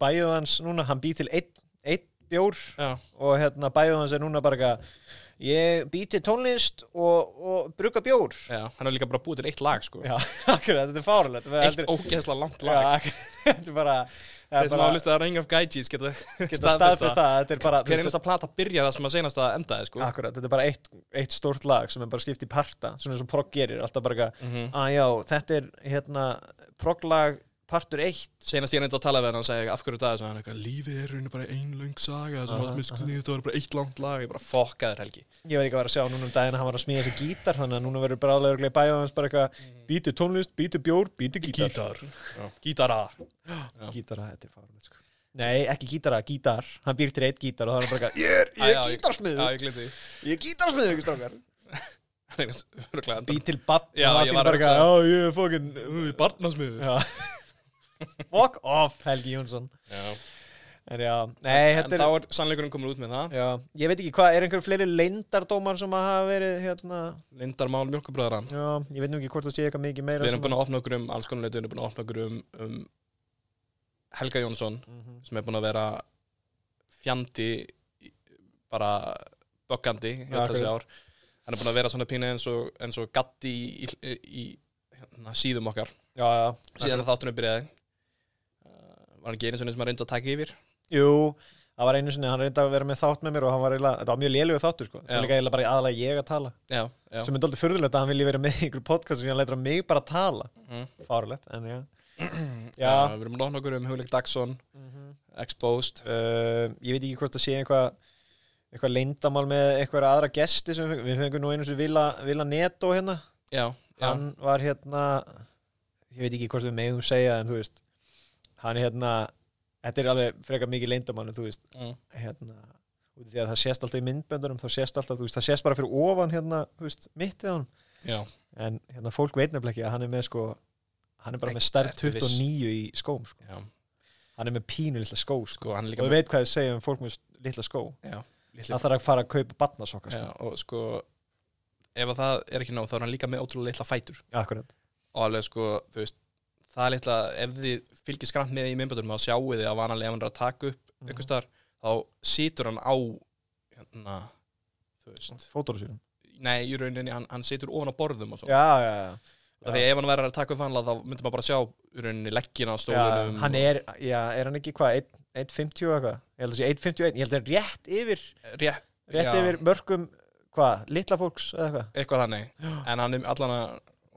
[SPEAKER 1] bæðuð hans núna, hann býr til einn ein bjór
[SPEAKER 2] Já,
[SPEAKER 1] og hérna bæðuð hans er núna bara eitthvað, ég býr til tónlist og, og bruka bjór
[SPEAKER 2] já, hann er líka bara búið til eitt lag sko
[SPEAKER 1] Já, [laughs] akkurat, þetta er fáralegt
[SPEAKER 2] Eitt ógeðslega langt
[SPEAKER 1] Já,
[SPEAKER 2] lag
[SPEAKER 1] akkurat, [laughs] þetta er bara það
[SPEAKER 2] Þeir
[SPEAKER 1] er
[SPEAKER 2] sem
[SPEAKER 1] bara-
[SPEAKER 2] álist að Ring of Gaijis geta [laughs]
[SPEAKER 1] geta staðfest það, þetta er bara þú
[SPEAKER 2] Hver
[SPEAKER 1] veist,
[SPEAKER 2] einasta plata byrja það sem að senast að endaði sko
[SPEAKER 1] Akkurat, þetta er bara eitt, eitt stórt lag sem er bara skipt í parta, svona eins og progg gerir alltaf bara eitthvað,
[SPEAKER 2] Mhm.
[SPEAKER 1] að já, þetta er hérna, progglag partur eitt
[SPEAKER 2] Senast ég reyndi að tala við hann og segja af hverju það er svona eitthvað Lífið er raunin bara ein löng saga sem
[SPEAKER 1] Aha,
[SPEAKER 2] allt með sniðið það var bara eitt langt lag Ég bara fokkaður Helgi
[SPEAKER 1] ég var ekki að vera að sjá núna um daginn að hann var að smíða þessi gítar þannig að núna verður bara álega örglega bæða hans bara eitthvað, býtu tónlist, býtu bjór, býtu gítar
[SPEAKER 2] Gítar Já, Gítara Já.
[SPEAKER 1] gítara, þetta er fárlega sko. nei, ekki gítara, gítar, hann býr til eitt gítar og það er hann bara eitthvað, ég er,
[SPEAKER 2] Æ,
[SPEAKER 1] ég er
[SPEAKER 2] já, ég- Já,
[SPEAKER 1] gítarsmiður
[SPEAKER 2] ég [laughs] glemdi
[SPEAKER 1] ég er gítarsmiður, ekki strákar
[SPEAKER 2] því
[SPEAKER 1] býr til bann,
[SPEAKER 2] Já,
[SPEAKER 1] hann
[SPEAKER 2] ég
[SPEAKER 1] allir
[SPEAKER 2] var að
[SPEAKER 1] bara eitthvað, já, ég er fókin
[SPEAKER 2] Barnasmiður
[SPEAKER 1] fuck off, Helgi Jónsson en já, nei,
[SPEAKER 2] En
[SPEAKER 1] þetta er
[SPEAKER 2] þá er sannleikurinn komin út með það
[SPEAKER 1] Já, ég veit ekki hvað, er einhver fleiri leyndardómar sem að hafa verið hérna
[SPEAKER 2] Lindarmál mjölkubröðran
[SPEAKER 1] Já, ég veit nú ekki hvort það sé eitthvað mikið meira
[SPEAKER 2] Við erum búin að opna okkur um alls konar leiti, við erum búin að opna okkur um, um Helga Jónsson
[SPEAKER 1] að Mhm.
[SPEAKER 2] sem er búin að vera fjandi í- bara böggandi í
[SPEAKER 1] Ja,
[SPEAKER 2] öll þessi ár hann er búin að vera svona pínu eins og, eins og gatti í, í, í hérna, síðum okkar
[SPEAKER 1] Já, já
[SPEAKER 2] síðan að þáttunum byrjaði uh, var hann gerinn svona sem að reynda að taka yfir
[SPEAKER 1] Jú, það var einu sinni, hann reyndi að vera með þátt með mér og hann var eiginlega, þetta var mjög lélegu þáttur sko það
[SPEAKER 2] Já.
[SPEAKER 1] var líka eiginlega bara aðalega ég að tala
[SPEAKER 2] já, já.
[SPEAKER 1] sem er doldið furðulegt að hann vilji vera með í einhverju podcast sem hann leitur að mig bara að tala
[SPEAKER 2] Mm.
[SPEAKER 1] fárlegt, en
[SPEAKER 2] [clears throat]
[SPEAKER 1] já já,
[SPEAKER 2] Já, við erum lóðn okkur um Hugleik Dagsson, Exposed
[SPEAKER 1] uh, ég veit ekki hvort það sé eitthvað eitthvað leyndamál með eitthvað aðra gesti sem við, við fengum nú einu sem Vila, Vila Neto hérna
[SPEAKER 2] Já, já,
[SPEAKER 1] hann var hérna ég veit ekki hvort við megum segja en þú veist hann hérna þetta er alveg frekar mikið leyndamál en þú veist
[SPEAKER 2] mm,
[SPEAKER 1] hérna út af því að það sést alltaf í myndböndunum þá sést alltaf, þú veist, það sést bara fyrir ofan hérna, þú veist, mittið á hann
[SPEAKER 2] já
[SPEAKER 1] en hérna fólk veit nefnilega ekki að hann er með sko hann er bara með
[SPEAKER 2] Ekki-
[SPEAKER 1] stærð
[SPEAKER 2] ertu viss?
[SPEAKER 1] 29 í skóm sko.
[SPEAKER 2] Já,
[SPEAKER 1] hann er með pínu litla skó sko.
[SPEAKER 2] sko, hann er
[SPEAKER 1] og
[SPEAKER 2] líka
[SPEAKER 1] þú veit hvað þið segja um fólk með s- litla skó
[SPEAKER 2] litli
[SPEAKER 1] það þarf að fara að kaupa batnasokka sko.
[SPEAKER 2] Já, og sko ef að það er ekki nóg þá er hann líka með ótrúlega litla fætur
[SPEAKER 1] akkurat,
[SPEAKER 2] og alveg sko, þú veist það er litla, ef þið fylgir skramt með í minnbætunum þá sjáu þið að vanalega ef hann er að taka upp
[SPEAKER 1] Mhm.
[SPEAKER 2] mm. einhvers staðar, þá situr hann á hérna, þú veist
[SPEAKER 1] fótur á sínum
[SPEAKER 2] nei, í rauninni, hann, hann situr ofan á borðum og svo,
[SPEAKER 1] já, já, já,
[SPEAKER 2] af því að ef hann verður að taka upp vanalega þá myndum maður bara sjá í rauninni leggina á
[SPEAKER 1] já
[SPEAKER 2] stólunum
[SPEAKER 1] hann er, já, er hann ekki hvað 1- 1.50 og eitthvað, ég held að sé 1.51 ég held að rétt yfir,
[SPEAKER 2] og rétt,
[SPEAKER 1] rétt
[SPEAKER 2] já.
[SPEAKER 1] yfir mörgum hvað, litla fólks eða eitthvað
[SPEAKER 2] eitthvað þannig en hann er allan að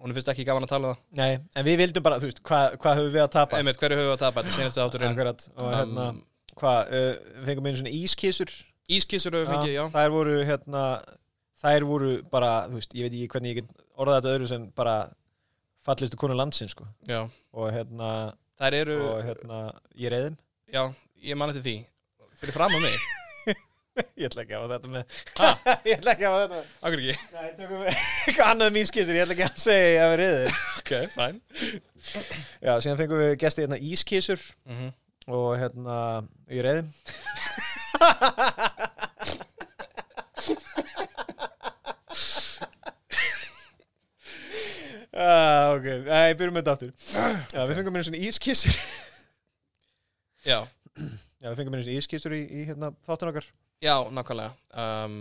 [SPEAKER 2] hún finnst ekki gaman að tala um það
[SPEAKER 1] Nei, en við vildum bara, þú veist, hvað hva höfum við að tapa?
[SPEAKER 2] einmitt hverju höfum við
[SPEAKER 1] [laughs]
[SPEAKER 2] að tapa þetta senast átturinn
[SPEAKER 1] Akkurat, og hérna,
[SPEAKER 2] Um,
[SPEAKER 1] hvað, uh, við fengum einu svona ískissur
[SPEAKER 2] ískissur höfum við ekki, já
[SPEAKER 1] Þær voru, hérna, þær voru bara, þú veist, ég veit ekki hvernig ég get orðað þetta öðru sem bara fallistu konu landsins, sko
[SPEAKER 2] já
[SPEAKER 1] og hérna,
[SPEAKER 2] þær eru,
[SPEAKER 1] og hérna, ég reyðum
[SPEAKER 2] já, ég man eftir því fyrir fram á mig,
[SPEAKER 1] Ég ætla ekki að hafa þetta með [laughs] Ég ætla ekki að hafa þetta með
[SPEAKER 2] akkur ekki
[SPEAKER 1] Nei, tökum við [laughs] eitthvað annað um ískissur, ég ætla ekki að segja ég hafi reyðið
[SPEAKER 2] ok, fæn
[SPEAKER 1] Já, síðan fengum við gestið hérna ískissur
[SPEAKER 2] mm -hmm.
[SPEAKER 1] og hérna, ég reyðum [laughs] Ah, ok, Æ, byrjum með þetta aftur Já, við fengum einu svona ískissur
[SPEAKER 2] já,
[SPEAKER 1] Já, við fengum einu svona ískissur í, í hérna, þáttun okkar
[SPEAKER 2] já, nákvæmlega um,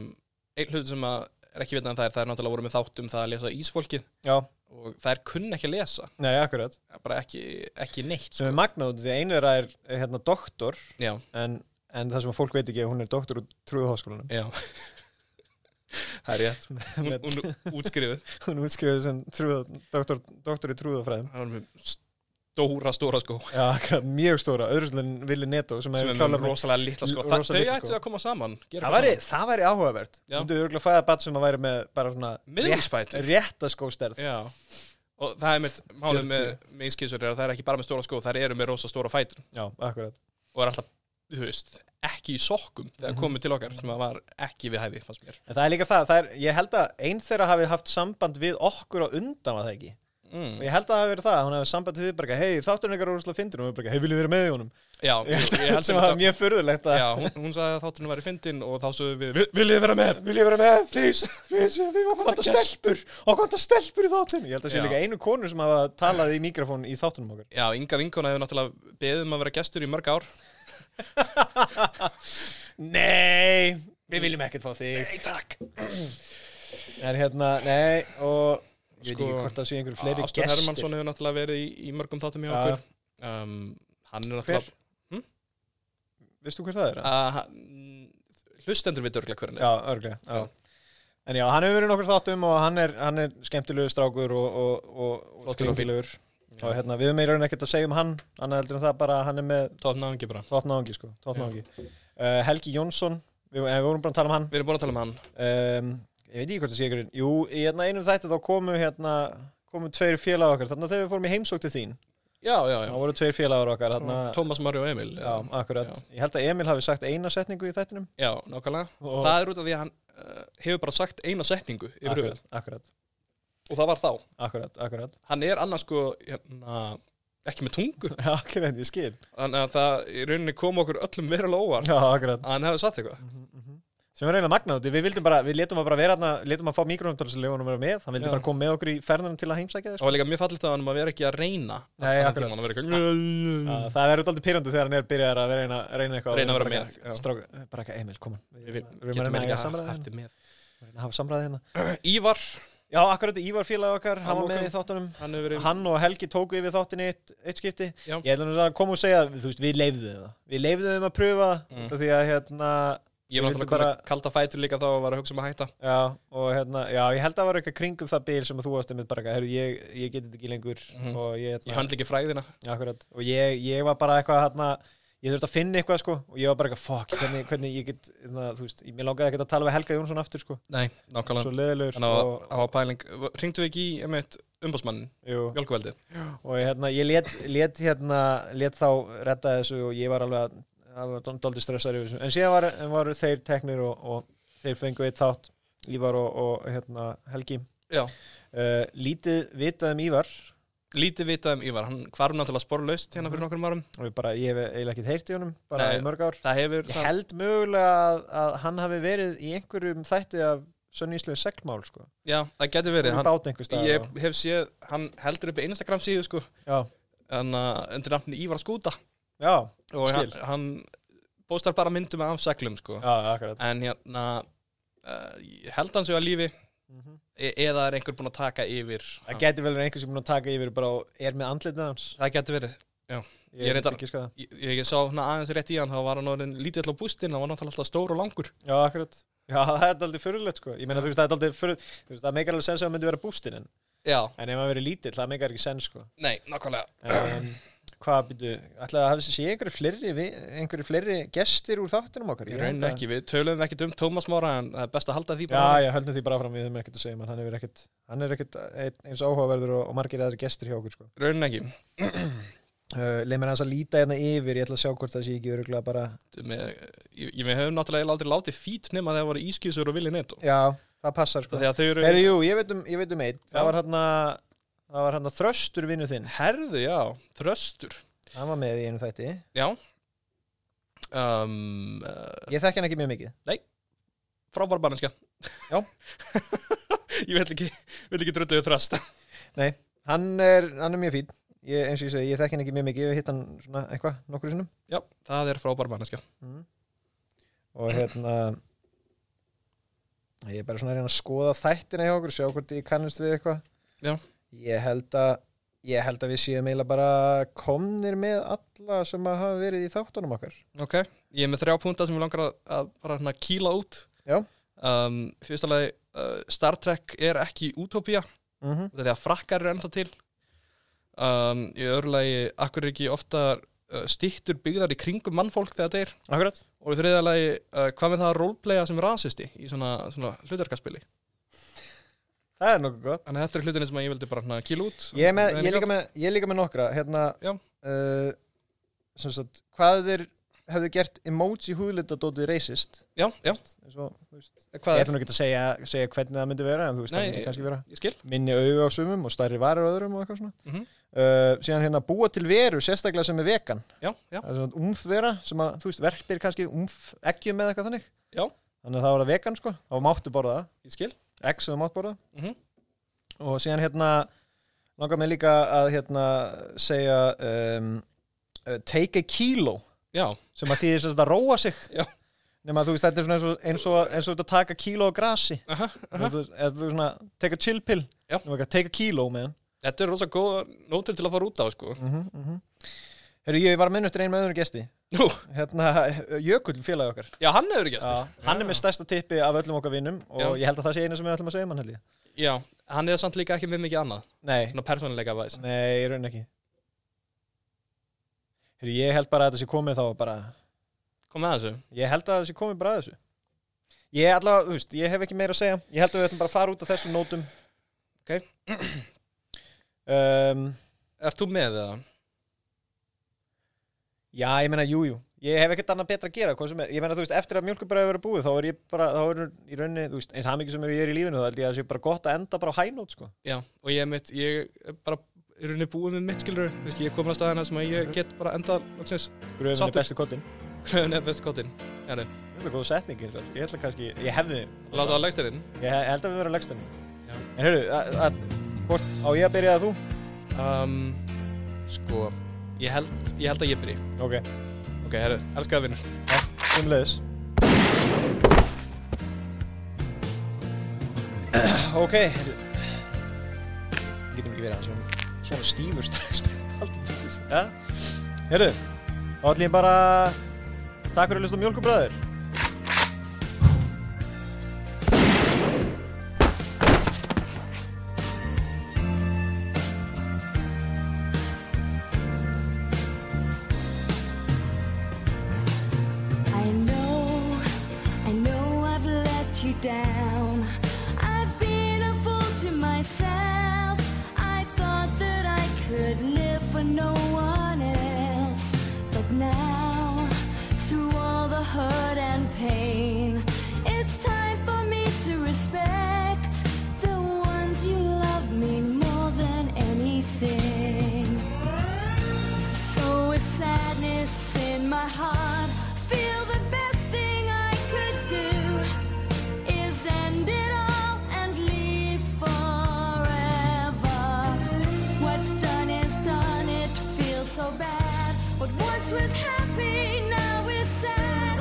[SPEAKER 2] einn hlut sem að er ekki vitað en þær, þær náttúrulega voru með þátt um það að lesa ísfólkið
[SPEAKER 1] Já,
[SPEAKER 2] og þær kunna ekki að lesa
[SPEAKER 1] nei, akkurat
[SPEAKER 2] bara ekki, ekki neitt
[SPEAKER 1] Sem er magnað út af því að einu þeirra er er, hérna doktor
[SPEAKER 2] já,
[SPEAKER 1] en, en það sem að fólk veit ekki er að hún er doktor úr trúðháskólanum
[SPEAKER 2] já það er rétt hún,
[SPEAKER 1] Með-
[SPEAKER 2] hún útskrifuð
[SPEAKER 1] Hún útskrifuði sem trúð, doktor, doktor í trúðafræðum
[SPEAKER 2] hann er með stóra, stóra sko
[SPEAKER 1] Já, akkurat, mjög stóra, öðruðslega Vili Neto sem,
[SPEAKER 2] sem
[SPEAKER 1] hefur
[SPEAKER 2] er
[SPEAKER 1] klárlega-
[SPEAKER 2] með rosalega litla sko
[SPEAKER 1] L-
[SPEAKER 2] Þa,
[SPEAKER 1] rosa
[SPEAKER 2] þau
[SPEAKER 1] litla,
[SPEAKER 2] ættu
[SPEAKER 1] sko.
[SPEAKER 2] að koma saman
[SPEAKER 1] Það væri, það væri áhugavert
[SPEAKER 2] Já.
[SPEAKER 1] Þú myndir örgulega að fæða bat sem að væri með bara svona
[SPEAKER 2] miðlífsfætur
[SPEAKER 1] rétta skóstærð
[SPEAKER 2] já og það er mitt málið með, með ískissur er að það er ekki bara með stóra skó það eru með rosa stóra fætur
[SPEAKER 1] Já, akkurat
[SPEAKER 2] og er alltaf, þú veist, ekki í sokkum þegar
[SPEAKER 1] Mhm.
[SPEAKER 2] komið til okkar sem að var ekki við hæfi, fannst mér
[SPEAKER 1] En það er líka það, það er, ég held að einn þeirra hafi haft samband við okkur á undan var það ekki Og
[SPEAKER 2] mm.
[SPEAKER 1] ég held að það hafi verið það, að hún hafi samband við bara hei, þátturinn ykkar úrslega fyndur og við bara, hei, viljum vera með í honum
[SPEAKER 2] já,
[SPEAKER 1] [laughs]
[SPEAKER 2] ég, ég held
[SPEAKER 1] sem
[SPEAKER 2] sem
[SPEAKER 1] var
[SPEAKER 2] þetta
[SPEAKER 1] mjög furðulegt að
[SPEAKER 2] já, hún, hún sagði að þátturinn væri fyndin og þá sögðu við, "Vi- viljið þið vera með
[SPEAKER 1] Viljum vera með, please, please, við varum
[SPEAKER 2] What
[SPEAKER 1] hvanta
[SPEAKER 2] a guess.
[SPEAKER 1] stelpur og hvanta stelpur í þáttunum Ég held að sé
[SPEAKER 2] Já.
[SPEAKER 1] líka einu konu sem hafa talað í mikrofón í þáttunum okkar
[SPEAKER 2] [laughs] já, Inga Vinkona hefur náttúrulega beðið um að vera gestur í mörg ár
[SPEAKER 1] Nei, við viljum ekkert fá þig
[SPEAKER 2] Nei, takk
[SPEAKER 1] [clears throat] En hérna, nei, og ég veit
[SPEAKER 2] Sko,
[SPEAKER 1] ekki hvort það sé einhverju Ah, fleiri
[SPEAKER 2] Ástur
[SPEAKER 1] gestir Ah.
[SPEAKER 2] Hermannsson hefur náttúrulega verið í, í mörgum þáttum hjá
[SPEAKER 1] Já.
[SPEAKER 2] okkur um, hann er náttúrulega
[SPEAKER 1] Veistu hver það er?
[SPEAKER 2] Uh, hann- hlustendur við dörgla hvernig
[SPEAKER 1] Ah, Já, örglega já.
[SPEAKER 2] Já.
[SPEAKER 1] En já, hann hefur verið nokkur þáttum og hann er, hann er skemmtilegu strákur og, og, og, og
[SPEAKER 2] Flottur og fínn.
[SPEAKER 1] skringilegur og hérna, við erum meira en ekkert að segja um hann annað heldur en það bara að hann er með
[SPEAKER 2] tóðum náðum ekki bara
[SPEAKER 1] tóttnáðungi sko, tóttnáðungi uh, Helgi Jónsson, við, eh, við vorum bara að tala um hann
[SPEAKER 2] við erum búin að tala um hann
[SPEAKER 1] um, Ég veit ekki hvort það sé ykkur Jú, í hérna, einum þætti þá komu hérna komu tveir félagar okkar, þannig að þegar við fórum í heimsók til þín,
[SPEAKER 2] já, já,
[SPEAKER 1] þá
[SPEAKER 2] já,
[SPEAKER 1] voru tveir félagar okkar þarna,
[SPEAKER 2] Tómas Mario og Emil
[SPEAKER 1] já, akkurat, ég held að Emil hafi sagt eina setningu í þættinum
[SPEAKER 2] já nákvæmlega
[SPEAKER 1] Og-
[SPEAKER 2] það er út af því að hann uh, hefur bara sagt eina setningu yfir höfuð
[SPEAKER 1] akkurat, akkurat,
[SPEAKER 2] og það var þá
[SPEAKER 1] akkurat, akkurat [laughs]
[SPEAKER 2] hann er annars sko hérna, ekki með tungu
[SPEAKER 1] Já, akkurat, ég skil
[SPEAKER 2] þannig að það í rauninni kom okkur öllum verulega óvart
[SPEAKER 1] Já, akkurat
[SPEAKER 2] að hann hefði sagt eitthvað mhm.
[SPEAKER 1] sem er eiginlega magnað, því við vildum bara, við letum að bara vera hana, letum að fá mikronáttúrulega sem lefunum vera með hann vildi
[SPEAKER 2] Já.
[SPEAKER 1] bara koma með okkur í ferðanum til að heimsækja sko. þess
[SPEAKER 2] það var líka mjög fallit að hann að vera ekki að reyna
[SPEAKER 1] Nei,
[SPEAKER 2] Allan
[SPEAKER 1] akkurat.
[SPEAKER 2] tímann að vera eitthvað
[SPEAKER 1] það verður alltaf pyrrandi þegar hann er byrjað að reyna, reyna eitthvað
[SPEAKER 2] Mm. Reyna að
[SPEAKER 1] og
[SPEAKER 2] vera
[SPEAKER 1] bara
[SPEAKER 2] með,
[SPEAKER 1] ekki-
[SPEAKER 2] já.
[SPEAKER 1] stráka, bara ekki Emil, koma
[SPEAKER 2] Við
[SPEAKER 1] við erum að
[SPEAKER 2] getum
[SPEAKER 1] reyna að
[SPEAKER 2] ekki
[SPEAKER 1] eiga samræði
[SPEAKER 2] haft
[SPEAKER 1] hérna.
[SPEAKER 2] þið með
[SPEAKER 1] Við erum að hafa samræði hérna
[SPEAKER 2] Ívar
[SPEAKER 1] Já, akkurat Ívar félag okkar, hann
[SPEAKER 2] Að
[SPEAKER 1] var með
[SPEAKER 2] lokum.
[SPEAKER 1] í þáttunum
[SPEAKER 2] Hann hefur verið
[SPEAKER 1] Hann og Helgi tóku yfir þáttin eitt, eitt skipti
[SPEAKER 2] Já.
[SPEAKER 1] Ég ætla nú að koma og segja, þú veist, við leifðum það Við leifðum þeim að pröfa
[SPEAKER 2] Mm.
[SPEAKER 1] mm. Því að hérna,
[SPEAKER 2] Ég var náttúrulega
[SPEAKER 1] vildi bara-
[SPEAKER 2] bara... kalda fætur líka þá og var að hugsa um að hætta
[SPEAKER 1] já, og hérna Já, ég held að það var eitthvað kringum það bil sem að þú varst einmitt bara, heyrðu, ég, ég geti þetta ekki lengur
[SPEAKER 2] Mhm.
[SPEAKER 1] og ég,
[SPEAKER 2] Ég
[SPEAKER 1] hérna,
[SPEAKER 2] höndla ekki fræðina
[SPEAKER 1] Akkurat, og ég, ég var bara eitthvað hérna, ég þurfti að finna eitthvað sko og ég var bara eitthvað, fuck, hvernig, hvernig ég get hérna, þú veist, ég- mér langaði ekkert að tala við Helga Jónsson aftur sko,
[SPEAKER 2] Nei, nákvæmlega
[SPEAKER 1] svo leðilegur
[SPEAKER 2] Þannig að
[SPEAKER 1] og,
[SPEAKER 2] á pæling Ringdu ekki í einmitt umbásmannin,
[SPEAKER 1] jú,
[SPEAKER 2] Jólkuveldi
[SPEAKER 1] og hérna, ég let, let hérna, let þá retta þessu og ég var alveg að, að doldi stressar yfir þessu, en síðan var, en var þeir teknir og, og þeir fengu eitt þátt Ívar og, og hérna, Helgi
[SPEAKER 2] Já,
[SPEAKER 1] uh, lítið vitað um Ívar
[SPEAKER 2] lítið vitað um Ívar Hann hvarf náttúrulega sporlaust hérna
[SPEAKER 1] Mhm.
[SPEAKER 2] fyrir nokkrum árum
[SPEAKER 1] og ég bara, ég hef eiginlega ekkert heyrt í honum bara
[SPEAKER 2] Nei.
[SPEAKER 1] í mörg ár
[SPEAKER 2] Það hefur
[SPEAKER 1] Ég
[SPEAKER 2] það-
[SPEAKER 1] held mögulega að, að hann hafi verið í einhverjum þætti af sönn íslensku seglmál sko.
[SPEAKER 2] Já, það getur verið
[SPEAKER 1] Hann
[SPEAKER 2] hann,
[SPEAKER 1] bát einhver stað
[SPEAKER 2] Ég hef séð, hann heldur upp Instagram síðu sko
[SPEAKER 1] Já,
[SPEAKER 2] En uh, undir nafni Ívar Skúta
[SPEAKER 1] já,
[SPEAKER 2] Og hann,
[SPEAKER 1] Skil.
[SPEAKER 2] hann bóstar bara myndum af seglum sko
[SPEAKER 1] já, akkurat
[SPEAKER 2] En hérna uh, Ég held hann sig að lífi
[SPEAKER 1] Mhm.
[SPEAKER 2] e Eða er einhver búinn að taka yfir
[SPEAKER 1] Það
[SPEAKER 2] hann.
[SPEAKER 1] geti vel verið einhver sem er búinn að taka yfir bara og er með andlitið hans
[SPEAKER 2] Það getur verið Ég
[SPEAKER 1] Ég er
[SPEAKER 2] reyndar-
[SPEAKER 1] ekki sko það
[SPEAKER 2] ég, ég sá hana aðeins rétt í hann þá var hann orðin lítill á bústinn hann var náttúrulega alltaf stór og langur
[SPEAKER 1] Já, akkurat Já, [laughs] það er aldrei fyrirlegt sko Ég meina þú veist, það er aldrei fyrir Þú veist, það meikar alveg sens að það myndi vera bústinn en
[SPEAKER 2] já,
[SPEAKER 1] En ef hann verið lítill, það meikar ekki sens sko
[SPEAKER 2] nei, nákvæmlega
[SPEAKER 1] En [clears throat] hvað byrju Ætlaði að hafa sér einhverju fleiri vi- einhverju fleiri gestir úr þáttunum okkar
[SPEAKER 2] ég
[SPEAKER 1] held
[SPEAKER 2] raunin
[SPEAKER 1] að-
[SPEAKER 2] ekki, við töluðum ekkert um Tómas Mára en það er best að halda því
[SPEAKER 1] Já, já, höldum því bara áfram, við höfum ekkert að segja mann, hann, hefur ekkert, hann er ekkert einn- eins áhugaverður og, og margir aðri gestir hjá okkur sko.
[SPEAKER 2] raunin ekki
[SPEAKER 1] uh, Leif mér hans að líta hérna yfir, ég ætla að sjá hvort það sé ekki öruglega bara
[SPEAKER 2] með, ég, ég við höfum náttúrulega eiginlega aldrei látið fít nema þegar voru ískísur og vilja netto
[SPEAKER 1] Já, það passar sko
[SPEAKER 2] þegar þau eru
[SPEAKER 1] Heri, jú, ég veit um, ég veit um einn,
[SPEAKER 2] Já.
[SPEAKER 1] það var hann að það var hann að þröstur vinnu þinn
[SPEAKER 2] herðu, já, þröstur
[SPEAKER 1] hann var með í einu þætti,
[SPEAKER 2] já um, uh,
[SPEAKER 1] ég þekki hann ekki mjög mikið
[SPEAKER 2] frábær barnenska
[SPEAKER 1] Já.
[SPEAKER 2] [laughs] ég veit ekki, veit ekki drölduðu þröst
[SPEAKER 1] hann er, hann er mjög fín ég, eins og ég segi, ég þekki hann ekki mjög mikið ég hef hitt hann svona eitthvað, nokkru sinnum
[SPEAKER 2] já, það er frábær barnenska
[SPEAKER 1] mm. og hérna ég er bara svona að reyna að skoða þættina hjá okkur, sjá hvort ég kannast við eitthvað
[SPEAKER 2] Já.
[SPEAKER 1] ég held að ég held að við séum eiginlega bara komnir með alla sem að hafa verið í þáttunum okkar
[SPEAKER 2] Ok, ég er með þrjá púnta sem ég langar að, að bara hérna kýla út
[SPEAKER 1] Já.
[SPEAKER 2] um, Fyrsta lagi, uh, Star Trek er ekki útópía
[SPEAKER 1] mm -hmm.
[SPEAKER 2] Þetta er að frakkar eru ennþá til um, Í öðru lagi, akkur er ekki ofta uh, stýttur byggðar í kringum mannfólk þegar þetta er
[SPEAKER 1] Akkurat
[SPEAKER 2] Og í þriðja lagi, uh, hvað með það að roleplaya sem rasisti í svona, svona hlutarkaspili
[SPEAKER 1] Það er nokkuð gott
[SPEAKER 2] Þannig að þetta er hlutinni sem ég vildi bara hérna kýla út
[SPEAKER 1] Ég er, með,
[SPEAKER 2] Það
[SPEAKER 1] ég, er líka
[SPEAKER 2] gott.
[SPEAKER 1] með, ég er líka með nokkra hérna,
[SPEAKER 2] Já.
[SPEAKER 1] uh, sem sagt, Hvað þeir hefðu gert emoji húðlitadótið racist
[SPEAKER 2] Já, já,
[SPEAKER 1] Svo, þú veist, Ég
[SPEAKER 2] hvað er
[SPEAKER 1] ætlum ekki að segja, segja hvernig það myndi vera en þú veist, það
[SPEAKER 2] Nei,
[SPEAKER 1] myndi
[SPEAKER 2] ég-
[SPEAKER 1] kannski vera
[SPEAKER 2] Ég skil
[SPEAKER 1] minni auðu á sumum og stærri varir á öðrum og eitthvað svona
[SPEAKER 2] Mhm.
[SPEAKER 1] uh, síðan hérna búa til veru sérstaklega sem er vegan
[SPEAKER 2] Já, já,
[SPEAKER 1] það er svona umfvera sem að, þú veist, verpir kannski umf eggjum með eitthvað þannig
[SPEAKER 2] Já.
[SPEAKER 1] þannig að það var það vegan sko, þá máttu borða það
[SPEAKER 2] ég skil
[SPEAKER 1] egg sem þú mátt borða
[SPEAKER 2] Mhm.
[SPEAKER 1] og síðan hérna langar mig líka að hérna segja um, uh, take a kilo
[SPEAKER 2] Já,
[SPEAKER 1] sem að þýðir sem sagt að róa sig
[SPEAKER 2] [laughs] Já.
[SPEAKER 1] nema að þú veist, þetta er svona eins og eins og, eins og þetta taka kíló á grasi
[SPEAKER 2] aha,
[SPEAKER 1] Þú
[SPEAKER 2] aha.
[SPEAKER 1] veist, eða þú svona, take a chill pill
[SPEAKER 2] Já.
[SPEAKER 1] Nema eitthvað, take a kíló með hann
[SPEAKER 2] Þetta er rosa góða nótur til að fara út á sko
[SPEAKER 1] mm -hmm, Herru, ég var að minna eftir einu með öðrum gesti
[SPEAKER 2] Nú,
[SPEAKER 1] Hérna, Jökull félagi okkar
[SPEAKER 2] já, hann hefur gæst
[SPEAKER 1] Já, Hann er með stærsta tippi af öllum okkar vinnum og
[SPEAKER 2] Já.
[SPEAKER 1] ég held að það sé einu sem við ætlum að segja um hann held ég
[SPEAKER 2] Já, hann er samt líka ekki með mikið annað
[SPEAKER 1] Nei,
[SPEAKER 2] Svona persónuleika væs
[SPEAKER 1] nei, ég raun ekki Herru, ég held bara að þetta sé komið þá bara
[SPEAKER 2] Kom með þessu
[SPEAKER 1] Ég held að það sé komið bara að þessu Ég allavega, þú veist, ég hef ekki meira að segja Ég held að við ætlum bara að fara út af þessum nótum
[SPEAKER 2] Ok.
[SPEAKER 1] [clears throat] um,
[SPEAKER 2] Ert þú með það?
[SPEAKER 1] Já, ég meina, jú, jú Ég hef ekkert annað betra að gera, hvað sem er Ég meina, þú veist, eftir að mjölkubröðu verið búið Þá er ég bara, þá er í rauninni, þú veist Eins hamingi sem ég er í lífinu, þá held ég að það sé bara gott að enda bara á hænót, sko
[SPEAKER 2] Já, og ég er mitt, ég er bara er henni búið með mitt skilur Þú veist, ég er komin að staðina sem að ég get bara enda Lóksins,
[SPEAKER 1] Gröfin
[SPEAKER 2] Sáttur.
[SPEAKER 1] er besti kottin
[SPEAKER 2] kröðun eða best kottin Hérna,
[SPEAKER 1] Þetta er góð setning, ég held- ég held að kannski Ég hefði,
[SPEAKER 2] láta á legstærin
[SPEAKER 1] ég he- held að við verðum leggstæðin
[SPEAKER 2] Já.
[SPEAKER 1] En heyrðu, að- að- hvort á ég að byrja að þú?
[SPEAKER 2] um, Sko, ég held, ég held að ég byrji
[SPEAKER 1] Ok,
[SPEAKER 2] Ok, herru, elskaða vinnur
[SPEAKER 1] sumleðis [clears throat] Ok, heyrðu,
[SPEAKER 4] getum ekki verið hans Ég er svona stífur
[SPEAKER 1] [laughs]
[SPEAKER 4] strax með allt í tjóðis ja? Herru, þá ætlum ég bara Takk fyrir að hlusta á mjölkubræður
[SPEAKER 3] I know, I know I've let you down. I've been a fool to myself. I thought that I could live for no one else. But now, through all the hurt and pain, it's time for me to respect the ones you love me more than anything. So with sadness in my heart, feel the best thing I could do is end it all and leave forever. What's done is done, it feels so bad. What once was happy now is sad.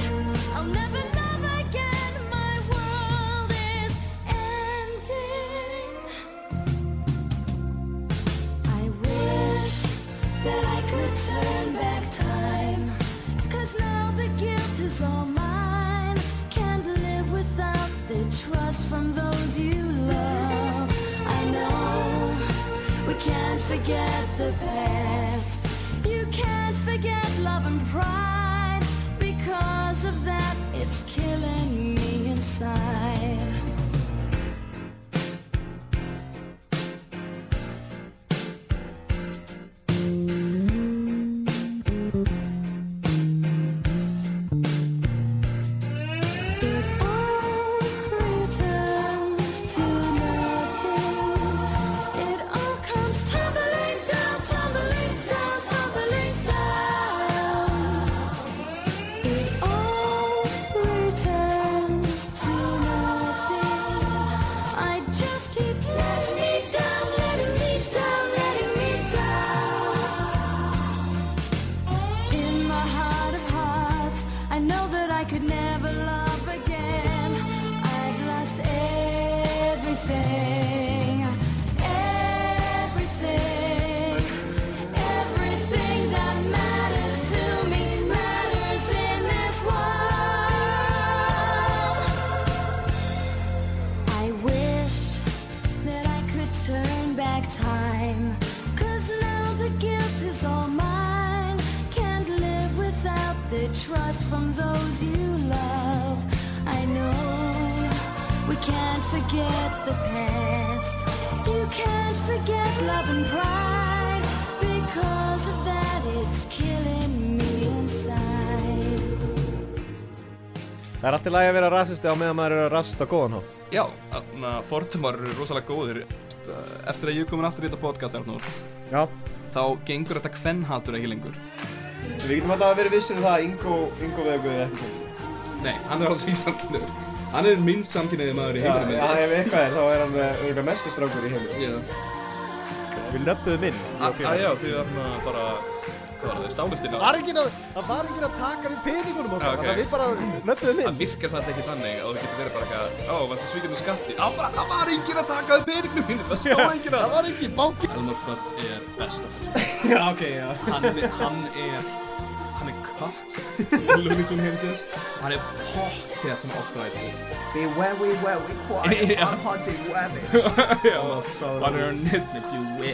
[SPEAKER 3] I'll never love again, my world is ending. I wish that I could turn back time. Cause now the guilt is all mine. Can't live without the trust from those you love. I know we can't forget the past. You can't forget love and pride. Because of that, it's killing me inside. It all returns to nothing. It all comes tumbling down, tumbling down, tumbling down. It all returns to nothing. I just keep letting me down, letting me down, letting me down. In my heart of hearts, I know that I could never love again. I've lost everything, everything, everything that matters to me matters in this world. I wish that I could turn back time. Cause now the guilt is all mine. Can't live without the trust from those you love. I know we can't forget the past. You can't forget love and pride. Because of that, it's killing me inside.
[SPEAKER 1] Það er alltaf lægi að vera rasisti á meðan maður er að rasist á góðan hátt.
[SPEAKER 5] Já, þarna fordumar eru rosalega góðir Eftir að ég er komin aftur í þetta podcast Arnór,
[SPEAKER 1] Já.
[SPEAKER 5] þá gengur þetta kvennhatur ekki lengur
[SPEAKER 6] Við getum alltaf að vera vissir um það að Ingo, Ingo veguði ekki komið.
[SPEAKER 5] Nei, hann er alls í samkynniður Hann er minnst samkynniði maður í
[SPEAKER 6] Já,
[SPEAKER 5] heiminum
[SPEAKER 6] já, ef eitthvað er, þá er hann eitthvað mestur strákur í heiminum.
[SPEAKER 5] já.
[SPEAKER 1] Við löppuðum inn.
[SPEAKER 5] A- að Ah, Já, því þarna bara, hvað var það, stáluftin
[SPEAKER 1] var ekki að, það var ekki að taka við peningunum
[SPEAKER 5] okkar, þannig að við
[SPEAKER 1] bara löppuðum
[SPEAKER 5] Það virkar þetta ekki þannig að þú getur verið bara eitthvað Á, varstu svíkjandi skatti? Á, bara, það var enginn að taka þau peningum mínu, það stóð enginn að Það var enginn
[SPEAKER 1] [laughs]
[SPEAKER 5] báki Elmar Flödd er best
[SPEAKER 6] Já, ok, já.
[SPEAKER 5] Hann er, hann er, hann er katt Lúningtún heimsins Hann er pott þegar sem okkvæði
[SPEAKER 6] Be wary, wary, [laughs] quiet, I'm hunting [laughs] rabbits.
[SPEAKER 5] Já, hann er nefnir You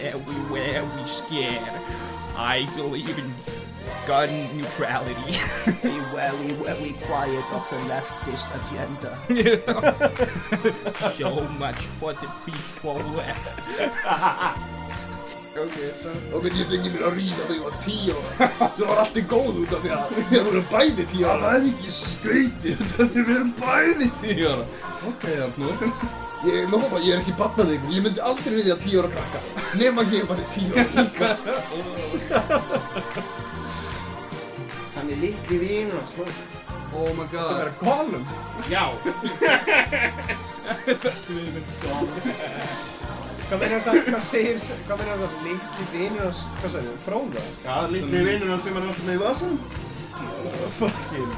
[SPEAKER 5] very, very scared I believe in gun neutrality [laughs]
[SPEAKER 7] Be wary, wary quiet of the leftist agenda.
[SPEAKER 5] So much for the people left
[SPEAKER 8] Og ég fengi mér að ríða þegar ég var tíu ára. Svo var allt í góð út af því að við vorum bæði tíu ára. Það er ekki skrítið, þetta er við erum bæði tíu ára.
[SPEAKER 5] Ok, Arnur
[SPEAKER 8] Ég lofa, ég er ekki batnaðið, ég myndi aldrei við því að tíu ára krakka. Nefn að ég var tíu ára líka.
[SPEAKER 6] Hann er litli vínur hans, maður.
[SPEAKER 5] Oh my god
[SPEAKER 6] Það er golum.
[SPEAKER 5] Já
[SPEAKER 6] [laughs] Hvað meina þess að, hvað segir, hvað meina þess að litli vínur hans, hvað segir þau, fróða? Já, litli vínur hans sem er alltaf með vasan. Fucking.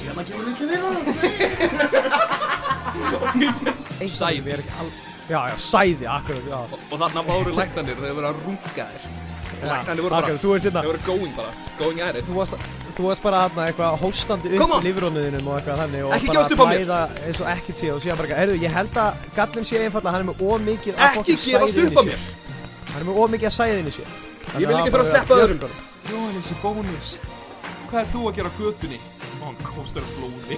[SPEAKER 8] Hérna kemur litli vinur hans.
[SPEAKER 9] Sæði.
[SPEAKER 1] Sæði er ekki al... Já, já, sæði, akkurat, já.
[SPEAKER 9] Og þarna voru læknarnir, þeir voru að runga þér. Læknarnir voru bara,
[SPEAKER 1] Akkurat, þú ert hérna,
[SPEAKER 9] þeir voru going bara, going at it.
[SPEAKER 1] þú varst, þú varst bara hérna eitthvað hóstandi upp
[SPEAKER 9] Come on.
[SPEAKER 1] í lifrónuðinum og eitthvað þannig og
[SPEAKER 9] Ekki
[SPEAKER 1] bara
[SPEAKER 9] gefast upp á mér.
[SPEAKER 1] blæða eins og ekkert sé og síðan bara eitthvað, heyrðu, ég held að gallin sé einfallega, hann er með ómikið af
[SPEAKER 9] Ekki
[SPEAKER 1] fokkin
[SPEAKER 9] gefast
[SPEAKER 1] sæði inn
[SPEAKER 9] upp á
[SPEAKER 1] í sér.
[SPEAKER 9] mér.
[SPEAKER 1] Hann er með ómikið af sæðin í sér.
[SPEAKER 9] Ég
[SPEAKER 1] Þannig
[SPEAKER 9] vil
[SPEAKER 1] að
[SPEAKER 9] ekki
[SPEAKER 1] hann
[SPEAKER 9] þurfa að
[SPEAKER 1] bara
[SPEAKER 9] sleppa
[SPEAKER 1] vera
[SPEAKER 9] öðrum.
[SPEAKER 1] björgun.
[SPEAKER 5] Jóhannes í bónus Hvað er þú að gera á götunni? Og hann kostar blóði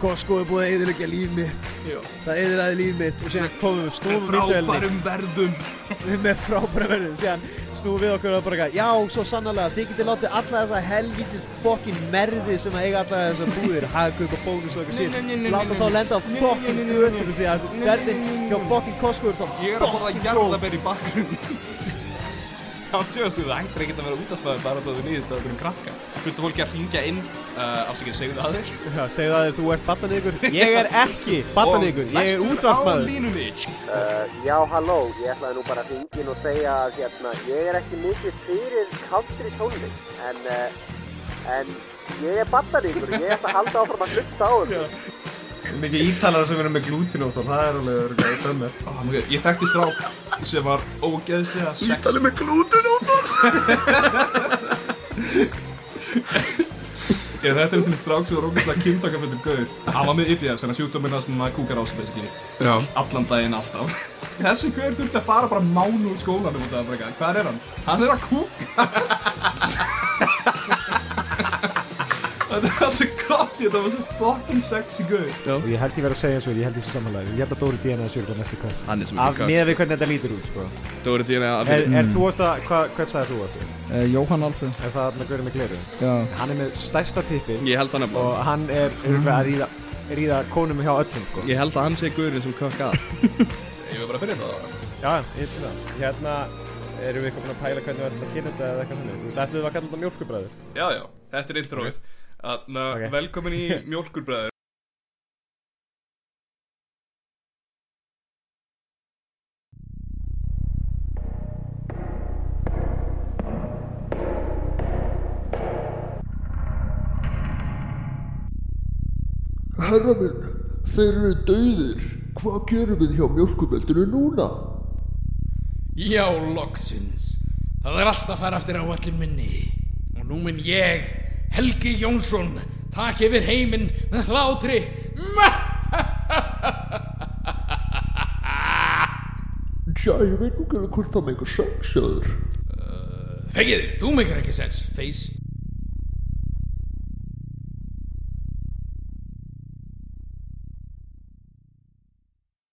[SPEAKER 1] Costco er búið að eðilegja líf mitt.
[SPEAKER 5] Já.
[SPEAKER 1] Það eðilaði líf mitt og síðan komum við
[SPEAKER 5] Með
[SPEAKER 1] snúfum vítvelni.
[SPEAKER 5] frábærum verðum
[SPEAKER 1] Með frábæra verðum. Síðan snúfum við okkur og bara eitthvað, já, svo sannarlega, þið getið látið alla þessa helvítið fokkin merði sem að eiga alla þessa búðir, hagkök og bónus og eitthvað síðan. Láta þá lenda á fokkin götur því að verðin hjá fokkin Costco er svo
[SPEAKER 5] Ég er að borða jarðabær í [laughs] bakgrunn Áttu þessu, það hættir ekkert að vera útastmaður bara þá þú nýðist að það verðum krakka Fullt af fólki að hringja inn, uh, afsakið segðu það þér
[SPEAKER 1] Já, segðu það að þú ert barnanikur. [laughs] Ég er ekki barnanikur, ég er
[SPEAKER 5] Og læstur á
[SPEAKER 1] útvarsmaður.
[SPEAKER 5] línunni
[SPEAKER 6] Já, halló, ég ætlaði nú bara að hringin og segja að hérna, ég er ekki mikið fyrir country tónlist, en, uh, en ég er bandaríkur, ég ætla að halda áfram að hlusta á þessu.
[SPEAKER 10] Mikið ítalara sem eru með glútin og það er alveg örgulega í dömur.
[SPEAKER 5] Ah, ok, Ég þekkti strák sem var ógeðslega sex
[SPEAKER 8] Ítalið með glúten út af.
[SPEAKER 5] [laughs] Ég þetta er svona strák sem var ógeðslega kynntakafullur gaur Hann var með IBS, þannig að sjúkdóminna sem maður kúkar á sig basically
[SPEAKER 9] Já.
[SPEAKER 5] Allan daginn alltaf Þessi gaur þurfti að fara bara mánu úr skólanum út af það bara eitthvað. Hvar er hann? Hann er að
[SPEAKER 8] [laughs]
[SPEAKER 5] kúka Þetta var svo gott, þetta var svo fucking sexy gaur
[SPEAKER 1] Ég held ég verið að segja eins og ég held ég sem samanlega. Ég held að Dóri Díana sjálf á næstu kvæð.
[SPEAKER 9] Hann er sem
[SPEAKER 1] Af miða við hvernig þetta lítur út, sko. Mm.
[SPEAKER 9] Þú verður tíðin að
[SPEAKER 1] Er, er þú ást að, hvað, hvað sagði þú ástu?
[SPEAKER 11] Eh, Jóhann Alfred
[SPEAKER 1] Er það hann að með gleru?
[SPEAKER 11] Já, Mm.
[SPEAKER 1] Hann er með stærsta tippið
[SPEAKER 9] Ég held hann er
[SPEAKER 1] og hann er örgulega að ríða, ríða konum hjá öllum, sko.
[SPEAKER 9] Ég held að hann sé gaurinn sem kökka að
[SPEAKER 5] Ég var bara að finna þetta á það
[SPEAKER 1] Já, ég finn það. Hérna, erum við eitthvað búin að pæla hvernig við ætlum að kynna þetta eða eitthvað þannig? Þú ætlum við að kalla þetta mjölkubræður?
[SPEAKER 5] Já, já, þetta er introið Þannig að
[SPEAKER 1] Ok.
[SPEAKER 5] velkomin í [laughs] Mjólkurbræður
[SPEAKER 8] Herra minn, þeir eru dauðir. Hvað gerum við hjá mjölkumeldinu núna?
[SPEAKER 12] Já, loksins. Það er allt að fara eftir áallin minni. Og nú minn ég, Helgi Jónsson, takk yfir heiminn með hlátri.
[SPEAKER 8] Tja, ég veit nú ekki alveg hvort það með eitthvað sjáður.
[SPEAKER 12] Fegið, þú meikar ekki sex, feys.